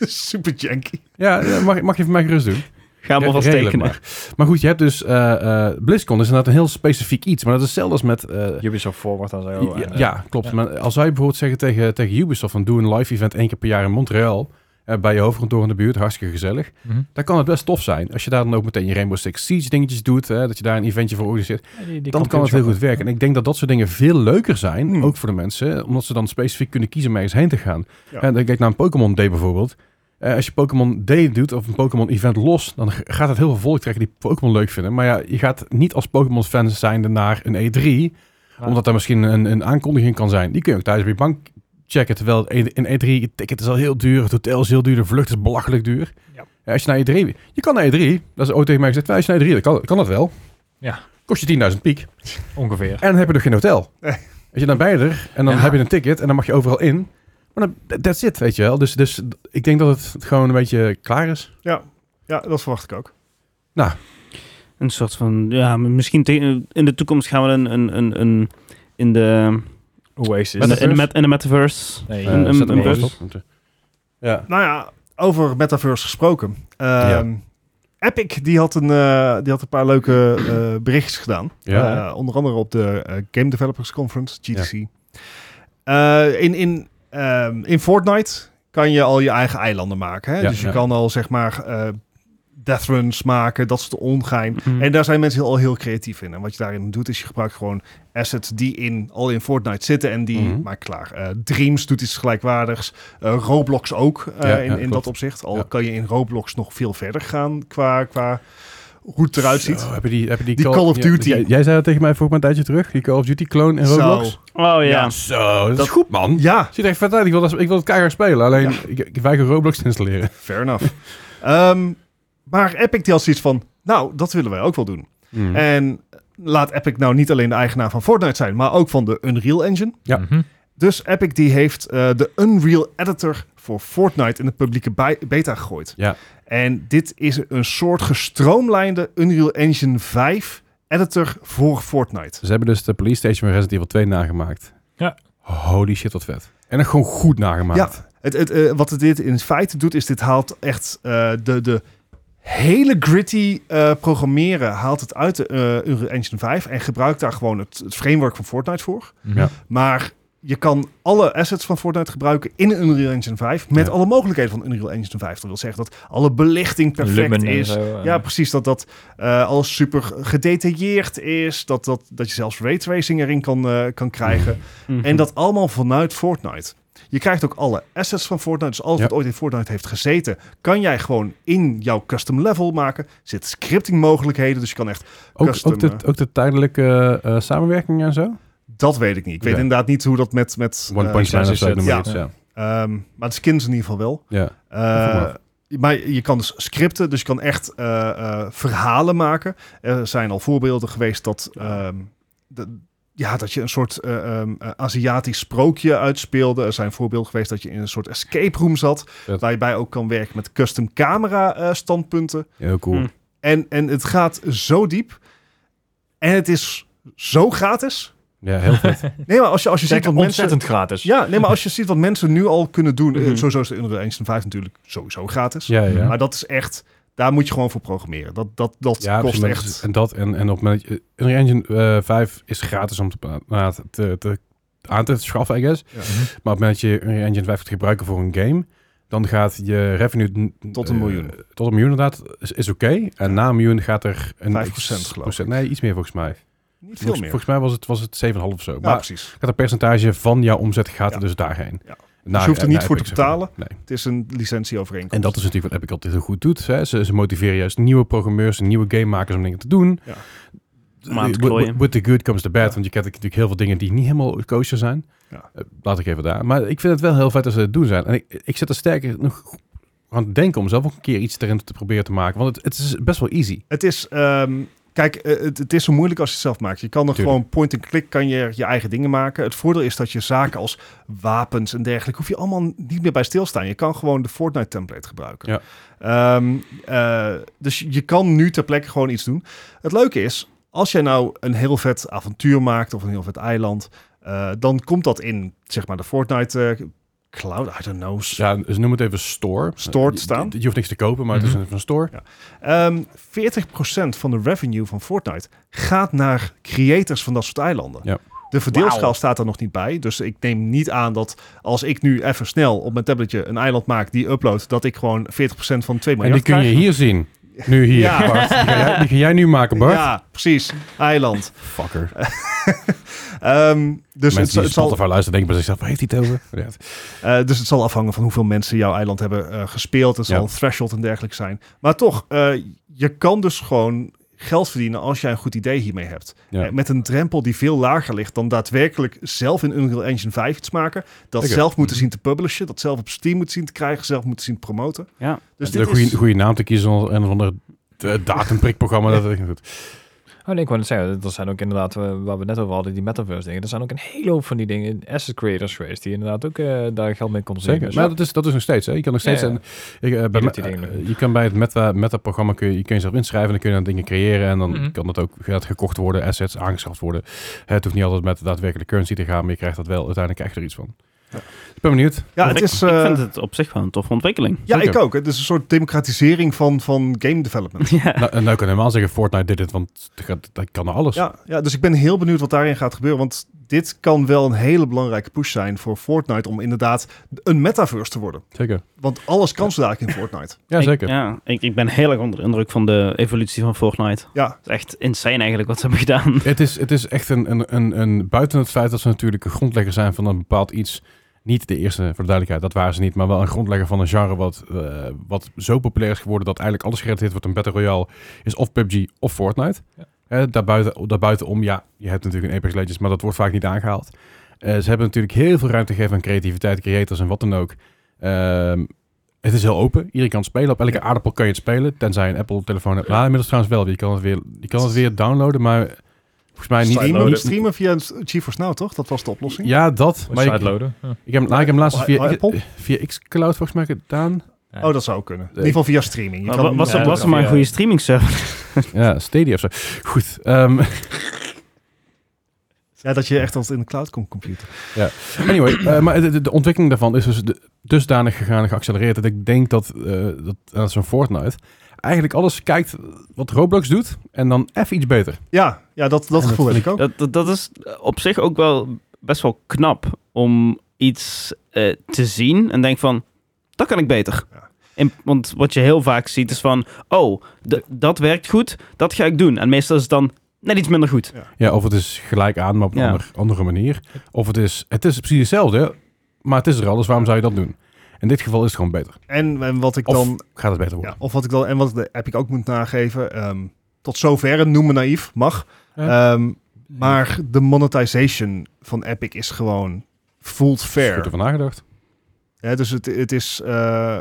Speaker 1: Super janky.
Speaker 2: Ja, ja, mag, mag je voor mij gerust doen.
Speaker 3: Ga maar
Speaker 2: Re-
Speaker 3: vast
Speaker 2: redelijk
Speaker 3: tekenen.
Speaker 2: Maar. maar goed, je hebt dus... eh, eh, BlizzCon is inderdaad een heel specifiek iets. Maar dat is hetzelfde als met... eh,
Speaker 4: Ubisoft Forward en zo.
Speaker 2: ja,
Speaker 4: en, eh,
Speaker 2: ja, klopt.
Speaker 4: ja.
Speaker 2: Maar als wij bijvoorbeeld zeggen tegen, tegen Ubisoft... van doe een live event één keer per jaar in Montreal... eh, bij je hoofdkantoor in de buurt, hartstikke gezellig.
Speaker 4: mhm.
Speaker 2: Dan kan het best tof zijn. Als je daar dan ook meteen je Rainbow Six Siege dingetjes doet... hè, dat je daar een eventje voor organiseert...
Speaker 4: Ja, die- die
Speaker 2: dan kan het heel goed werken. En ik denk dat dat soort dingen veel leuker zijn...
Speaker 1: Hmm.
Speaker 2: ook voor de mensen... omdat ze dan specifiek kunnen kiezen om ergens heen te gaan.
Speaker 1: Ja.
Speaker 2: En dan kijk naar een Pokémon Day bijvoorbeeld... Eh, als je Pokémon Day doet of een Pokémon Event los, dan g- gaat het heel veel volk trekken die Pokémon leuk vinden. Maar ja, je gaat niet als Pokémon fan zijnde naar een E3,
Speaker 4: Ja.
Speaker 2: omdat daar misschien een, een aankondiging kan zijn. Die kun je ook thuis op je bank checken. Terwijl E- in in E3 het ticket is al heel duur, het hotel is heel duur, de vlucht is belachelijk duur.
Speaker 4: Ja.
Speaker 2: Ja, als je naar E3, je kan naar E3, dat is ooit tegen mij gezegd, "Ja, als je naar E3, dan kan, kan dat wel.
Speaker 4: Ja.
Speaker 2: Kost je 10.000 piek.
Speaker 4: Ongeveer.
Speaker 2: En dan heb je nog geen hotel.
Speaker 1: Nee.
Speaker 2: Als je dan bij je er en dan
Speaker 4: Ja.
Speaker 2: heb je een ticket en dan mag je overal in. Maar dan, that's it, weet je wel. Dus, dus ik denk dat het gewoon een beetje klaar is.
Speaker 1: Ja, dat verwacht ik ook.
Speaker 3: Een soort van, ja, misschien te- in de toekomst gaan we een, een, een, een in de,
Speaker 4: Hoe is
Speaker 3: in de, in de, met- in de metaverse.
Speaker 4: Nee,
Speaker 3: Een-
Speaker 2: Eh,
Speaker 3: een-
Speaker 2: zet hem
Speaker 3: een
Speaker 2: maar
Speaker 3: bus.
Speaker 2: vast op. Ja.
Speaker 1: Nou ja, over metaverse gesproken. Ehm, Epic die had, een, eh, die had een paar leuke eh, berichtjes gedaan.
Speaker 2: Ja.
Speaker 1: Eh, onder andere op de eh, Game Developers Conference, GDC. Eh, in, in, ehm, in Fortnite kan je al je eigen eilanden maken. Hè?
Speaker 2: Ja,
Speaker 1: dus je
Speaker 2: ja.
Speaker 1: kan al zeg maar eh deathruns maken, dat soort ongein.
Speaker 3: Mhm.
Speaker 1: En daar zijn mensen al heel creatief in. En wat je daarin doet, is je gebruikt gewoon assets die in, al in Fortnite zitten en die
Speaker 2: Mhm.
Speaker 1: maak klaar. Eh, Dreams doet iets gelijkwaardigs. Eh, Roblox ook eh,
Speaker 2: Ja,
Speaker 1: in,
Speaker 2: ja,
Speaker 1: in
Speaker 2: klopt.
Speaker 1: dat opzicht. Al
Speaker 2: Ja.
Speaker 1: kan je in Roblox nog veel verder gaan qua, qua hoe het eruit ziet.
Speaker 2: Zo, Oh, heb je die, heb je die,
Speaker 1: Die Call of
Speaker 2: ja,
Speaker 1: Duty.
Speaker 2: jij, jij zei dat tegen mij voor een tijdje terug. Die Call of Duty clone in
Speaker 1: Zo.
Speaker 2: Roblox.
Speaker 3: Oh ja.
Speaker 1: Ja.
Speaker 2: Zo, dat,
Speaker 1: Dat-
Speaker 2: is goed man.
Speaker 1: Ja,
Speaker 2: Ziet er echt vet uit. Ik wil, dat- ik wil het keihard spelen. Alleen, ik, ik weiger Roblox te installeren.
Speaker 1: fair enough. Ehm, maar Epic die had zoiets van, nou, dat willen wij ook wel doen.
Speaker 3: Hmm.
Speaker 2: Hm.
Speaker 1: En laat Epic nou niet alleen de eigenaar van Fortnite zijn, maar ook van de Unreal Engine.
Speaker 2: Ja.
Speaker 4: Mhm.
Speaker 1: Dus Epic die heeft eh, de Unreal Editor voor Fortnite in de publieke bi- beta gegooid.
Speaker 2: Ja.
Speaker 1: En dit is een soort gestroomlijnde Unreal Engine 5 editor voor Fortnite.
Speaker 2: Ze hebben dus de Police Station van Resident Evil 2 nagemaakt.
Speaker 4: Ja.
Speaker 2: Holy shit, wat vet. En dan gewoon goed nagemaakt.
Speaker 1: Het, het, eh, wat het dit in feite doet, is dit haalt echt eh, de, de hele gritty eh, programmeren haalt het uit de eh, Unreal Engine 5 en gebruikt daar gewoon het, het framework van Fortnite voor.
Speaker 2: Ja.
Speaker 1: Maar je kan alle assets van Fortnite gebruiken in Unreal Engine 5 met
Speaker 2: Ja.
Speaker 1: alle mogelijkheden van Unreal Engine 5. Dat wil zeggen dat alle belichting perfect
Speaker 4: Lumen en
Speaker 1: is.
Speaker 4: zo, eh.
Speaker 1: Ja, precies. Dat, dat eh, alles super gedetailleerd is. Dat, dat, dat je zelfs raytracing erin kan, eh, kan krijgen.
Speaker 2: Mhm.
Speaker 1: En dat allemaal vanuit Fortnite. Je krijgt ook alle assets van Fortnite. Dus alles
Speaker 2: Ja.
Speaker 1: wat ooit in Fortnite heeft gezeten, kan jij gewoon in jouw custom level maken. Er zitten scripting mogelijkheden. Dus je kan echt.
Speaker 2: Ook,
Speaker 1: Custom,
Speaker 2: ook, de, ook de tijdelijke eh, eh, samenwerking en zo?
Speaker 1: Dat weet ik niet. Ik weet
Speaker 2: Oké.
Speaker 1: inderdaad niet hoe dat met. met
Speaker 2: One
Speaker 1: eh,
Speaker 2: Punch Man of zo.
Speaker 4: licenses,
Speaker 2: noem maar
Speaker 1: ja.
Speaker 2: iets, Ja.
Speaker 1: ehm, maar de skins in ieder geval wel.
Speaker 2: Ja.
Speaker 1: Eh,
Speaker 2: Vanaf.
Speaker 1: maar je kan dus scripten, dus je kan echt eh, eh, verhalen maken. Er zijn al voorbeelden geweest dat, ehm, de- ja, dat je een soort eh, ehm, eh, Aziatisch sprookje uitspeelde. Er zijn voorbeelden geweest dat je in een soort escape room zat.
Speaker 2: Vet.
Speaker 1: Waarbij je ook kan werken met custom camera eh, standpunten.
Speaker 2: Ja, Heel cool.
Speaker 3: Hm.
Speaker 1: En, en het gaat zo diep. En het is zo gratis.
Speaker 2: Ja, heel vet.
Speaker 1: Nee, maar als je, als je ziet
Speaker 4: Zeker
Speaker 1: wat mensen...
Speaker 4: ontzettend gratis.
Speaker 1: Ja, nee, maar als je ziet wat mensen nu al kunnen doen... eh,
Speaker 3: Mhm.
Speaker 1: Sowieso is de Unreal Engine 5 natuurlijk sowieso gratis.
Speaker 2: ja, ja.
Speaker 1: Maar dat is echt, daar moet je gewoon voor programmeren. Dat, dat, dat
Speaker 2: ja,
Speaker 1: kost
Speaker 2: precies.
Speaker 1: echt.
Speaker 2: En dat en, en op het moment dat je- Unreal Engine eh, 5 is gratis om te, na- te, te, aan te schaffen, I guess.
Speaker 1: Ja.
Speaker 2: Maar op het moment dat je Unreal Engine 5 gaat gebruiken voor een game, dan gaat je revenue... n-
Speaker 1: Tot een
Speaker 2: eh,
Speaker 1: miljoen.
Speaker 2: tot een miljoen inderdaad, is, is oké. En na een miljoen gaat er... Een
Speaker 1: 5%
Speaker 2: x-
Speaker 1: geloof
Speaker 2: procent-
Speaker 1: ik.
Speaker 2: Nee, iets meer volgens mij.
Speaker 1: Niet veel
Speaker 2: Volgens,
Speaker 1: meer.
Speaker 2: volgens mij was het, was het 7,5 of zo.
Speaker 1: Ja,
Speaker 2: maar
Speaker 1: precies.
Speaker 2: gaat een percentage van jouw omzet gaat er
Speaker 1: Ja.
Speaker 2: dus daarheen.
Speaker 1: Ja.
Speaker 2: Na-
Speaker 1: Dus je hoeft er
Speaker 2: na
Speaker 1: niet voor
Speaker 2: Epic,
Speaker 1: te
Speaker 2: zeg maar.
Speaker 1: betalen.
Speaker 2: Nee.
Speaker 1: Het is een licentieovereenkomst.
Speaker 2: En dat is natuurlijk wat Epic altijd heel goed doet. Hè? Ze, ze motiveren juist nieuwe programmeurs en nieuwe gamemakers om dingen te doen.
Speaker 1: Ja.
Speaker 3: Om aan te
Speaker 2: Wi-
Speaker 3: klooien.
Speaker 2: wi- With the good comes the bad. Want je kent natuurlijk heel veel dingen die niet helemaal kosher zijn.
Speaker 1: Ja.
Speaker 2: Eh, laat ik even daar. Maar ik vind het wel heel vet als ze het doen zijn. En ik, ik zit er sterker nog aan het denken om zelf ook een keer iets erin te proberen te maken. Want het, het is best wel easy.
Speaker 1: Het is, ehm, kijk, eh, het, het is zo moeilijk als je het zelf maakt. Je kan er
Speaker 2: Tuurlijk.
Speaker 1: gewoon point-and-click, kan je er je eigen dingen maken. Het voordeel is dat je zaken als wapens en dergelijke, hoef je allemaal niet meer bij stilstaan. Je kan gewoon de Fortnite-template gebruiken.
Speaker 2: Ja.
Speaker 1: Ehm, eh, dus je kan nu ter plekke gewoon iets doen. Het leuke is, als jij nou een heel vet avontuur maakt of een heel vet eiland, eh, dan komt dat in, zeg maar, de Fortnite eh, cloud, I don't know,
Speaker 2: Ja, dus noem het even store.
Speaker 1: Store te
Speaker 2: Eh,
Speaker 1: staan.
Speaker 2: Je, je hoeft niks te kopen, maar het
Speaker 4: Mhm.
Speaker 2: is een, een store.
Speaker 1: Ehm 40% van de revenue van Fortnite gaat naar creators van dat soort eilanden.
Speaker 2: Ja.
Speaker 1: De verdeelschaal
Speaker 3: Wauw.
Speaker 1: staat er nog niet bij. Dus ik neem niet aan dat als ik nu even snel op mijn tabletje een eiland maak die upload, dat ik gewoon 40% van 2
Speaker 2: en die
Speaker 1: miljard
Speaker 2: kun je
Speaker 1: krijg.
Speaker 2: hier zien. Nu hier,
Speaker 1: Ja.
Speaker 2: Bart. Die ga, jij, die ga jij nu maken, Bart.
Speaker 1: Ja, precies. Eiland.
Speaker 2: Fucker.
Speaker 1: Ehm, dus, het,
Speaker 2: Mensen die
Speaker 1: het zal,
Speaker 2: Spotify luisteren denken bij zichzelf, waar heeft hij het over? Ja.
Speaker 1: eh, dus het zal afhangen van hoeveel mensen jouw eiland hebben eh, gespeeld. Het zal
Speaker 2: Ja.
Speaker 1: een threshold en dergelijke zijn. Maar toch, eh, je kan dus gewoon geld verdienen als jij een goed idee hiermee hebt.
Speaker 2: Ja.
Speaker 1: Eh, Met een drempel die veel lager ligt dan daadwerkelijk zelf in Unreal Engine 5 iets maken. Dat
Speaker 2: Zeker.
Speaker 1: zelf
Speaker 3: Mhm.
Speaker 1: moeten zien te publishen. Dat zelf op Steam moeten zien te krijgen. Zelf moeten zien te promoten.
Speaker 3: Ja.
Speaker 1: Dus
Speaker 2: een
Speaker 1: dit
Speaker 2: goede,
Speaker 1: is...
Speaker 2: goede naam te kiezen en een of ander eh, datumprikprogramma. dat, goed.
Speaker 4: Oh, nee, ik wou net zeggen, dat zijn ook inderdaad, eh, waar we het net over hadden, die metaverse dingen. Er zijn ook een hele hoop van die dingen, asset creators geweest, die inderdaad ook eh, daar geld mee konden
Speaker 2: Zeker.
Speaker 4: verdienen. Dus
Speaker 2: Maar dat is, dat is nog steeds. Hè. Je kan nog steeds.
Speaker 4: Ja, ja.
Speaker 2: een- ik, eh, bij
Speaker 4: doet
Speaker 2: me-
Speaker 4: die dingen.
Speaker 2: eh, je kan bij het meta, meta-programma kun je, je kun jezelf inschrijven en dan kun je dan dingen creëren. En dan
Speaker 4: Mhm.
Speaker 2: kan dat ook gaat gekocht worden, assets aangeschaft worden. Het hoeft niet altijd met daadwerkelijke currency te gaan, maar je krijgt dat wel. Uiteindelijk krijg je er iets van. Ik ben benieuwd.
Speaker 1: Ja,
Speaker 3: Ik-
Speaker 1: het is...
Speaker 3: ik
Speaker 1: eh,
Speaker 3: vind het op zich wel een toffe ontwikkeling.
Speaker 1: ja, ik
Speaker 2: Zeker.
Speaker 1: ook. Het is een soort democratisering van, van game development.
Speaker 3: Ja.
Speaker 2: nou, en nou kan helemaal zeggen, Fortnite deed het, want dat gaat- dat kan alles.
Speaker 1: Ja, ja, dus ik ben heel benieuwd wat daarin gaat gebeuren. Want dit kan wel een hele belangrijke push zijn voor Fortnite... om inderdaad een metaverse te worden.
Speaker 2: Zeker.
Speaker 1: Want alles kan zo dadelijk in Fortnite.
Speaker 2: Ja,
Speaker 3: Ik-
Speaker 2: zeker.
Speaker 3: ja, ik, ik ben heel erg onder de indruk van de evolutie van Fortnite.
Speaker 1: Ja,
Speaker 3: Het is echt insane eigenlijk wat ze hebben gedaan.
Speaker 2: Het is, het is echt een, een, een, een... Buiten het feit dat ze natuurlijk een grondlegger zijn van een bepaald iets... Niet de eerste, voor de duidelijkheid, dat waren ze niet. Maar wel een grondlegger van een genre wat, eh, wat zo populair is geworden... dat eigenlijk alles gerelateerd wordt aan Battle Royale... is of PUBG of Fortnite.
Speaker 4: Ja.
Speaker 2: Eh, daarbuiten, daarbuitenom, ja, je hebt natuurlijk een Apex Legends... maar dat wordt vaak niet aangehaald. Eh, ze hebben natuurlijk heel veel ruimte gegeven aan creativiteit, creators en wat dan ook. Ehm, het is heel open. Iedereen kan het spelen. Op elke aardappel kan je het spelen. Tenzij je een Apple-telefoon hebt. Nou, inmiddels trouwens wel. Je kan het weer, je kan het weer downloaden, maar volgens mij niet...
Speaker 1: streamen,
Speaker 2: niet-
Speaker 1: streamen via GeForce Now, toch? Dat was de oplossing.
Speaker 2: Ja, dat. Maar
Speaker 4: Maar
Speaker 2: ik, ik,
Speaker 4: uitloaden. Ja.
Speaker 2: heb,
Speaker 4: Hm.
Speaker 2: nou, ik heb hem laatst
Speaker 1: Oh,
Speaker 2: via,
Speaker 1: Apple?
Speaker 2: via Xcloud volgens mij gedaan.
Speaker 1: Oh, dat zou kunnen. In ieder geval via streaming. Je
Speaker 3: Maar
Speaker 1: kan
Speaker 3: wa-
Speaker 1: hem- eh,
Speaker 3: was er,
Speaker 4: Ja,
Speaker 3: was er maar een
Speaker 4: ja.
Speaker 3: goede streaming server?
Speaker 2: Ja, Stadia of zo. Goed. ehm,
Speaker 1: Ja, dat je echt als in de cloud komt computeren.
Speaker 2: Anyway, eh, maar de, de- de ontwikkeling daarvan is dus de- dusdanig gegaan en geaccelereerd dat ik denk dat, eh, dat, dat zo'n Fortnite eigenlijk alles kijkt wat Roblox doet en dan even iets beter.
Speaker 1: Ja, ja dat, dat
Speaker 2: En
Speaker 1: gevoel
Speaker 2: dat-
Speaker 1: heb ik ook.
Speaker 3: Dat, dat, dat is op zich ook wel best wel knap om iets eh, te zien en denk van, dat kan ik beter.
Speaker 1: Ja.
Speaker 3: In- want wat je heel vaak ziet is van, oh, d- dat werkt goed, dat ga ik doen. En meestal is het dan net iets minder goed.
Speaker 2: Ja, of het is gelijk aan, maar op een
Speaker 3: Ja.
Speaker 2: ander- andere manier. Of het is, het is precies hetzelfde, maar het is er al, dus waarom zou je dat doen? In dit geval is het gewoon beter.
Speaker 1: En, en wat ik
Speaker 2: Of Oh.
Speaker 1: dan
Speaker 2: gaat het beter worden?
Speaker 1: Ja, of wat ik dan en wat ik de app ik ook moet nageven. ehm, tot zover, noem me naïef, mag. Ehm, maar de monetization van Epic is gewoon voelt
Speaker 2: Is goed
Speaker 1: fair.
Speaker 2: ervan nagedacht.
Speaker 1: Ja, dus het, het is eh,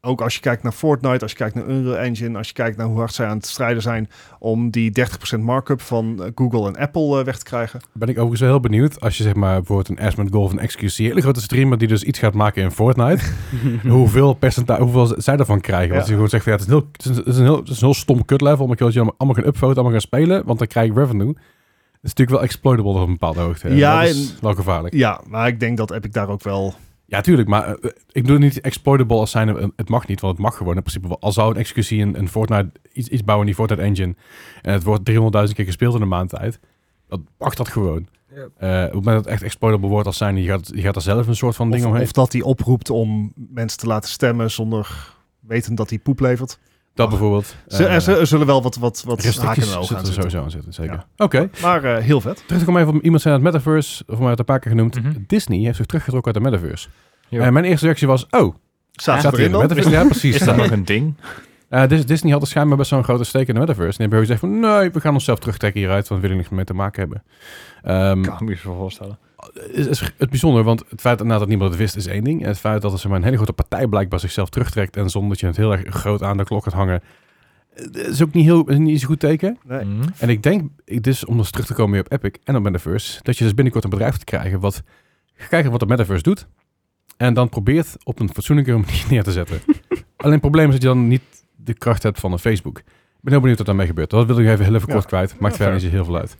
Speaker 1: ook als je kijkt naar Fortnite, als je kijkt naar Unreal Engine, als je kijkt naar hoe hard zij aan het strijden zijn om die 30% markup van eh, Google en Apple eh, weg te krijgen.
Speaker 2: Ben ik overigens wel heel benieuwd als je zeg maar bijvoorbeeld een Asmund Golf en XQC, een hele grote streamer die dus iets gaat maken in Fortnite, hoeveel percentage, hoeveel zij daarvan krijgen. Want
Speaker 1: Ja.
Speaker 2: je gewoon zegt, van, ja, het, is een heel, het, is een, het is een heel, het is een heel stom kut level, maar ik wil dat jullie allemaal, allemaal gaan upvoten, allemaal gaan spelen, want dan krijg ik revenue. Het is natuurlijk wel exploitable op een bepaalde hoogte.
Speaker 1: Ja,
Speaker 2: dat is wel gevaarlijk.
Speaker 1: Ja, maar ik denk dat Epic daar ook wel.
Speaker 2: Ja, tuurlijk, maar eh, ik bedoel niet exploitable als zijn, eh, het mag niet, want het mag gewoon in principe wel. Al zou een executie een, een Fortnite, iets, iets bouwen in die Fortnite engine en het wordt 300.000 keer gespeeld in een maand tijd, dat mag dat gewoon. Eh, op het moment dat het echt exploitable wordt als zijn, je gaat, je gaat er zelf een soort van ding
Speaker 1: Of,
Speaker 2: omheen.
Speaker 1: of dat die oproept om mensen te laten stemmen zonder weten dat die poep levert.
Speaker 2: dat bijvoorbeeld.
Speaker 1: Z-
Speaker 2: eh,
Speaker 1: er z- er zullen wel wat, wat, wat haken
Speaker 2: restricties
Speaker 1: en ogen
Speaker 2: zitten
Speaker 1: aan
Speaker 2: er
Speaker 1: zitten.
Speaker 2: sowieso aan zitten, zeker.
Speaker 1: Ja.
Speaker 2: Oké,
Speaker 1: Maar eh, heel vet.
Speaker 2: terugkom even op iemand zijn uit het metaverse, of mij het een paar keer genoemd.
Speaker 4: Mhm.
Speaker 2: Disney heeft zich teruggetrokken uit de metaverse.
Speaker 4: Ja.
Speaker 2: En mijn eerste reactie was, oh,
Speaker 1: Staat
Speaker 2: staat
Speaker 1: ze
Speaker 2: hij in
Speaker 1: erin
Speaker 2: de
Speaker 1: dan?
Speaker 2: metaverse? Ja, precies.
Speaker 4: Is dat nog een ding?
Speaker 2: Eh, Dis- Disney had er schijnbaar best zo'n grote steek in de metaverse. En die hebben gezegd van, nee, we gaan onszelf terugtrekken hieruit, want we willen niks meer te maken hebben. Ehm,
Speaker 4: kan me je zo voorstellen.
Speaker 2: is, is het bijzonder, want het feit inderdaad dat niemand het wist is één ding. En het feit dat er zeg maar, een hele grote partij blijkbaar zichzelf terugtrekt en zonder dat je het heel erg groot aan de klok gaat hangen, eh, is ook niet, heel, is niet zo'n goed teken.
Speaker 1: Nee.
Speaker 4: Mhm.
Speaker 2: En ik denk, ik- dus om dus terug te komen weer op Epic en op Metaverse, dat je dus binnenkort een bedrijf te krijgen wat gaat kijken wat de Metaverse doet. En dan probeert op een fatsoenlijke manier neer te zetten. Alleen het probleem is dat je dan niet de kracht hebt van een Facebook. Ik ben heel benieuwd wat daarmee gebeurt. Dat wil ik even heel even
Speaker 1: Ja.
Speaker 2: kort kwijt. Maakt
Speaker 1: Ja,
Speaker 2: verder niet zo heel veel uit.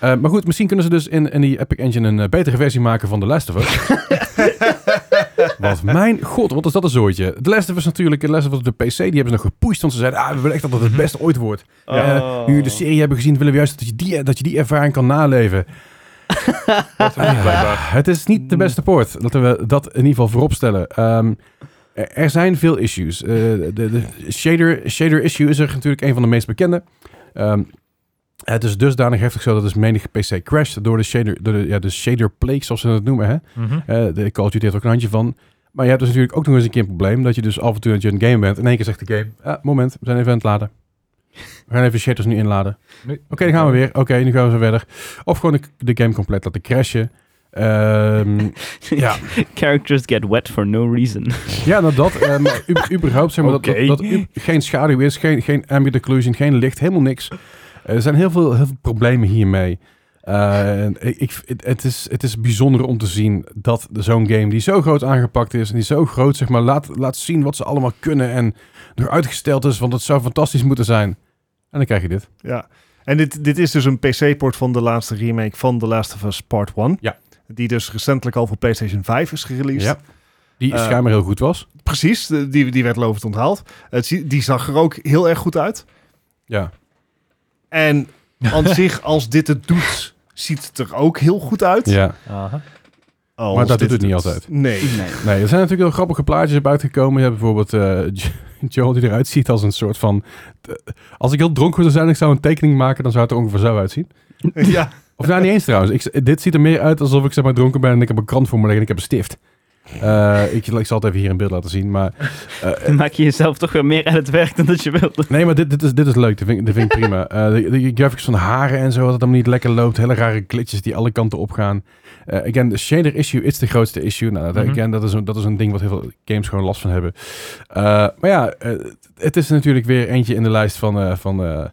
Speaker 2: Eh, maar goed, misschien kunnen ze dus in, in die Epic Engine een eh, betere versie maken van The Last of Us. Want mijn god, wat is dat een zooitje. The Last of Us natuurlijk, The Last of Us op de PC, die hebben ze nog gepusht. Want ze zeiden, ah, we willen echt dat het het
Speaker 1: Mhm.
Speaker 2: beste ooit wordt. Ja.
Speaker 3: Oh.
Speaker 2: Nu jullie de serie hebben gezien, willen we juist dat je die, dat je die ervaring kan naleven. Ah, het is niet de beste poort. Laten we dat in ieder geval voorop stellen. Ehm, er- er zijn veel issues. Eh, de de shader, shader issue is er natuurlijk een van de meest bekende. Ehm, het is dusdanig heftig zo dat dus menig PC crasht door de shader, door de, ja, de shader plague, zoals ze dat noemen. Hè?
Speaker 4: Mhm.
Speaker 2: Eh, de Call of Duty heeft er ook een handje van. Maar je hebt dus natuurlijk ook nog eens een keer een probleem dat je dus af en toe dat je een game bent. In één keer zegt de game, ah, moment, we zijn even aan het laden. We gaan even shaders nu inladen.
Speaker 4: Nu-
Speaker 2: Oké, dan gaan we weer. Oké, nu gaan we zo verder. Of gewoon de, de game compleet laten crashen. Ehm, ja.
Speaker 3: Characters get wet for no reason.
Speaker 2: ja, nou dat. eh, maar u- überhaupt zeg maar dat-
Speaker 4: Oké.
Speaker 2: dat, dat, u- geen schaduw is, geen, geen ambient occlusion, geen licht, helemaal niks. Eh, er zijn heel veel, heel veel problemen hiermee. Eh, en ik, ik- het- het, is, het is bijzonder om te zien dat de- zo'n game die zo groot aangepakt is en die zo groot zeg maar, laat, laat zien wat ze allemaal kunnen en nog uitgesteld is, want het zou fantastisch moeten zijn. En dan krijg je dit.
Speaker 1: Ja. En dit, dit is dus een PC-port van de laatste remake van The Last of Us Part 1.
Speaker 2: Ja.
Speaker 1: Die dus recentelijk al voor PlayStation 5 is gereleased.
Speaker 2: Ja. Die
Speaker 1: Eh,
Speaker 2: schijnbaar heel goed was.
Speaker 1: Precies, de- die, die werd lovend onthaald. Het, zie- die zag er ook heel erg goed uit.
Speaker 2: Ja.
Speaker 1: En aan zich, als dit het doet, ziet het er ook heel goed uit.
Speaker 2: ja.
Speaker 4: Aha.
Speaker 1: Oh, als
Speaker 2: Maar dat
Speaker 1: dit
Speaker 2: doet het niet altijd.
Speaker 1: Nee.
Speaker 2: Nee, er zijn natuurlijk wel grappige plaatjes op uitgekomen. Je hebt bijvoorbeeld eh, Joel die eruit ziet als een soort van... als ik heel dronken zou zijn en ik zou een tekening maken, dan zou het er ongeveer zo uitzien.
Speaker 1: ja.
Speaker 2: Of nou, niet eens trouwens. Ik, dit ziet er meer uit alsof ik zeg maar dronken ben en ik heb een krant voor me liggen en ik heb een stift. Eh, ik, ik zal het even hier in beeld laten zien, maar... eh,
Speaker 3: Dan maak je jezelf toch weer meer aan het werk dan dat je wilde.
Speaker 2: Nee, maar dit, dit, is, dit is leuk. Dit vind, ik- dit vind ik prima. Eh de, de graphics van de haren en zo, dat het hem niet lekker loopt. Hele rare glitches die alle kanten opgaan. Eh again, de shader issue is de grootste issue. Nou, dat,
Speaker 4: Mhm.
Speaker 2: again, dat is, een, dat is een ding wat heel veel games gewoon last van hebben. Eh, maar ja, eh, het is natuurlijk weer eentje in de lijst van, eh, van eh,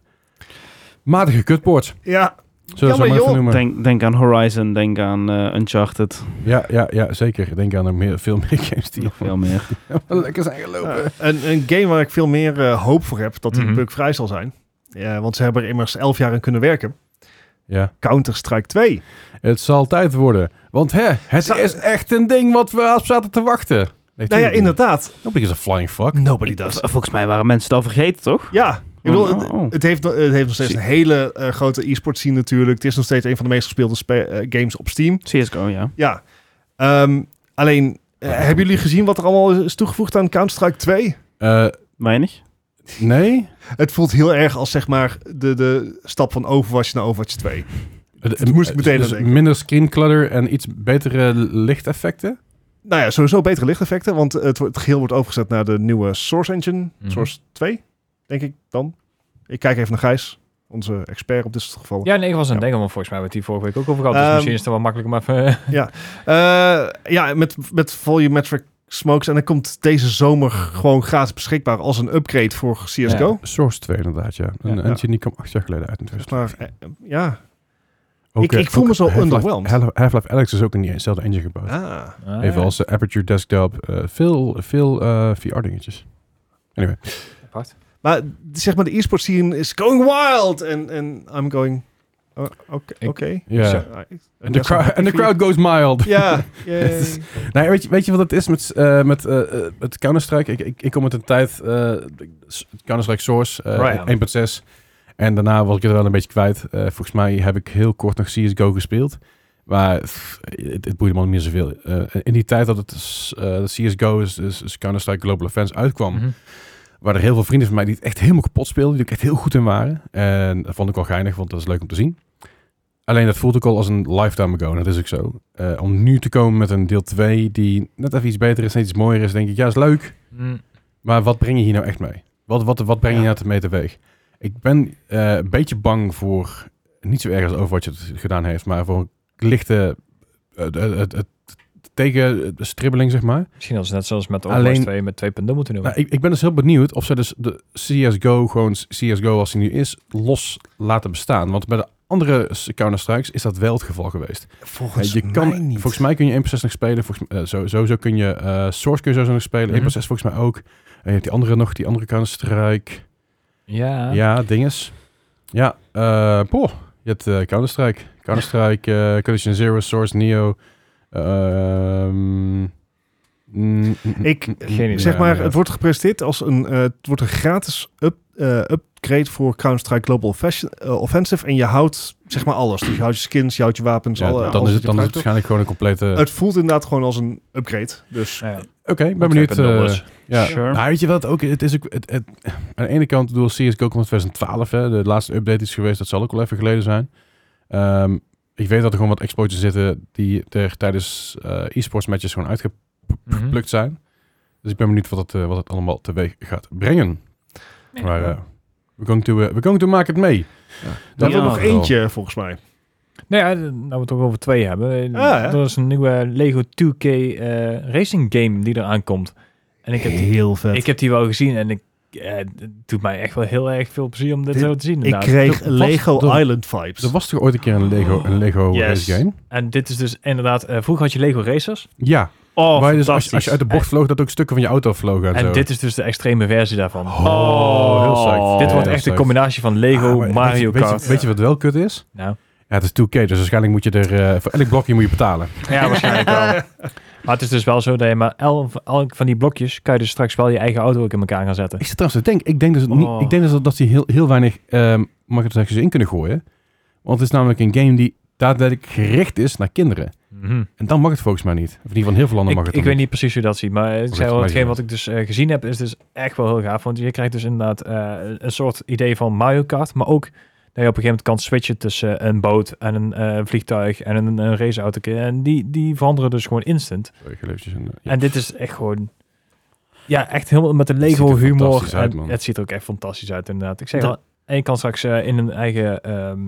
Speaker 2: matige kutports.
Speaker 1: ja.
Speaker 2: Zullen we
Speaker 1: Jammer,
Speaker 2: zo maar
Speaker 1: joh.
Speaker 2: even noemen.
Speaker 3: Denk, denk aan Horizon, denk aan eh, Uncharted.
Speaker 2: Ja, ja, ja, zeker. Ik Denk aan nog meer, veel meer games die
Speaker 3: Nog veel meer.
Speaker 2: lekker zijn gelopen.
Speaker 1: Ja, Eh, een, een game waar ik veel meer eh, hoop voor heb dat die
Speaker 4: Mhm.
Speaker 1: bugvrij zal zijn. Ja, want ze hebben er immers elf jaar aan kunnen werken.
Speaker 2: Ja.
Speaker 1: Counter-Strike Nou 2.
Speaker 2: Het zal tijd worden. Want hè, het
Speaker 1: Zou-
Speaker 2: is echt een ding wat we op zaten te wachten. Nee,
Speaker 1: Nou ja,
Speaker 2: tuurlijk niet.
Speaker 1: inderdaad.
Speaker 2: Nobody is a flying fuck.
Speaker 1: Nobody
Speaker 3: Ik-
Speaker 1: does.
Speaker 3: Volgens mij waren mensen het al vergeten, toch?
Speaker 1: Ja, ik bedoel, het-
Speaker 3: Oh.
Speaker 1: het, heeft, het heeft nog steeds een hele eh, grote e-sport scene natuurlijk. Het is nog steeds een van de meest gespeelde spe- eh, games op Steam.
Speaker 3: CSGO, ja.
Speaker 1: Ja. Ehm, alleen, eh, hebben jullie gezien wat er allemaal is toegevoegd aan Counter-Strike 2?
Speaker 2: Eh,
Speaker 3: Weinig.
Speaker 2: nee.
Speaker 1: Het voelt heel erg als zeg maar de, de stap van Overwatch naar Overwatch 2.
Speaker 2: Het
Speaker 1: moest ik meteen aan
Speaker 2: dus
Speaker 1: denken.
Speaker 2: Minder screen clutter en iets betere lichteffecten.
Speaker 1: Nou ja, sowieso betere lichteffecten, want het, wordt- het geheel wordt overgezet naar de nieuwe Source Engine.
Speaker 4: Mhm.
Speaker 1: Source 2, denk ik dan. Ik kijk even naar Gijs, onze expert op dit soort gevallen.
Speaker 4: Ja, nee, ik was aan het
Speaker 1: Ja.
Speaker 4: denken, want volgens mij werd die vorige week ook over gehad. Dus
Speaker 1: Ehm,
Speaker 4: misschien is het wel makkelijker, maar even...
Speaker 1: Eh, ja, met, met volumetric smokes. En dan komt deze zomer gewoon gratis beschikbaar als een upgrade voor CSGO.
Speaker 2: Source 2 inderdaad, ja. Een
Speaker 4: Ja.
Speaker 2: engine die kwam acht jaar geleden uit in
Speaker 1: Zeg maar,
Speaker 2: 2015.
Speaker 1: eh, ja.
Speaker 2: Ook,
Speaker 1: ik-
Speaker 2: eh,
Speaker 1: ik voel
Speaker 2: ook
Speaker 1: me zo
Speaker 2: Half-Life-
Speaker 1: underwhelmed.
Speaker 2: Half- Half-Life Alex is ook in diezelfde engine gebouwd.
Speaker 1: Ah.
Speaker 4: Ah,
Speaker 2: Even als eh, Aperture Desktop. eh, veel veel eh, VR dingetjes. Anyway.
Speaker 4: apart.
Speaker 1: Maar zeg maar, de e-sport scene is going wild. En en I'm going... oh, Oké.
Speaker 4: Ik-
Speaker 1: oké.
Speaker 2: Ja.
Speaker 1: So, I- I
Speaker 2: En de
Speaker 1: guess I'm
Speaker 2: crowd-
Speaker 1: happy
Speaker 2: en de
Speaker 1: for you.
Speaker 2: crowd goes mild.
Speaker 1: Ja, yay.
Speaker 2: Het is- Nou, ja, weet, je, weet je wat het is met, eh, met eh, eh, het Counter-Strike? Ik, ik, ik kom uit een tijd, eh, s- Counter-Strike Source eh,
Speaker 4: Right.
Speaker 2: 1.6. En daarna was ik het wel een beetje kwijt. Eh, volgens mij heb ik heel kort nog CSGO gespeeld. Maar pff, het, het boeide me niet meer zoveel. Eh, in die tijd dat het s- eh, CSGO, is, is, is Counter-Strike Global Offense, uitkwam...
Speaker 4: Mhm.
Speaker 2: waren er heel veel vrienden van mij die het echt helemaal kapot speelden. Die er ook echt heel goed in waren. En dat vond ik wel geinig, want dat is leuk om te zien. Alleen dat voelt ook al als een lifetime ago. En dat is ook zo. Eh, om nu te komen met een deel 2 die net even iets beter is, net iets mooier is, denk ik, ja, is leuk.
Speaker 4: Mm.
Speaker 2: Maar wat breng je hier nou echt mee? Wat, wat, wat breng je
Speaker 1: Ja.
Speaker 2: nou mee teweeg? Ik ben eh, een beetje bang voor, niet zo erg als Overwatch het gedaan heeft, maar voor een lichte eh, eh, eh, eh, tegen stribbeling, zeg maar.
Speaker 4: Misschien als net zoals met
Speaker 2: Alleen-
Speaker 4: Overwatch 2 met 2.0 moeten doen.
Speaker 2: Nou, ik, ik ben dus heel benieuwd of ze dus de CSGO, gewoon CSGO als die nu is, los laten bestaan. Want bij de andere Counter-Strikes is dat wel het geval geweest.
Speaker 1: Volgens
Speaker 2: je kan,
Speaker 1: mij niet.
Speaker 2: Volgens mij kun je 1.6 nog spelen. Volgens, eh, zo- sowieso kun je eh, Source kun je sowieso nog spelen.
Speaker 4: Mhm.
Speaker 2: 1.6 volgens mij ook. En je hebt die andere nog, die andere Counter-Strike.
Speaker 4: ja.
Speaker 2: Ja, dinges. Ja, eh poh. Je hebt eh, Counter-Strike. Counter-Strike, eh, Collision Zero, Source, Neo. Ehm, mm, mm, mm,
Speaker 1: Ik-
Speaker 2: mm,
Speaker 4: geen idee.
Speaker 1: Zeg
Speaker 2: ja,
Speaker 1: maar,
Speaker 2: ja.
Speaker 1: het wordt gepresenteerd als een, eh, het wordt een gratis up, eh, upgrade voor Counter-Strike Global Fashion- eh, Offensive. En je houdt zeg maar alles. Dus je houdt je skins, je houdt je wapens.
Speaker 2: Ja,
Speaker 1: alle,
Speaker 2: dan
Speaker 1: alles
Speaker 2: is het,
Speaker 1: wat
Speaker 2: dan
Speaker 1: je
Speaker 2: is het
Speaker 1: gebruikt
Speaker 2: waarschijnlijk gewoon een complete...
Speaker 1: hebt. Het voelt inderdaad gewoon als een upgrade. Dus
Speaker 4: Nou ja.
Speaker 2: Oké, ben benieuwd.
Speaker 4: 2.0
Speaker 2: eh,
Speaker 4: was.
Speaker 2: ja.
Speaker 3: Sure.
Speaker 2: Nou, weet je wat ook? Het is ook het, het- aan de ene kant, door CSGO komt in 2012. Hè, de laatste update is geweest, dat zal ook al even geleden zijn. Ehm, ik weet dat er gewoon wat exploitjes zitten die er tijdens eh, e-sports matches gewoon
Speaker 4: Mhm.
Speaker 2: uitgeplukt zijn. Dus ik ben benieuwd wat het, eh, wat het allemaal teweeg gaat brengen. Maar eh we're, going to, eh, we're going to make it mee.
Speaker 1: dan
Speaker 3: Ja,
Speaker 1: hebben we nog
Speaker 2: wel.
Speaker 1: eentje volgens mij.
Speaker 4: Nou ja, nou we het toch over twee hebben.
Speaker 1: Ah, ja.
Speaker 4: Er is een nieuwe Lego 2K eh, racing game die eraan komt. En ik heb, die,
Speaker 1: Heel vet.
Speaker 4: ik heb die wel gezien en ik, eh, het doet mij echt wel heel erg veel plezier om dit,
Speaker 1: Dit-
Speaker 4: zo te zien.
Speaker 1: Ik
Speaker 4: inderdaad.
Speaker 1: kreeg
Speaker 2: Er was-
Speaker 1: Lego
Speaker 2: er-
Speaker 1: Island vibes.
Speaker 2: Er was toch ooit een keer een Lego, een Lego
Speaker 3: Yes.
Speaker 2: race game?
Speaker 4: En dit is dus inderdaad, eh, vroeger had je Lego Racers.
Speaker 2: Ja,
Speaker 3: Oh,
Speaker 2: waar je dus als, je-
Speaker 3: fantastisch.
Speaker 2: als je uit de bocht vloog, dat ook stukken van je auto vlogen. En,
Speaker 4: en
Speaker 2: zo.
Speaker 4: dit is dus de extreme versie daarvan.
Speaker 2: Oh, heel
Speaker 3: Oh.
Speaker 2: psyched.
Speaker 4: dit wordt
Speaker 2: Heel
Speaker 4: echt een
Speaker 2: psyched.
Speaker 4: combinatie van Lego,
Speaker 2: Ah, maar
Speaker 4: Mario
Speaker 2: weet je- weet je-
Speaker 4: Kart.
Speaker 2: Weet je, wat wel kut is?
Speaker 4: Nou.
Speaker 2: Ja, het is 2K, dus waarschijnlijk moet je er... eh, voor elk blokje moet je betalen.
Speaker 4: Ja, waarschijnlijk wel. Maar het is dus wel zo dat je maar elf, elk van die blokjes kan je dus straks wel je eigen auto ook in elkaar gaan zetten.
Speaker 2: Ik zit trouwens te denken, ik denk dus, het
Speaker 3: Oh.
Speaker 2: niet, ik denk dus dat, dat ze heel, heel weinig ehm microtransactions in kunnen gooien. Want het is namelijk een game die daadwerkelijk gericht is naar kinderen.
Speaker 4: Mhm.
Speaker 2: En dan mag het volgens mij niet. Of in ieder geval in heel veel landen
Speaker 4: Ik,
Speaker 2: mag het
Speaker 4: ik
Speaker 2: dan
Speaker 4: weet niet precies hoe dat ziet, maar eh, ik
Speaker 2: Of
Speaker 4: zei wel,
Speaker 2: het
Speaker 4: hetgeen
Speaker 2: lijkt
Speaker 4: wat ik dus eh, gezien heb is dus echt wel heel gaaf. Want je krijgt dus inderdaad eh, een soort idee van Mario Kart, maar ook dat je op een gegeven moment kan switchen tussen een boot en een eh, vliegtuig en een, een raceauto. En die, die veranderen dus gewoon instant.
Speaker 2: Sorry, geleefjes en, eh, ja.
Speaker 4: En dit is echt gewoon... Ja, echt helemaal met de
Speaker 2: ziet er
Speaker 4: Lego humor.
Speaker 2: fantastisch uit,
Speaker 4: En
Speaker 2: man.
Speaker 4: het ziet er ook echt fantastisch uit, inderdaad. Ik zeg
Speaker 3: Dat-
Speaker 4: al, en je kan straks eh, in een eigen ehm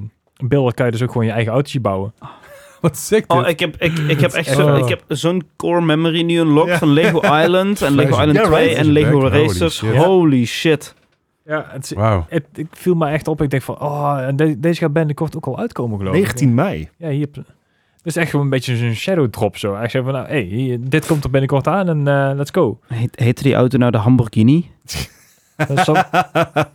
Speaker 4: beelden kan je dus ook gewoon je eigen autootje bouwen.
Speaker 2: Wat sick dit.
Speaker 3: Oh, ik heb, ik, ik heb echt
Speaker 2: echt-
Speaker 3: zo-
Speaker 2: Oh.
Speaker 3: ik heb zo'n core memory nu unlocked
Speaker 1: Ja.
Speaker 3: van Lego Island en Lego
Speaker 2: Ja,
Speaker 3: Island 2
Speaker 1: right.
Speaker 3: en Lego
Speaker 2: Holy
Speaker 3: Racers.
Speaker 2: shit.
Speaker 3: Holy shit.
Speaker 4: Ja, het,
Speaker 2: Wauw.
Speaker 4: het, ik viel me echt op. Ik denk van, oh, en de- deze gaat binnenkort ook al uitkomen, geloof ik.
Speaker 1: 19 mei.
Speaker 4: Ja, hier. Het is echt gewoon een beetje zo'n shadow drop zo. Hij zei van, nou, hey, hier, dit komt er binnenkort aan en eh, let's go.
Speaker 3: Heet, heette die auto nou de Lamborghini?
Speaker 4: Dat is zo-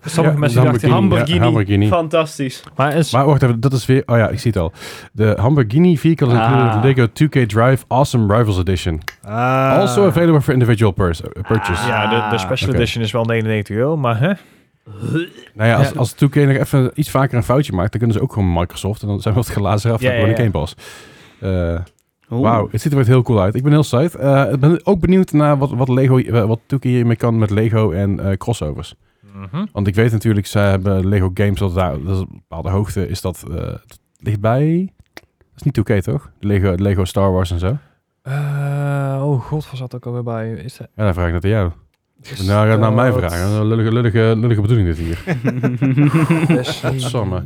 Speaker 4: Sommige
Speaker 2: Ja,
Speaker 4: mensen dachten...
Speaker 2: Lamborghini.
Speaker 3: Lamborghini.
Speaker 2: Ja, Lamborghini.
Speaker 3: Fantastisch.
Speaker 4: Maar is,
Speaker 2: Maar wacht even, dat is weer... Oh ja, ik zie het al. De Lamborghini vehicle is included
Speaker 3: Ah.
Speaker 2: in Lego 2K Drive Awesome Rivals Edition.
Speaker 1: Ah.
Speaker 2: also available for individual pers- uh, purchase.
Speaker 3: Ah.
Speaker 4: ja, de, de special
Speaker 2: Oké.
Speaker 4: edition is wel 99 euro, maar hè?
Speaker 2: Nou ja, als,
Speaker 4: Ja.
Speaker 2: als 2K nog even iets vaker een foutje maakt, dan kunnen ze ook gewoon Microsoft. En dan zijn we het glazen af
Speaker 4: Ja,
Speaker 2: en gewoon
Speaker 4: ja,
Speaker 2: een
Speaker 4: ja.
Speaker 2: Game Pass. Eh, Wauw, het ziet er wat heel cool uit. Ik ben heel psyched. Eh, Ik ben ook benieuwd naar wat, wat, Lego, eh, wat 2K hiermee kan met Lego en eh, crossovers. Want ik weet natuurlijk, ze hebben Lego Games, dat, daar, dat is een bepaalde hoogte. Is dat, eh, dat ligt bij... Dat is niet 2K, toch? Lego, Lego Star Wars en zo.
Speaker 4: Eh, oh god, was dat ook alweer bij? Is dat...
Speaker 2: Ja, dan vraag ik dat aan jou. Nou, ga naar mij
Speaker 4: dat-
Speaker 2: vragen. Dat is een Lullige, lullige, lullige bedoeling dit hier.
Speaker 4: Is die-
Speaker 2: Godsamme.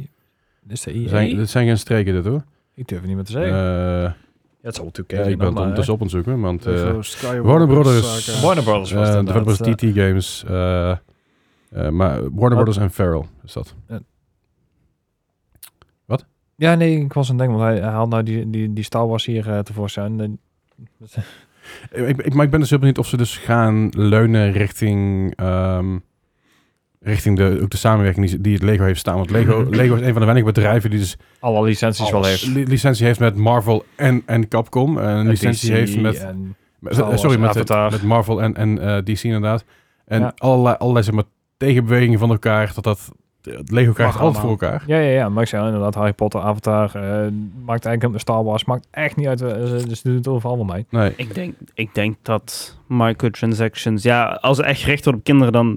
Speaker 4: Is de
Speaker 2: Dit
Speaker 4: EA?
Speaker 2: zijn, dit zijn geen streken dit, hoor.
Speaker 4: Ik durf het niet meer te
Speaker 2: Eh,
Speaker 4: zeggen. ja, het zal natuurlijk
Speaker 2: ja, ik ben het ondertussen op aan het zoeken, want... eh,
Speaker 1: Zo, Skyward
Speaker 2: Warner Brothers.
Speaker 1: Saga.
Speaker 4: Warner Brothers was
Speaker 2: eh,
Speaker 4: het
Speaker 2: developers
Speaker 4: inderdaad,
Speaker 2: TT Games, eh, eh, maar Warner Brothers en Feral is dat.
Speaker 4: Ja, nee, ik was aan het denken, want hij, hij haalt nou die, die, die Star Wars hier eh, tevoorschijn. En-
Speaker 2: Ik, ik- maar ik ben dus heel benieuwd of ze dus gaan leunen richting, ehm, richting de, ook de samenwerking die, ze- die het Lego heeft staan. Want Lego, Lego is een van de weinige bedrijven die dus
Speaker 4: alle licenties wel
Speaker 2: alles-
Speaker 4: heeft.
Speaker 2: li- licentie heeft met Marvel en, en Capcom. En een licentie
Speaker 4: DC
Speaker 2: heeft met,
Speaker 4: en-
Speaker 2: met-
Speaker 4: Star
Speaker 2: eh, sorry,
Speaker 4: Wars,
Speaker 2: met, het-
Speaker 4: Avatar.
Speaker 2: met Marvel en, en eh, DC inderdaad. En
Speaker 4: Ja.
Speaker 2: allerlei, allerlei zeg maar, tegenbewegingen van elkaar, dat dat eh, het Lego krijgt
Speaker 4: Mag
Speaker 2: altijd voor
Speaker 4: allemaal.
Speaker 2: elkaar.
Speaker 4: Ja, ja, ja. Maar ik zei oh, inderdaad, Harry Potter, Avatar, eh, maakt eigenlijk Star Wars, maakt echt niet uit. eh, ze- dus ze doen het overal wel mee.
Speaker 2: Nee. nou,
Speaker 3: Ik denk, ik denk dat microtransactions... Ja, als het echt gericht wordt op kinderen, dan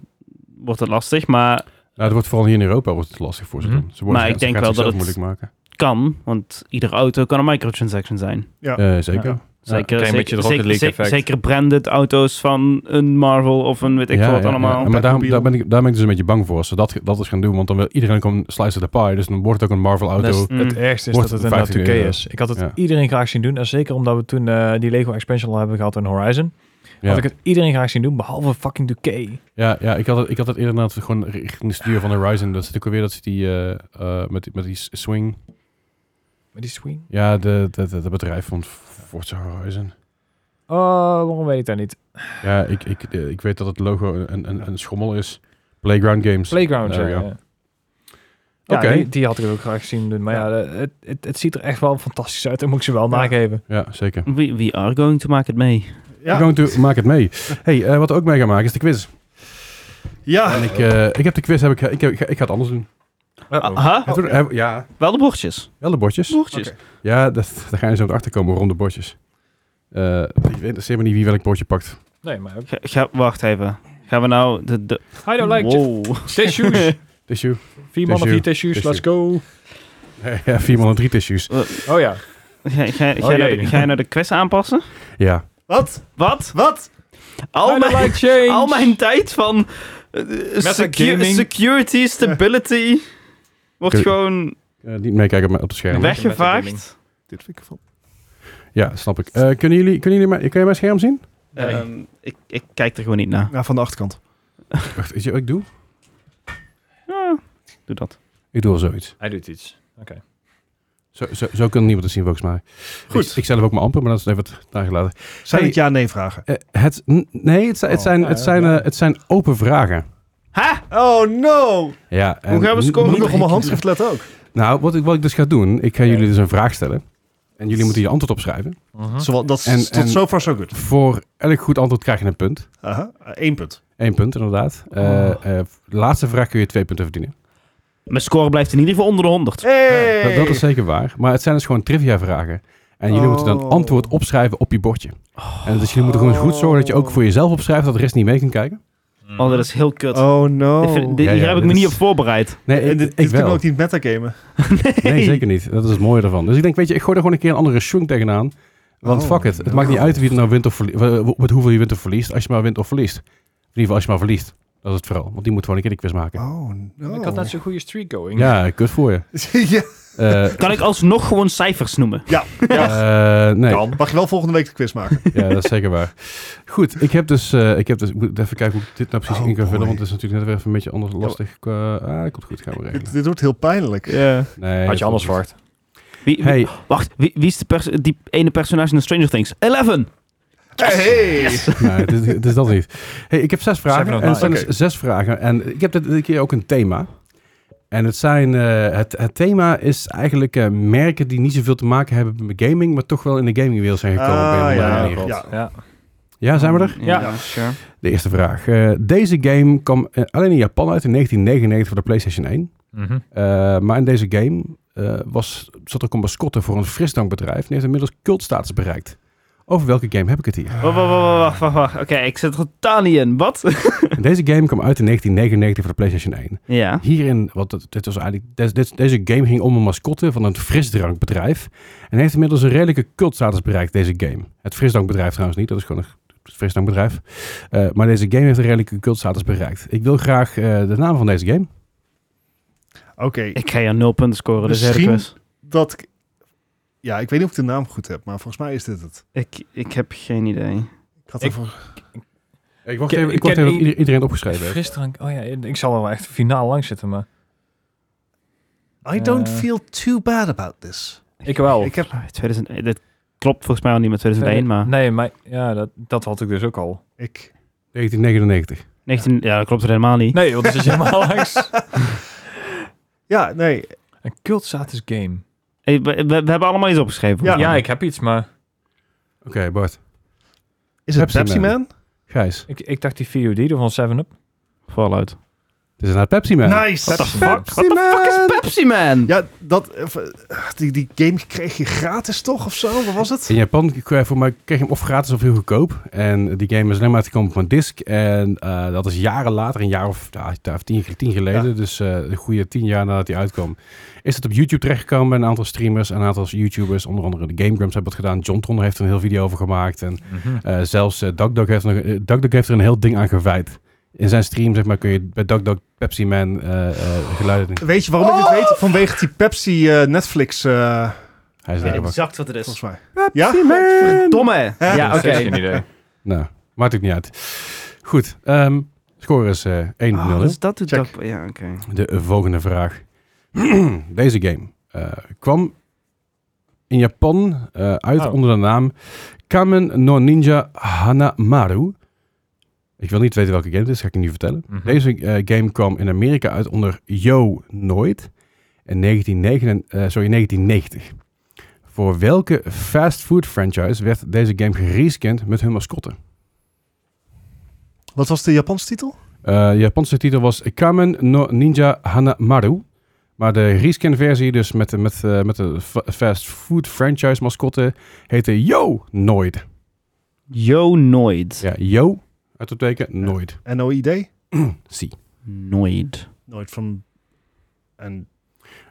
Speaker 3: wordt het lastig. Maar
Speaker 2: Nou, het wordt vooral hier in Europa wordt het lastig voor ze
Speaker 4: Mhm.
Speaker 2: doen. Ze worden
Speaker 3: Maar ik
Speaker 2: ze
Speaker 3: denk
Speaker 2: gaan
Speaker 3: wel dat
Speaker 2: zichzelf
Speaker 3: het-
Speaker 2: moeilijk maken.
Speaker 3: kan, want iedere auto kan een microtransaction zijn.
Speaker 2: Eh, zeker.
Speaker 4: Ja.
Speaker 3: Zeker,
Speaker 5: klein beetje
Speaker 3: zeker,
Speaker 5: de Rocket
Speaker 3: zeker,
Speaker 5: League
Speaker 3: zeker-
Speaker 5: effect.
Speaker 3: zeker branded auto's van een Marvel of een weet ik
Speaker 2: Ja,
Speaker 3: veel wat
Speaker 2: ja, ja.
Speaker 3: allemaal.
Speaker 2: Maar daarom,
Speaker 1: Batmobile.
Speaker 2: daar, ben ik, daar ben ik dus een beetje bang voor. Als ze dat, dat eens gaan doen, want dan wil iedereen komen slice of the pie. Dus dan wordt het ook een Marvel-auto.
Speaker 4: Dat is-
Speaker 3: Mm.
Speaker 4: Het ergste is
Speaker 2: Wordt
Speaker 4: dat het
Speaker 2: het 15
Speaker 4: inderdaad 2K
Speaker 2: euro.
Speaker 4: is. Ik had het
Speaker 2: Ja.
Speaker 4: iedereen graag zien doen. En zeker omdat we toen eh, die Lego expansion al hebben gehad in Horizon.
Speaker 2: ja.
Speaker 4: Had ik het iedereen graag zien doen, behalve fucking 2K.
Speaker 2: ja, ja, ik had het, ik had het eerder inderdaad gewoon richting de stuur van Horizon. Dat zit ook alweer, dat zit die, eh, eh, met, die- met die s- swing.
Speaker 4: Met die swing.
Speaker 2: Ja, de, de, de, de bedrijf van Forza Horizon.
Speaker 4: Oh, waarom weet ik dat niet?
Speaker 2: Ja, ik, ik, eh, ik weet dat het logo een, een, een schommel is. Playground Games.
Speaker 4: Playground,
Speaker 2: There
Speaker 4: Nou ja.
Speaker 2: we
Speaker 4: ja. Ja,
Speaker 2: Oké.
Speaker 4: die, die had ik ook graag gezien doen. Maar ja, eh, het, het, het ziet er echt wel fantastisch uit. Dat moet ik ze wel
Speaker 1: Ja.
Speaker 4: nageven.
Speaker 2: ja, zeker.
Speaker 3: We, we are going to make it mee.
Speaker 2: Ja.
Speaker 1: Ja.
Speaker 2: maak het mee. hey, eh, wat we ook mee gaan maken is de quiz.
Speaker 1: ja.
Speaker 2: En ik, eh, ik heb de quiz, heb ik, ik, heb- ik, ga, ik ga het anders doen.
Speaker 4: Ah,
Speaker 3: Aha,
Speaker 2: Heb- heb- ja,
Speaker 3: Ah, wel de bordjes.
Speaker 2: wel de bordjes.
Speaker 3: Bordjes.
Speaker 2: Ja, dat, daar ga je zo achter komen rond de bordjes. Eh, ik weet helemaal niet wie welk bordje pakt.
Speaker 4: Nee, maar...
Speaker 3: Ga, ga- wacht even. Gaan we nou de... de
Speaker 4: I don't like
Speaker 3: wow.
Speaker 4: tissues.
Speaker 2: Tissue.
Speaker 4: Vier mannen,
Speaker 2: Tissue.
Speaker 4: vier tissues.
Speaker 2: Tissue.
Speaker 4: Let's go.
Speaker 2: ja, vier man en drie tissues.
Speaker 4: Oh ja.
Speaker 3: Ga, ga, ga,
Speaker 4: Oh,
Speaker 3: je nou
Speaker 4: jee.
Speaker 3: de- ga je nou de quest aanpassen?
Speaker 2: Ja.
Speaker 1: Wat?
Speaker 3: Wat?
Speaker 1: Wat?
Speaker 3: Al
Speaker 4: I don't
Speaker 3: mijn,
Speaker 4: like change.
Speaker 3: al mijn tijd van eh, secu-
Speaker 4: gaming.
Speaker 3: security, stability wordt
Speaker 2: Kun-
Speaker 3: gewoon
Speaker 2: Eh, niet meekijken op, mijn- op het scherm.
Speaker 3: weggevaagd.
Speaker 1: Dit vind ik van.
Speaker 2: Ja, snap ik. Eh, kunnen jullie, kunnen jullie mijn, kun je mijn scherm zien?
Speaker 4: Gaming.
Speaker 3: Ehm, ik, ik kijk er gewoon niet naar.
Speaker 1: Ja, van de achterkant.
Speaker 2: Wacht, weet je wat ik doe?
Speaker 3: Doe dat.
Speaker 2: Ik doe al zoiets.
Speaker 4: Hij doet iets.
Speaker 2: Zo, zo, zo kan niemand het zien volgens mij.
Speaker 1: Goed.
Speaker 2: Ik, ik zelf ook maar amper, maar dat is even het nagelaten.
Speaker 1: Zijn
Speaker 2: Hey.
Speaker 1: het ja-nee vragen?
Speaker 2: Eh, het, n- nee, het, zijn- het,
Speaker 4: Oh,
Speaker 2: zijn,
Speaker 4: ja,
Speaker 2: het,
Speaker 4: ja,
Speaker 2: zijn,
Speaker 4: ja.
Speaker 2: eh, het zijn open vragen.
Speaker 3: Ha!
Speaker 1: Oh no!
Speaker 2: Ja, en
Speaker 3: gaan we
Speaker 2: n-
Speaker 3: scoren?
Speaker 1: Moet
Speaker 2: niet-
Speaker 1: ik nog op mijn handschrift letten ook?
Speaker 2: Nou, wat ik, wat ik dus ga doen, ik ga jullie dus een vraag stellen. En jullie moeten je antwoord opschrijven.
Speaker 4: Mhm.
Speaker 1: Zowel, dat is
Speaker 2: En-
Speaker 1: tot
Speaker 2: en-
Speaker 1: so far so good.
Speaker 2: Voor elk goed antwoord krijg je een punt.
Speaker 1: Aha, één punt.
Speaker 2: Eén punt, inderdaad. Eh eh, de laatste vraag kun je twee punten verdienen.
Speaker 3: Mijn score blijft in ieder geval onder de 100.
Speaker 1: Hey!
Speaker 2: Dat, dat is zeker waar. Maar het zijn dus gewoon trivia vragen. En jullie moeten dan
Speaker 1: Oh.
Speaker 2: antwoord opschrijven op je bordje. En dus jullie moeten gewoon goed zorgen dat je ook voor jezelf opschrijft, dat de rest niet mee kan kijken.
Speaker 3: Oh, dat is heel kut.
Speaker 1: Oh no.
Speaker 3: Dit vind-
Speaker 2: Mm.
Speaker 3: dit-
Speaker 2: Ja, ja,
Speaker 3: hier heb ik
Speaker 2: dit
Speaker 3: me niet
Speaker 2: is-
Speaker 3: op voorbereid.
Speaker 2: Nee,
Speaker 1: en
Speaker 2: ik,
Speaker 1: Eh, dit,
Speaker 2: ik
Speaker 1: dit kunnen
Speaker 2: wel.
Speaker 1: we ook niet metagamen.
Speaker 2: Nee, zeker niet. Dat is het mooie ervan. Dus ik denk, weet je, ik gooi er gewoon een keer een andere shunk tegenaan. Want
Speaker 1: Oh,
Speaker 2: fuck it. Het
Speaker 1: no.
Speaker 2: maakt niet uit wie er nou wint of verliest. Met hoeveel je wint of verliest. Als je maar wint of verliest. In ieder geval als je maar verliest. Dat is het vooral. Want die moet gewoon een keer de quiz maken.
Speaker 1: Oh no.
Speaker 4: Ik had net zo'n goede streak going.
Speaker 2: Ja, kut voor je.
Speaker 1: ja,
Speaker 2: Eh,
Speaker 3: Kan ik alsnog gewoon cijfers noemen?
Speaker 2: eh, nee,
Speaker 1: kan. Mag je wel volgende week de quiz maken?
Speaker 2: ja, dat is zeker waar. Goed, ik heb dus... eh, ik, heb dus ik moet even kijken hoe ik dit nou precies
Speaker 1: Oh,
Speaker 2: in kan vullen.
Speaker 1: boy.
Speaker 2: Want het is natuurlijk net weer even een beetje anders lastig. qua- ah, komt goed. Gaan we
Speaker 1: dit,
Speaker 2: regelen.
Speaker 1: dit wordt heel pijnlijk.
Speaker 3: Ja.
Speaker 2: Nee,
Speaker 4: Had je anders
Speaker 2: voor.
Speaker 4: verwacht.
Speaker 3: Wie, wie-
Speaker 2: Hey,
Speaker 3: Wacht, wie, wie is de pers- die ene personage in de Stranger Things? Eleven!
Speaker 1: Hey!
Speaker 2: Nee, het is, het is dat niet. Hey, ik heb zes vragen.
Speaker 4: Seven of
Speaker 2: En het zijn
Speaker 1: nine.
Speaker 2: dus zes vragen. En ik heb dit, dit keer ook een thema. En het, zijn, eh, het, het thema is eigenlijk eh, merken die niet zoveel te maken hebben met gaming, maar toch wel in de gamingwereld zijn gekomen. op een
Speaker 1: Ah,
Speaker 2: of andere
Speaker 1: ja,
Speaker 2: manier.
Speaker 1: klopt. Ja.
Speaker 4: Ja.
Speaker 2: ja, zijn we er?
Speaker 5: Ja,
Speaker 1: Ja.
Speaker 5: sure.
Speaker 2: De eerste vraag. Eh, deze game kwam eh, alleen in Japan uit in 1999 voor de PlayStation 1.
Speaker 4: Mhm.
Speaker 2: Eh, maar in deze game eh, was, zat er een mascotte voor een frisdrankbedrijf en heeft inmiddels cultstatus bereikt. Over welke game heb ik het hier?
Speaker 3: Wacht, wacht, wacht, wacht, wacht, wacht. Oké, ik zit er totaal niet in. Wat?
Speaker 2: Deze game kwam uit in 1999 voor de PlayStation 1.
Speaker 3: ja.
Speaker 2: Hierin, want het- dit was eigenlijk, des- dit- deze game ging om een mascotte van een frisdrankbedrijf. En heeft inmiddels een redelijke cultstatus bereikt, deze game. Het frisdrankbedrijf trouwens niet, dat is gewoon een frisdrankbedrijf. Eh, maar deze game heeft een redelijke cultstatus bereikt. Ik wil graag eh, de naam van deze game.
Speaker 1: Oké,
Speaker 3: Ik ga hier nul punten scoren, dus
Speaker 1: Misschien-
Speaker 3: Hercules.
Speaker 1: dat... ik- Ja, ik weet niet of ik de naam goed heb, maar volgens mij is dit het.
Speaker 3: Ik, ik heb geen idee.
Speaker 1: Ik had
Speaker 4: Ik-
Speaker 1: ervoor...
Speaker 2: Ik wacht
Speaker 4: Ken-
Speaker 2: even, ik
Speaker 4: ken
Speaker 2: wacht even dat
Speaker 4: i-
Speaker 2: ieder- iedereen het opgeschreven heeft.
Speaker 4: Frisdrank. Oh ja, ik zal er wel echt finaal lang zitten, maar...
Speaker 1: I don't
Speaker 4: Eh.
Speaker 1: feel too bad about this.
Speaker 4: Ik wel.
Speaker 1: Ik heb...
Speaker 3: 2000, Ah, eh, dit klopt volgens mij al niet met 2001, maar...
Speaker 4: Nee, maar ja, dat, dat had ik dus ook al.
Speaker 1: Ik...
Speaker 2: 1999.
Speaker 3: 19, ja, dat klopt er helemaal niet.
Speaker 4: Nee, want dat is helemaal langs.
Speaker 1: Ja, nee.
Speaker 4: Een cultstatus game.
Speaker 3: Hey, we, we- we hebben allemaal iets opgeschreven.
Speaker 1: Ja.
Speaker 4: Ja,
Speaker 3: volgens mij.
Speaker 4: ik heb iets, maar
Speaker 2: Oké, Bart.
Speaker 1: Is het
Speaker 2: Pepsi
Speaker 1: Pepsi
Speaker 2: Man?
Speaker 1: Man?
Speaker 2: Gijs.
Speaker 4: ik, ik dacht die VOD er van 7-Up.
Speaker 3: Fallout.
Speaker 2: Het is inderdaad Pepsi Man.
Speaker 1: Nice!
Speaker 4: Pepsi Man.
Speaker 3: What the fuck is Pepsi Man?
Speaker 1: Ja, dat... eh, Die, die game kreeg je gratis toch of zo? Wat was het?
Speaker 2: In Japan k- eh, voor mij kreeg je hem of gratis of heel goedkoop. En die game is alleen maar te komen op een disc. En eh, dat is jaren later, een jaar of, ja, ja, of tien, tien geleden, dus eh, een goede tien jaar nadat hij uitkwam, is het op YouTube terechtgekomen. Een aantal streamers, een aantal YouTubers, onder andere de Game Grumps hebben het gedaan. John Tron heeft er een heel video over gemaakt. En
Speaker 4: Mhm.
Speaker 2: eh, zelfs eh DuckDuck heeft, nog, eh, DuckDuck heeft er een heel ding aan gewijd. In zijn stream, zeg maar, kun je bij DuckDuck Pepsi Man eh, eh, geluiden...
Speaker 1: Weet je waarom ik het weet? Vanwege die Pepsi eh, Netflix, eh,
Speaker 2: Hij is
Speaker 1: Ja,
Speaker 2: daar
Speaker 1: dat
Speaker 2: ook.
Speaker 3: exact wat het
Speaker 1: volgens mij. Ja?
Speaker 3: Domme.
Speaker 1: Ja,
Speaker 3: Ja,
Speaker 1: dat
Speaker 3: oké.
Speaker 4: Geen idee.
Speaker 2: Nou, maakt ook niet uit. Goed, ehm, score is eh 1-0.
Speaker 3: Oh, dus dat doet
Speaker 1: Check.
Speaker 3: dat... Ja, oké.
Speaker 2: De volgende vraag. Deze game eh, kwam in Japan eh, uit
Speaker 4: Oh.
Speaker 2: onder de naam Kamen no Ninja Hanamaru. Ik wil niet weten welke game het is, ga ik je nu vertellen.
Speaker 4: Mhm.
Speaker 2: Deze eh, game kwam in Amerika uit onder Yo Nooit in 1999, eh, sorry, 1990. Voor welke fastfood franchise werd deze game gereskind met hun mascotte?
Speaker 1: Wat was de Japanse titel?
Speaker 2: Eh, de Japanse titel was Kamen no Ninja Hanamaru. Maar de reskin versie, dus met, met, eh, met de fa- fast food franchise mascotte, heette Yo Nooit.
Speaker 3: Yo nooit.
Speaker 2: Ja, Yo, uit het teken, Nooit.
Speaker 1: NOID?
Speaker 2: Zie.
Speaker 3: Nooit.
Speaker 1: Nooit van... En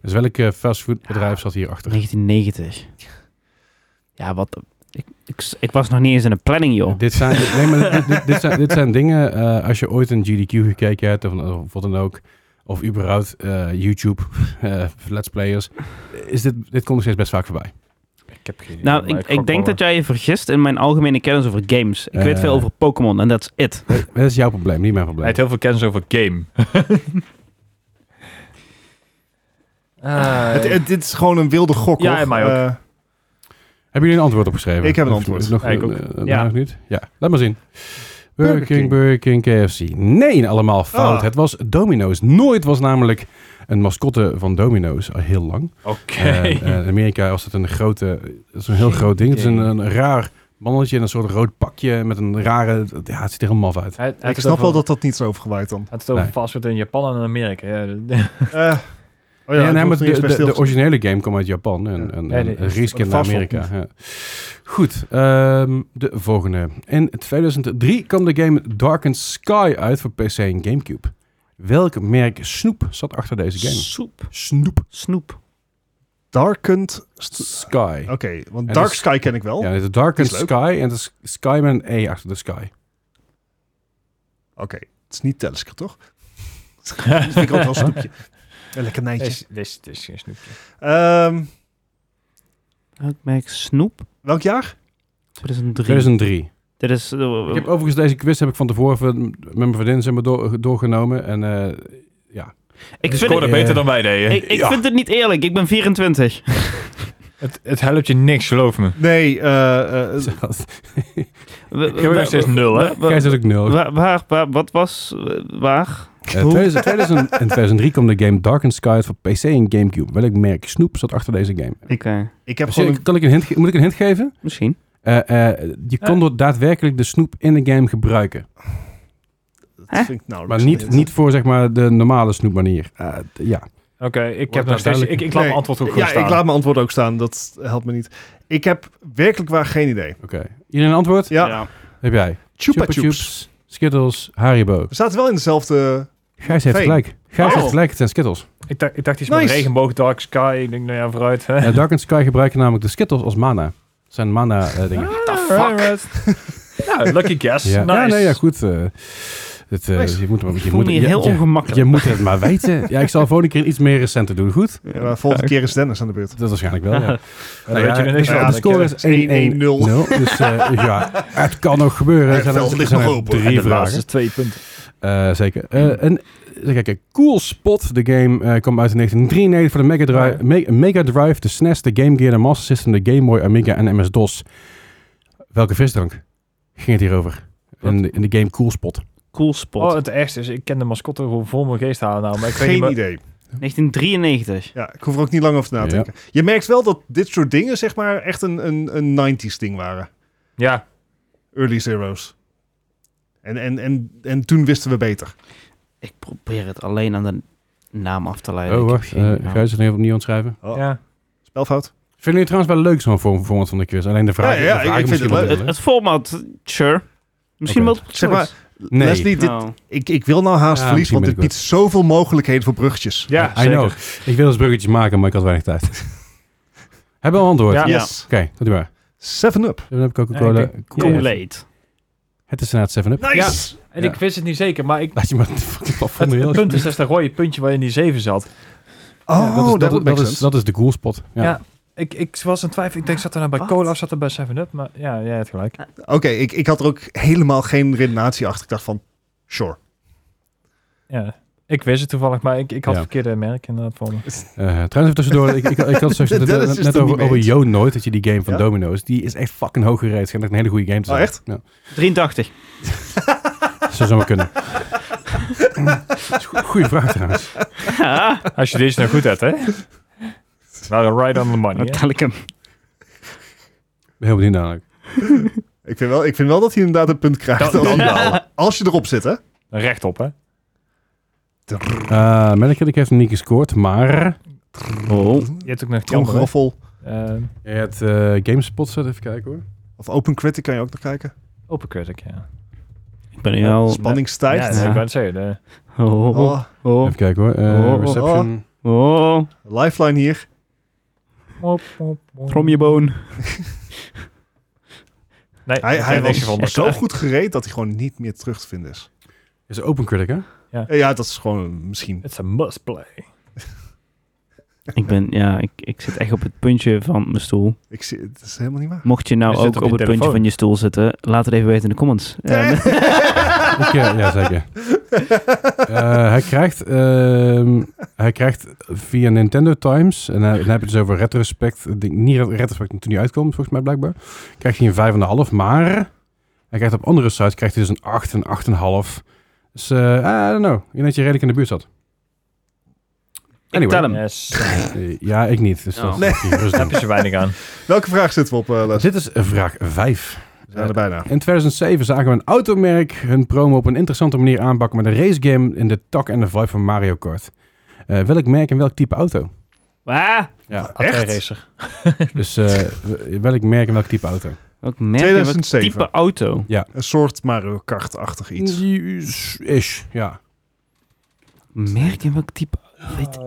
Speaker 2: Dus welk eh, fast food bedrijf zat hierachter?
Speaker 3: 1990. Ja, wat... Ik, ik, ik was nog niet eens in de planning, joh.
Speaker 2: Dit zijn, nee, maar dit, dit, dit zijn, dit zijn dingen, eh, als je ooit een GDQ gekeken hebt, of, of wat dan ook, of überhaupt eh, YouTube, eh, Let's Players, is dit, dit komt nog steeds best vaak voorbij.
Speaker 4: Ik heb geen idee.
Speaker 3: Nou, ik, ik denk dat jij je vergist in mijn algemene kennis over games. Ik weet
Speaker 2: Eh.
Speaker 3: veel over Pokémon en that's it.
Speaker 2: Dat is jouw probleem, niet mijn
Speaker 4: Hij
Speaker 2: probleem.
Speaker 4: heeft heel veel kennis over game. Ah,
Speaker 1: het, het- dit is gewoon een wilde gok,
Speaker 4: Ja,
Speaker 1: hoor.
Speaker 4: en mij ook.
Speaker 1: Eh,
Speaker 2: Hebben jullie een antwoord opgeschreven?
Speaker 1: Ik heb een
Speaker 2: Of
Speaker 1: antwoord.
Speaker 2: Nog,
Speaker 4: Ja, ik ook.
Speaker 2: eh, nog
Speaker 3: Ja.
Speaker 2: niet? Ja, laat maar zien. Burger
Speaker 1: Burger
Speaker 2: King,
Speaker 1: King.
Speaker 2: Burger King, KFC. Nee, nou, allemaal fout.
Speaker 1: Ah.
Speaker 2: Het was Domino's. Nooit was namelijk een mascotte van Domino's al heel lang.
Speaker 4: Oké.
Speaker 2: En, eh, in Amerika was het een grote, het is een heel
Speaker 4: Geen
Speaker 2: groot ding. Het is een,
Speaker 4: idee.
Speaker 2: een raar mannetje in een soort rood pakje met een rare, ja, het ziet er helemaal maf uit.
Speaker 4: Hij- hij had
Speaker 1: ik
Speaker 4: het
Speaker 1: snap
Speaker 4: over-
Speaker 1: wel dat dat niet is overgewaaid dan.
Speaker 4: Hij had het over
Speaker 2: Nee.
Speaker 4: fastfood in Japan en Amerika. Ja, dat-
Speaker 1: Eh, oh
Speaker 2: Ja,
Speaker 1: ik
Speaker 2: nee,
Speaker 1: hoef
Speaker 2: maar
Speaker 1: er niet
Speaker 2: de,
Speaker 1: eens bij
Speaker 2: de,
Speaker 1: stil
Speaker 2: de
Speaker 1: te-
Speaker 2: originele game kwam uit Japan en,
Speaker 1: Ja.
Speaker 2: en,
Speaker 4: Ja,
Speaker 2: en
Speaker 4: dit is-
Speaker 2: reskin naar
Speaker 1: vast wel
Speaker 2: Amerika. Ja. Goed, ehm, de volgende. In 2003 kwam de game Darkened Sky uit voor PC en Gamecube. Welk merk snoep zat achter deze game?
Speaker 3: Soep.
Speaker 2: Snoep
Speaker 3: Snoep.
Speaker 1: Darkened... st-
Speaker 2: Sky.
Speaker 1: Oké, want
Speaker 2: En
Speaker 1: Dark
Speaker 2: dus-
Speaker 1: Sky ken ik wel.
Speaker 2: Ja, het is Darkened
Speaker 1: Oh. Is leuk.
Speaker 2: Sky en het is Sky met een E achter de Sky.
Speaker 1: Oké, het is niet Telesker, toch? dat vind ik ook wel een snoepje. Ja, lekker
Speaker 4: dit
Speaker 1: nijntjes.
Speaker 4: is- dit is- dit is geen snoepje.
Speaker 1: Ehm,
Speaker 3: Ik merk snoep.
Speaker 1: welk jaar?
Speaker 3: 2003.
Speaker 2: 2003.
Speaker 1: Oh.
Speaker 3: Dit is... eh,
Speaker 2: Ik heb overigens deze quiz heb ik van tevoren van- met mijn vriendin zeg maar, door- doorgenomen. En eh,
Speaker 3: ik
Speaker 4: Ik
Speaker 3: vind
Speaker 4: scoorde
Speaker 3: het,
Speaker 2: eh,
Speaker 4: beter dan wij deden.
Speaker 3: ik, ik vind het niet eerlijk. Ik ben 24.
Speaker 4: Het, het helpt je niks, geloof me.
Speaker 1: Nee, eh, eh,
Speaker 3: We-
Speaker 4: Ik heb nog steeds
Speaker 3: we-
Speaker 4: nul, hè?
Speaker 3: we- we-
Speaker 2: Jij zit ook nul.
Speaker 3: Waar, waar, waar- wat was, eh, waar?
Speaker 2: Eh, 2000 2000 en 2003 kwam de game Darkened Sky uit voor PC en Gamecube. Welk merk Snoep zat achter deze game?
Speaker 3: Oké,
Speaker 1: ik heb
Speaker 2: Dus
Speaker 1: gewoon...
Speaker 2: ik- kan ik een hint ge- moet ik een hint geven?
Speaker 3: eh, misschien.
Speaker 2: Eh, eh, je kon door daadwerkelijk de snoep in de game gebruiken.
Speaker 1: dat
Speaker 3: Hè?
Speaker 1: vind ik nauwelijks
Speaker 2: Maar niet,
Speaker 1: een hint.
Speaker 2: niet voor zeg maar, de normale snoepmanier. Eh, d- ja.
Speaker 4: Oké, ik heb
Speaker 2: Wordt
Speaker 4: nog steeds...
Speaker 2: duidelijk.
Speaker 4: Ik, ik laat mijn
Speaker 1: Nee.
Speaker 4: antwoord ook gewoon
Speaker 1: Ja,
Speaker 4: staan.
Speaker 1: ik laat mijn antwoord ook staan. Dat helpt me niet. Ik heb werkelijk waar geen idee.
Speaker 2: Oké. Iedereen een antwoord?
Speaker 1: Ja,
Speaker 2: Heb jij.
Speaker 1: Chupa
Speaker 2: Chupa
Speaker 1: Chups.
Speaker 2: Chups, Skittles, Haribo.
Speaker 1: We zaten wel in dezelfde...
Speaker 2: Gijs heeft
Speaker 1: Veen.
Speaker 2: gelijk. Gijs
Speaker 1: Oh.
Speaker 2: heeft gelijk, het zijn Skittles.
Speaker 4: Ik dacht, ik dacht iets met
Speaker 1: Nice.
Speaker 4: regenboog, dark sky. Ik denk, nou ja, vooruit. Hè?
Speaker 2: Eh, Dark and Sky gebruiken namelijk de Skittles als mana. Het zijn mana eh, dingen.
Speaker 4: nou, lucky guess.
Speaker 2: Ja,
Speaker 4: Nice.
Speaker 2: ja, nee, ja, goed. eh, het, eh,
Speaker 1: Nice.
Speaker 2: Je moet, maar- je
Speaker 3: Ik voel
Speaker 2: moet,
Speaker 3: me
Speaker 2: je,
Speaker 3: hier heel
Speaker 2: je,
Speaker 3: ongemakkelijk.
Speaker 2: je moet het maar weten. Ja, ik zal de volgende keer iets meer recenter doen, goed?
Speaker 1: Ja, maar eh, volgende keer is Dennis aan de beurt.
Speaker 2: Dat waarschijnlijk wel, ja.
Speaker 4: Dan weet je er niks
Speaker 2: dus,
Speaker 1: van.
Speaker 2: eh, de score is
Speaker 1: Ja, dat is
Speaker 2: 1-1-0. Dus eh, ja, het kan nog gebeuren. Er
Speaker 1: Het
Speaker 2: zijn,
Speaker 1: veld
Speaker 2: er,
Speaker 1: ligt
Speaker 2: zijn er
Speaker 1: nog open.
Speaker 2: drie
Speaker 4: de
Speaker 2: vragen.
Speaker 4: laatste is twee punten.
Speaker 2: Eh, zeker. Eh, en even kijken. Cool Spot, de game, eh, kwam uit in 1993 voor de Mega Drive, Me- Mega Drive, de SNES, de Game Gear, de Master System, de Game Boy, Amiga en MS-DOS. Welke visdrank ging het hier over? In, de- in de game Cool Spot.
Speaker 3: Cool spot.
Speaker 4: Oh, het ergste is, ik ken de mascotte gewoon voor mijn geest halen. Nou, maar ik weet niet
Speaker 1: Geen
Speaker 4: meer-
Speaker 1: idee.
Speaker 3: 1993.
Speaker 1: Ja, ik hoef er ook niet lang over na te
Speaker 2: Ja.
Speaker 1: denken. Je merkt wel dat dit soort dingen zeg maar echt een, een, een 90s ding waren.
Speaker 4: Ja,
Speaker 1: Early Zeros. En, en, en, en toen wisten we beter.
Speaker 3: Ik probeer het alleen aan de naam af te leiden.
Speaker 2: Oh,
Speaker 3: Ik heb
Speaker 2: wacht.
Speaker 3: geen
Speaker 2: eh
Speaker 3: naam.
Speaker 2: Gijs het even opnieuw ontschrijven.
Speaker 1: Oh.
Speaker 4: ja.
Speaker 1: Spelfout.
Speaker 2: Vinden jullie trouwens wel leuk zo'n vorm, vorm van de quiz? Alleen de vraag.
Speaker 1: Ja, ja,
Speaker 2: de vraag
Speaker 1: ik- ik vind het
Speaker 3: Eh, het, het format, sure. Misschien
Speaker 2: Oké.
Speaker 3: multiple
Speaker 1: Zeg
Speaker 3: choice.
Speaker 2: Nee.
Speaker 1: Leslie, dit,
Speaker 3: Nou,
Speaker 1: ik, ik wil nou haast
Speaker 2: Ja,
Speaker 1: verliezen,
Speaker 2: misschien
Speaker 1: want dit
Speaker 2: ben ik
Speaker 1: biedt zoveel mogelijkheden voor bruggetjes.
Speaker 4: ja
Speaker 2: I
Speaker 4: zeker.
Speaker 2: know. Ik wil eens bruggetjes maken, maar ik had weinig tijd. Hebben we al antwoord?
Speaker 4: Ja.
Speaker 2: Oké,
Speaker 1: Yes.
Speaker 2: dat is waar.
Speaker 1: Seven up.
Speaker 2: Dan heb ik Coca-Cola.
Speaker 4: Ja, ik denk-
Speaker 2: Cool.
Speaker 3: Kool-Aid.
Speaker 2: Het is inderdaad 7-Up.
Speaker 1: Nice.
Speaker 4: En
Speaker 2: Ja.
Speaker 4: ik wist het niet zeker, maar ik...
Speaker 2: Laat je maar fucking
Speaker 4: Het,
Speaker 2: plafond
Speaker 4: het
Speaker 2: heel
Speaker 4: punt is, dus dat is dat rode puntje waar in die 7 zat.
Speaker 1: Oh,
Speaker 2: dat, is,
Speaker 1: dat,
Speaker 2: dat, is-
Speaker 1: makes
Speaker 2: dat is,
Speaker 1: sense.
Speaker 2: dat is de cool spot. Ja.
Speaker 4: Ja. Ik, ik was aan het twijfelen. Ik denk, zat er nou bij
Speaker 3: Wat?
Speaker 4: cola of zat er bij 7-Up? Maar ja, jij hebt gelijk.
Speaker 1: Oké, ik, ik had er ook helemaal geen redenatie achter. Ik dacht van, sure.
Speaker 4: Ja. Ik wist het toevallig, maar ik, ik had
Speaker 2: Ja.
Speaker 4: het verkeerde merk inderdaad voor me.
Speaker 2: Eh, trouwens, even tussendoor. ik, ik, ik had zoiets net,
Speaker 1: Dennis is
Speaker 2: net
Speaker 1: er
Speaker 2: over,
Speaker 1: niet mee
Speaker 2: over
Speaker 1: eens.
Speaker 2: Yo Nooit, dat je die game van
Speaker 1: Ja?
Speaker 2: Domino's, die is echt fucking hoog gereed. Het schijnt echt een hele goede game te
Speaker 1: Oh,
Speaker 2: zijn.
Speaker 1: echt?
Speaker 2: Ja,
Speaker 3: 83.
Speaker 2: dat zou zomaar kunnen. Dat is een goe- Goeie vraag trouwens.
Speaker 3: Ja,
Speaker 4: Als je deze nou goed hebt, hè? We waren right on the money.
Speaker 3: dan
Speaker 4: hè?
Speaker 3: tel ik hem.
Speaker 2: Ik ben heel benieuwd namelijk.
Speaker 1: Ik vind, wel, ik vind wel dat hij inderdaad een punt krijgt.
Speaker 4: Dan-
Speaker 1: als-
Speaker 3: dan-
Speaker 1: Als je erop zit, hè.
Speaker 4: Rechtop, hè?
Speaker 2: Eh Metacritic heeft hem niet gescoord, maar...
Speaker 3: Oh.
Speaker 4: Je hebt ook nog die andere.
Speaker 1: Tromgeroffel.
Speaker 4: eh,
Speaker 2: Het eh GameSpot zet even kijken hoor.
Speaker 1: Of Open Critic kan je ook naar kijken.
Speaker 4: Open Critic, ja.
Speaker 3: Ik ben nu al...
Speaker 1: Spanning
Speaker 4: Ja,
Speaker 1: stijgt.
Speaker 4: dat
Speaker 3: Ja.
Speaker 4: ik wou het zeggen. de-
Speaker 3: Oh, oh,
Speaker 1: Oh,
Speaker 3: oh,
Speaker 2: Even kijken hoor. Eh,
Speaker 3: Oh, oh, oh.
Speaker 2: reception.
Speaker 3: oh.
Speaker 1: lifeline hier.
Speaker 4: Mop, mop, mop.
Speaker 3: From je boon.
Speaker 4: Nee,
Speaker 1: Hij,
Speaker 4: ik
Speaker 1: hij
Speaker 4: heb niks gevonden.
Speaker 1: was zo goed gereed dat hij gewoon niet meer terug te vinden is.
Speaker 2: Is Open Critic hè?
Speaker 1: Eh, Ja, dat is gewoon misschien.
Speaker 4: It's a must play.
Speaker 3: Ik ben, ja, ik, ik zit echt op het puntje van mijn stoel.
Speaker 1: Ik zie, het is helemaal niet waar.
Speaker 3: Mocht je nou
Speaker 4: Is dit
Speaker 3: ook
Speaker 4: op
Speaker 3: op,
Speaker 4: je
Speaker 3: het puntje
Speaker 4: telefoon?
Speaker 3: van je stoel zitten, laat het even weten in de comments. En-
Speaker 2: Ik, eh, ja, zeker. Eh, hij, krijgt, ehm, hij krijgt via Nintendo Times, en hij- dan heb je het dus over retrospect, ik denk niet ret- retrospect toen die uitkomt, volgens mij blijkbaar, krijgt hij een 5,5, maar hij krijgt op andere sites krijgt hij dus een 8, een 8,5. Dus, eh I don't know, ik denk dat je redelijk in de buurt zat.
Speaker 3: ik tel hem.
Speaker 4: Yes.
Speaker 2: Eh, ja, ik niet, dus dat
Speaker 3: Oh. Nee.
Speaker 2: dat moet je gerust doen.
Speaker 4: Heb je zo weinig aan.
Speaker 1: Welke vraag zitten we op, eh Les?
Speaker 2: Dit is vraag 5.
Speaker 1: We zijn er bijna.
Speaker 2: In 2007 zagen we een automerk hun promo op een interessante manier aanpakken met een racegame in de tak en de vibe van Mario Kart. Eh, welk merk en welk type auto?
Speaker 3: Ah,
Speaker 2: Ja.
Speaker 1: Echt?
Speaker 4: Racer.
Speaker 2: Dus eh, w- welk merk en welk type auto?
Speaker 3: welk merk en welk
Speaker 1: 2007.
Speaker 3: type auto?
Speaker 1: Een soort Mario Kart-achtig iets.
Speaker 2: Ish, ja.
Speaker 3: Merk en welk type... Weet-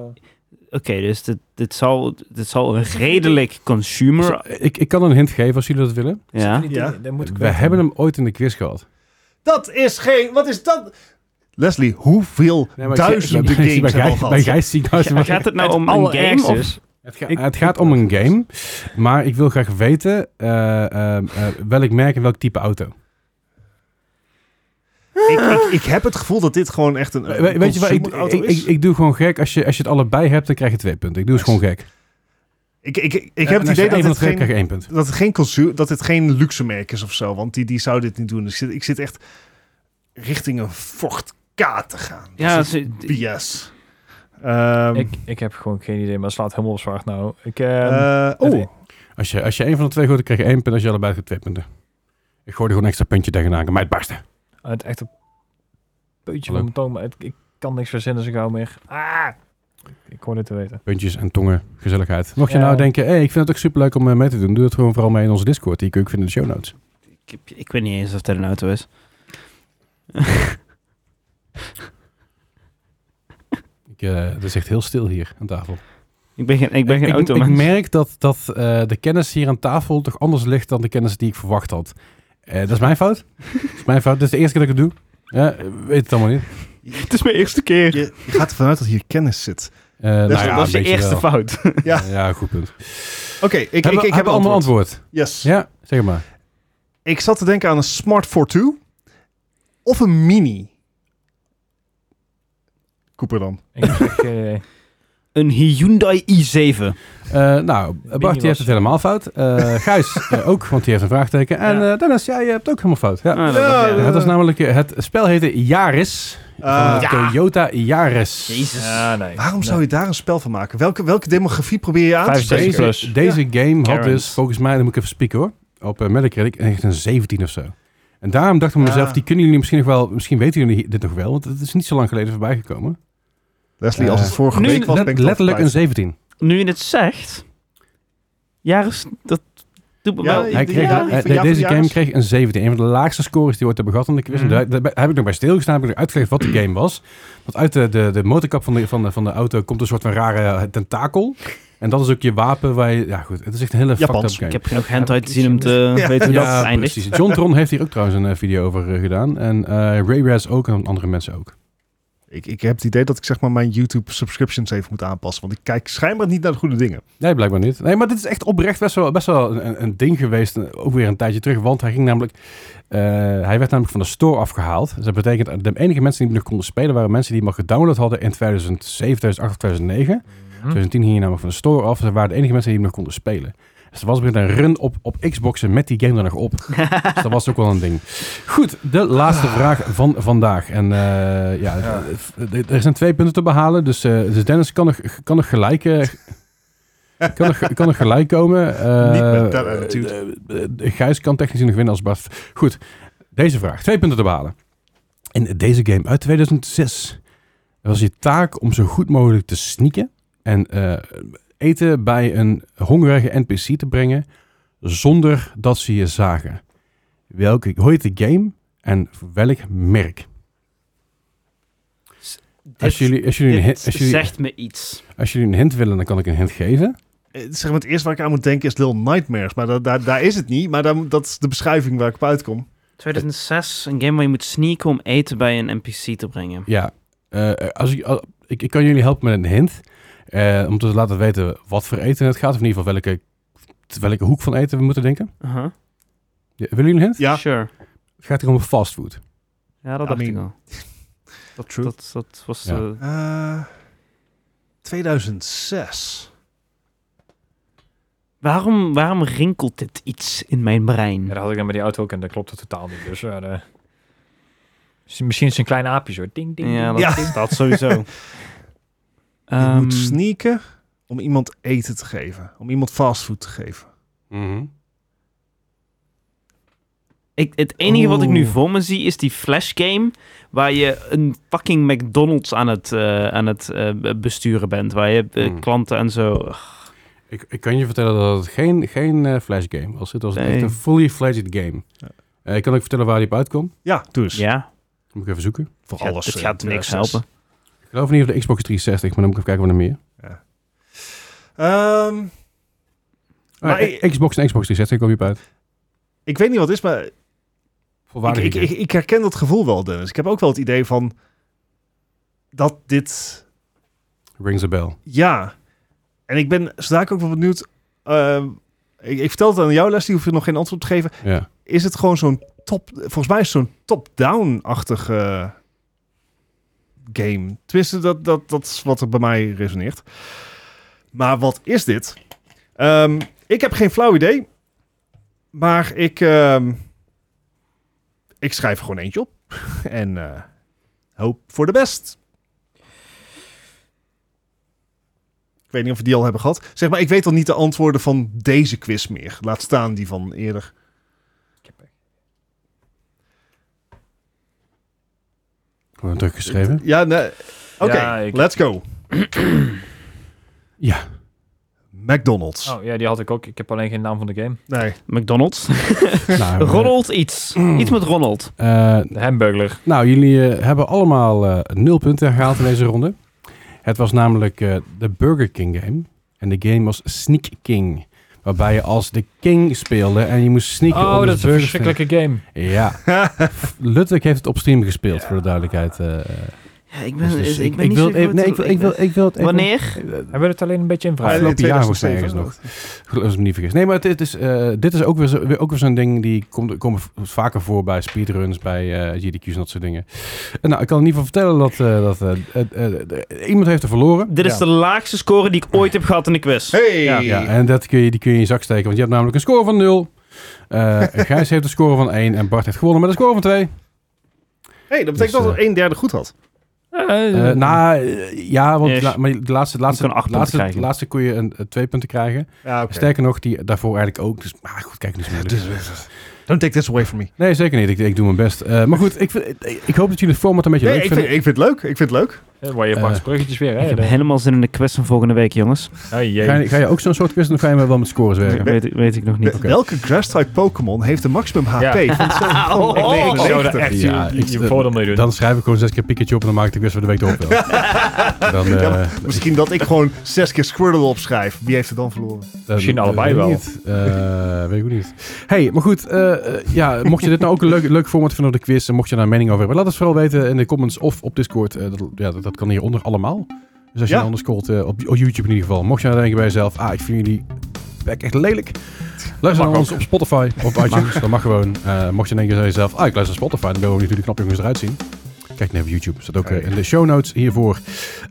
Speaker 3: Oké, dus dit, dit, zal, dit zal een redelijk consumer...
Speaker 2: Dus, eh, ik, ik kan een hint geven als jullie dat willen.
Speaker 3: Ja.
Speaker 1: Ja.
Speaker 4: Dat moet ik
Speaker 2: We hebben hem ooit in de quiz gehad.
Speaker 1: Dat is geen... Wat is dat? Leslie, hoeveel duizenden games hebben we al
Speaker 2: Bij
Speaker 1: gehad?
Speaker 2: Gijs zie ik
Speaker 3: Ga-
Speaker 2: duizenden.
Speaker 3: Gaat het nou om een game?
Speaker 4: allerergste
Speaker 3: Of?
Speaker 4: is-
Speaker 2: Het, ga-
Speaker 3: Ik-
Speaker 2: het gaat om een game, maar ik wil graag weten eh, eh, eh, welk merk en welk type auto.
Speaker 1: Ik, ik, ik heb het gevoel dat dit gewoon echt een,
Speaker 2: We-
Speaker 1: een
Speaker 2: Eh, we- weet je wat, ik,
Speaker 1: consumerauto
Speaker 2: ik,
Speaker 1: is.
Speaker 2: ik, ik doe gewoon gek. Als je, als je het allebei hebt, dan krijg je twee punten. Ik doe het
Speaker 1: Nice.
Speaker 2: gewoon gek.
Speaker 1: Ik, ik, ik, ik heb het idee dat
Speaker 2: het
Speaker 1: het,
Speaker 2: geen... krijg
Speaker 1: geen,
Speaker 2: je één punt.
Speaker 1: dat, het geen consu- dat het geen luxe merk is of zo. Want die, die zou dit niet doen. Dus ik zit, ik zit echt richting een Ford K te gaan.
Speaker 3: Ja,
Speaker 1: dat is
Speaker 3: ze-
Speaker 1: BS. Ehm,
Speaker 4: Ik, ik heb gewoon geen idee, maar het slaat helemaal op zwart nou. Ik, eh,
Speaker 2: ehm,
Speaker 1: eh, oh,
Speaker 4: het-
Speaker 2: Als je, als je één van de twee gooit, dan krijg je één punt. Als je allebei hebt, twee punten. Ik gooi er gewoon een extra puntje tegenaan. Maar het barsten.
Speaker 4: het echt een beetje
Speaker 2: Leuk.
Speaker 4: van mijn tong, maar het- ik kan niks verzinnen zo gauw meer. Ah! Ik hoor dit te weten.
Speaker 2: Puntjes en tongen, gezelligheid. Mocht je
Speaker 4: Ja.
Speaker 2: nou denken, hey, ik vind het ook superleuk om eh, mee te doen. Doe het gewoon vooral mee in onze Discord. Die kun je ook vinden in de show notes.
Speaker 3: ik, heb- ik weet niet eens of dat een auto is.
Speaker 2: Ik, eh, het is echt heel stil hier aan tafel.
Speaker 3: Ik ben geen, ik ben geen
Speaker 2: Eh, ik,
Speaker 3: auto,
Speaker 2: ik merk dat, dat eh, de kennis hier aan tafel toch anders ligt dan de kennis die ik verwacht had. Eh, dat is mijn fout. dat is mijn fout. Dit is de eerste keer dat ik het doe. Ja, weet het allemaal niet.
Speaker 3: Het is mijn eerste keer.
Speaker 1: je, je gaat ervan uit dat hier kennis zit.
Speaker 2: Eh,
Speaker 1: Dat is-
Speaker 2: nou ja,
Speaker 3: dat is
Speaker 2: een
Speaker 3: de
Speaker 2: beetje
Speaker 3: eerste
Speaker 2: wel.
Speaker 3: fout.
Speaker 2: Ja.
Speaker 1: Ja.
Speaker 2: goed punt.
Speaker 1: Oké, ik, ik,
Speaker 2: Ik,
Speaker 1: ik,
Speaker 2: heb een ander antwoord.
Speaker 1: Yes.
Speaker 2: Ja, zeg maar.
Speaker 1: Ik zat te denken aan een Smart 42 of een Mini. Cooper dan.
Speaker 4: Ik zeg, eh,
Speaker 3: Een Hyundai i7.
Speaker 2: Eh, nou, Bart
Speaker 4: was-
Speaker 2: die heeft het helemaal fout. Eh Gijs eh, ook, want die heeft een vraagteken. En
Speaker 3: Ja.
Speaker 2: eh, Dennis, jij hebt ook helemaal fout. Ja.
Speaker 3: Ah, dat was-
Speaker 1: Ja,
Speaker 2: Ja,
Speaker 3: ja.
Speaker 2: het was namelijk, eh, het spel heette Yaris.
Speaker 1: Ah.
Speaker 2: van de Toyota Yaris.
Speaker 3: Jezus.
Speaker 4: ah, nee.
Speaker 1: Waarom zou je daar een spel van maken? Welke, welke demografie probeer je aan te
Speaker 4: Vijf,
Speaker 1: spreken?
Speaker 4: zeven.
Speaker 2: Deze,
Speaker 4: Plus.
Speaker 2: deze game had
Speaker 3: Karens.
Speaker 2: dus, volgens mij, dan moet ik even spieken hoor, op eh, Metacritic, echt een 17 of zo. En daarom dacht ik bij
Speaker 1: Ja.
Speaker 2: mezelf, die kunnen jullie misschien nog wel, misschien weten jullie dit nog wel, want het is niet zo lang geleden voorbij gekomen.
Speaker 1: Leslie, als het
Speaker 2: Eh,
Speaker 1: vorige
Speaker 3: nu
Speaker 1: week was,
Speaker 2: Let-
Speaker 1: ben ik het
Speaker 2: letterlijk een
Speaker 1: wel kwijt.
Speaker 2: 17.
Speaker 3: Nu je het zegt... Jaris, dat doet me
Speaker 1: Ja,
Speaker 3: wel...
Speaker 1: ik-
Speaker 2: Hij
Speaker 1: die-
Speaker 2: kreeg,
Speaker 1: ja,
Speaker 2: eh,
Speaker 1: die-
Speaker 2: de-
Speaker 1: ja, van
Speaker 2: deze
Speaker 1: Yaris.
Speaker 2: game kreeg een 17. Een van de laagste scores die we ooit hebben gehad aan de quiz. En
Speaker 4: Mhm.
Speaker 2: daar, daar heb ik nog bij stilgestaan. Heb ik nog uitgelegd wat de game was. Want uit de, de, de motorkap van de, van, de, van de auto komt een soort van rare eh, tentakel. En dat is ook je wapen waar je... Ja goed, het is echt een hele fucked up
Speaker 1: Japans.
Speaker 2: game.
Speaker 3: Ik heb genoeg hentai te zien om te weten hoe dat eindigt.
Speaker 2: precies. John Tron heeft hier ook trouwens een eh, video over eh, gedaan. En eh, Ray Raz ook en andere mensen ook.
Speaker 1: Ik, ik heb het idee dat ik zeg maar mijn YouTube subscriptions even moet aanpassen. Want ik kijk schijnbaar niet naar de goede dingen.
Speaker 2: Nee, blijkbaar niet. Nee, maar dit is echt oprecht best wel, best wel een, een ding geweest. eh, Ook weer een tijdje terug. Want hij ging namelijk... eh, hij werd namelijk van de store afgehaald. Dus dat betekent... eh, De enige mensen die hem nog konden spelen... waren mensen die hem al gedownload hadden in 2007, 2008 of 2009.
Speaker 4: Hm.
Speaker 2: 2010 ging hij namelijk van de store af. Ze waren de enige mensen die hem nog konden spelen. Dus er was weer een run op, op Xboxen met die game er nog op. Dus dat was ook wel een ding. Goed, de laatste vraag van vandaag. En eh, ja,
Speaker 4: Ja.
Speaker 2: d- d- er zijn twee punten te behalen. Dus, eh, dus Dennis kan nog, kan nog gelijk... eh, kan nog, kan nog gelijk komen. Eh,
Speaker 1: Niet met dat attitude.
Speaker 2: eh, eh, Gijs kan technisch nog winnen als Bart. Goed, deze vraag. Twee punten te behalen. In deze game uit 2006 was je taak om zo goed mogelijk te sneaken en eh, eten bij een hongerige NPC te brengen zonder dat ze je zagen. Welke, hoe heet de game en voor welk merk? Als jullie, als, jullie een,
Speaker 3: Dit
Speaker 2: hint- als, jullie,
Speaker 3: zegt me iets.
Speaker 2: als jullie een hint willen, dan kan ik een hint geven.
Speaker 1: Eh, Zeg maar, het eerste waar ik aan moet denken is Little Nightmares. Maar da- daar- daar is het niet. Maar daar, dat is de beschrijving waar ik op uitkom.
Speaker 3: 2006, een game waar je moet sneaken om eten bij een NPC te brengen.
Speaker 2: Ja, eh, als ik, al- ik, ik kan jullie helpen met een hint. eh, om te laten weten wat voor eten het gaat. Of in ieder geval welke, welke hoek van eten we moeten denken.
Speaker 3: Uh-huh.
Speaker 2: Ja, willen jullie een hint?
Speaker 1: Ja,
Speaker 3: Sure.
Speaker 2: Het gaat hier om fastfood.
Speaker 3: Ja, dat
Speaker 1: I
Speaker 3: dacht ik
Speaker 1: mean,
Speaker 3: al. Dat,
Speaker 1: true.
Speaker 3: Dat, dat was
Speaker 2: Ja.
Speaker 3: de...
Speaker 1: Eh, 2006.
Speaker 3: Waarom, waarom rinkelt dit iets in mijn brein?
Speaker 4: Ja, dat had ik dan met die auto ook en dat klopt het totaal niet. Dus eh, de- Misschien- misschien is het een klein aapje zo. Ding, ding,
Speaker 3: Ja,
Speaker 4: ding.
Speaker 3: dat,
Speaker 1: Ja.
Speaker 3: dat sowieso.
Speaker 1: Je
Speaker 3: Ehm,
Speaker 1: moet sneaken om iemand eten te geven. Om iemand fastfood te geven.
Speaker 3: ik, het enige wat ik nu
Speaker 1: Oeh.
Speaker 3: voor me zie is die flash game waar je een fucking McDonald's aan het, eh, aan het eh, besturen bent. Waar je eh,
Speaker 2: Hmm.
Speaker 3: klanten en zo... Ugh,
Speaker 2: Ik, ik kan je vertellen dat het geen, geen eh, flash game was. Het was
Speaker 3: Nee.
Speaker 2: echt een fully fledged game.
Speaker 1: Ja.
Speaker 2: Eh, ik kan ook vertellen waar die op uitkwam.
Speaker 1: Ja, doe eens.
Speaker 3: ja,
Speaker 2: Moet ik even zoeken.
Speaker 1: Voor
Speaker 3: Ja,
Speaker 1: alles.
Speaker 3: dit
Speaker 1: eh,
Speaker 3: gaat niks
Speaker 1: 2006.
Speaker 3: helpen.
Speaker 2: Ik geloof niet op de Xbox 360, maar dan moet ik even kijken wat er meer.
Speaker 1: Ehm,
Speaker 2: Ah,
Speaker 1: Maar
Speaker 2: eh, Xbox en Xbox 360 kwam je op uit.
Speaker 1: ik weet niet wat het is, maar ik,
Speaker 2: Volwaardig
Speaker 1: ik, ik, ik herken dat gevoel wel, Dennis. Ik heb ook wel het idee van dat dit
Speaker 2: Rings a bell.
Speaker 1: Ja. En ik ben zodra ik ook wel benieuwd. ehm, ik, ik vertel het aan jou, Leslie, hoef je nog geen antwoord op te geven.
Speaker 2: Ja.
Speaker 1: Is het gewoon zo'n top. Volgens mij is het zo'n top-down-achtige eh, game. Tenminste, dat, dat, dat is wat er bij mij resoneert. Maar wat is dit? Ehm, ik heb geen flauw idee. Maar ik, ehm, ik schrijf er gewoon eentje op. en eh, hoop voor de best. Ik weet niet of we die al hebben gehad. Zeg maar, ik weet al niet de antwoorden van deze quiz meer. Laat staan die van eerder.
Speaker 2: Gewoon druk geschreven.
Speaker 1: Ja, nee. Oké,
Speaker 4: Ja, ik-
Speaker 1: let's go.
Speaker 2: Ja.
Speaker 1: McDonald's.
Speaker 4: Oh ja, die had ik ook. Ik heb alleen geen naam van de game.
Speaker 1: Nee.
Speaker 3: McDonald's.
Speaker 2: Nou, eh,
Speaker 3: Ronald iets. Iets met Ronald.
Speaker 2: eh,
Speaker 4: De Hamburglar.
Speaker 2: nou, jullie eh, hebben allemaal eh, nul punten gehaald in deze ronde. Het was namelijk eh, de Burger King game. En de game was Sneak King. Waarbij je als de king speelde en je moest sneaken
Speaker 4: Oh,
Speaker 2: onder
Speaker 4: dat
Speaker 2: de
Speaker 4: is een
Speaker 2: burgers.
Speaker 4: verschrikkelijke game.
Speaker 2: Ja. Luttek heeft het op stream gespeeld, voor de duidelijkheid. eh,
Speaker 3: Ja, ik
Speaker 2: dus
Speaker 3: ben,
Speaker 2: dus
Speaker 3: ik, ben niet
Speaker 2: wil
Speaker 3: zo
Speaker 2: het even-
Speaker 3: goed-
Speaker 2: nee, ik wil- ik wil- ik wil het even-
Speaker 3: Wanneer?
Speaker 4: Hebben we het alleen een beetje in vraag?
Speaker 2: Afgelopen
Speaker 1: in
Speaker 2: jaar volgens mij ergens
Speaker 1: 2007
Speaker 2: nog. Als ik me niet vergis. Nee, maar het, het is, eh, dit is ook weer, zo, weer, ook weer zo'n ding die komt, komt vaker voor bij speedruns, bij eh GDQ's en dat soort dingen. En nou, ik kan in ieder geval vertellen dat, eh, dat eh, eh, eh, eh, iemand heeft er verloren.
Speaker 3: Dit is de laagste score die ik ooit heb gehad in de quiz.
Speaker 1: Hey!
Speaker 2: Ja, en dat kun je, die kun je in je zak steken, want je hebt namelijk een score van 0. Eh Gijs heeft een score van 1 en Bart heeft gewonnen met een score van 2.
Speaker 1: hey, dat betekent
Speaker 2: Dus,
Speaker 1: dat een derde goed had.
Speaker 2: Eh,
Speaker 3: Ehm,
Speaker 2: nou, eh, ja, want
Speaker 3: Yes.
Speaker 2: la- maar de laatste, laatste,
Speaker 3: Je kan acht punten
Speaker 2: laatste,
Speaker 3: krijgen.
Speaker 2: laatste kon je een, eh, twee punten krijgen.
Speaker 1: Ja, oké.
Speaker 2: Sterker nog, die daarvoor eigenlijk ook. Dus, maar goed, kijk, dus moeilijk.
Speaker 1: Don't take this away from me.
Speaker 2: Nee, zeker niet. Ik, ik doe mijn best. Eh, maar goed, ik, vind- ik- ik hoop dat jullie het format een beetje
Speaker 1: Nee,
Speaker 2: leuk
Speaker 1: ik vind,
Speaker 2: vinden.
Speaker 1: ik vind het leuk. Ik vind het leuk.
Speaker 4: Waar je
Speaker 2: eh,
Speaker 4: pakt bruggetjes weer,
Speaker 3: Ik
Speaker 4: hè?
Speaker 3: heb
Speaker 4: De-
Speaker 3: helemaal zin in de quiz van volgende week, jongens.
Speaker 4: Oh, jee.
Speaker 2: Ga je, ga je ook zo'n soort quiz doen of ga je maar wel met scores werken?
Speaker 3: Dat weet, weet ik nog niet.
Speaker 1: De- Welke grass-type Pokémon heeft de maximum HP?
Speaker 4: Ja.
Speaker 1: Van
Speaker 3: Ah,
Speaker 1: oh,
Speaker 4: Ik denk dat je zo de echt
Speaker 2: Ja,
Speaker 4: je,
Speaker 2: ik-
Speaker 4: je voordeel mee doen.
Speaker 2: Dan schrijf ik gewoon zes keer Pikachu op en dan maak ik de quiz voor de week erop wel. dan, eh,
Speaker 1: Ja, maar Misschien dat ik gewoon zes keer Squirtle opschrijf. Wie heeft er dan verloren?
Speaker 2: dan-
Speaker 4: misschien
Speaker 2: dan-
Speaker 4: allebei
Speaker 2: Eh, weet ik
Speaker 4: wel.
Speaker 2: Niet. Eh, weet ik ook niet. Hey, maar goed. eh, eh, ja, mocht je dit nou ook een leuk, leuk format vinden op de quiz en mocht je daar een mening over hebben, laat het vooral weten in de comments of op Discord. Eh, dat, ja, dat, dat kan hieronder allemaal. Dus als je
Speaker 1: Ja.
Speaker 2: anders scrolt eh, op, op YouTube in ieder geval. Mocht je nou denken bij jezelf, ah, ik vind jullie bek echt lelijk. Luister naar ons op Spotify of iTunes, dat mag gewoon. Eh, mocht je denken bij jezelf, ah, ik luister naar Spotify, dan wil ik natuurlijk knap jongens eruit zien. Kijk naar YouTube, staat ook eh, in de show notes hiervoor.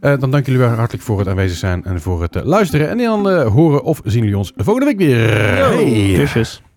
Speaker 2: Eh, dan dank jullie wel hartelijk voor het aanwezig zijn en voor het eh, luisteren. En dan eh, horen of zien jullie ons volgende week weer. Hey.
Speaker 3: Kusjes.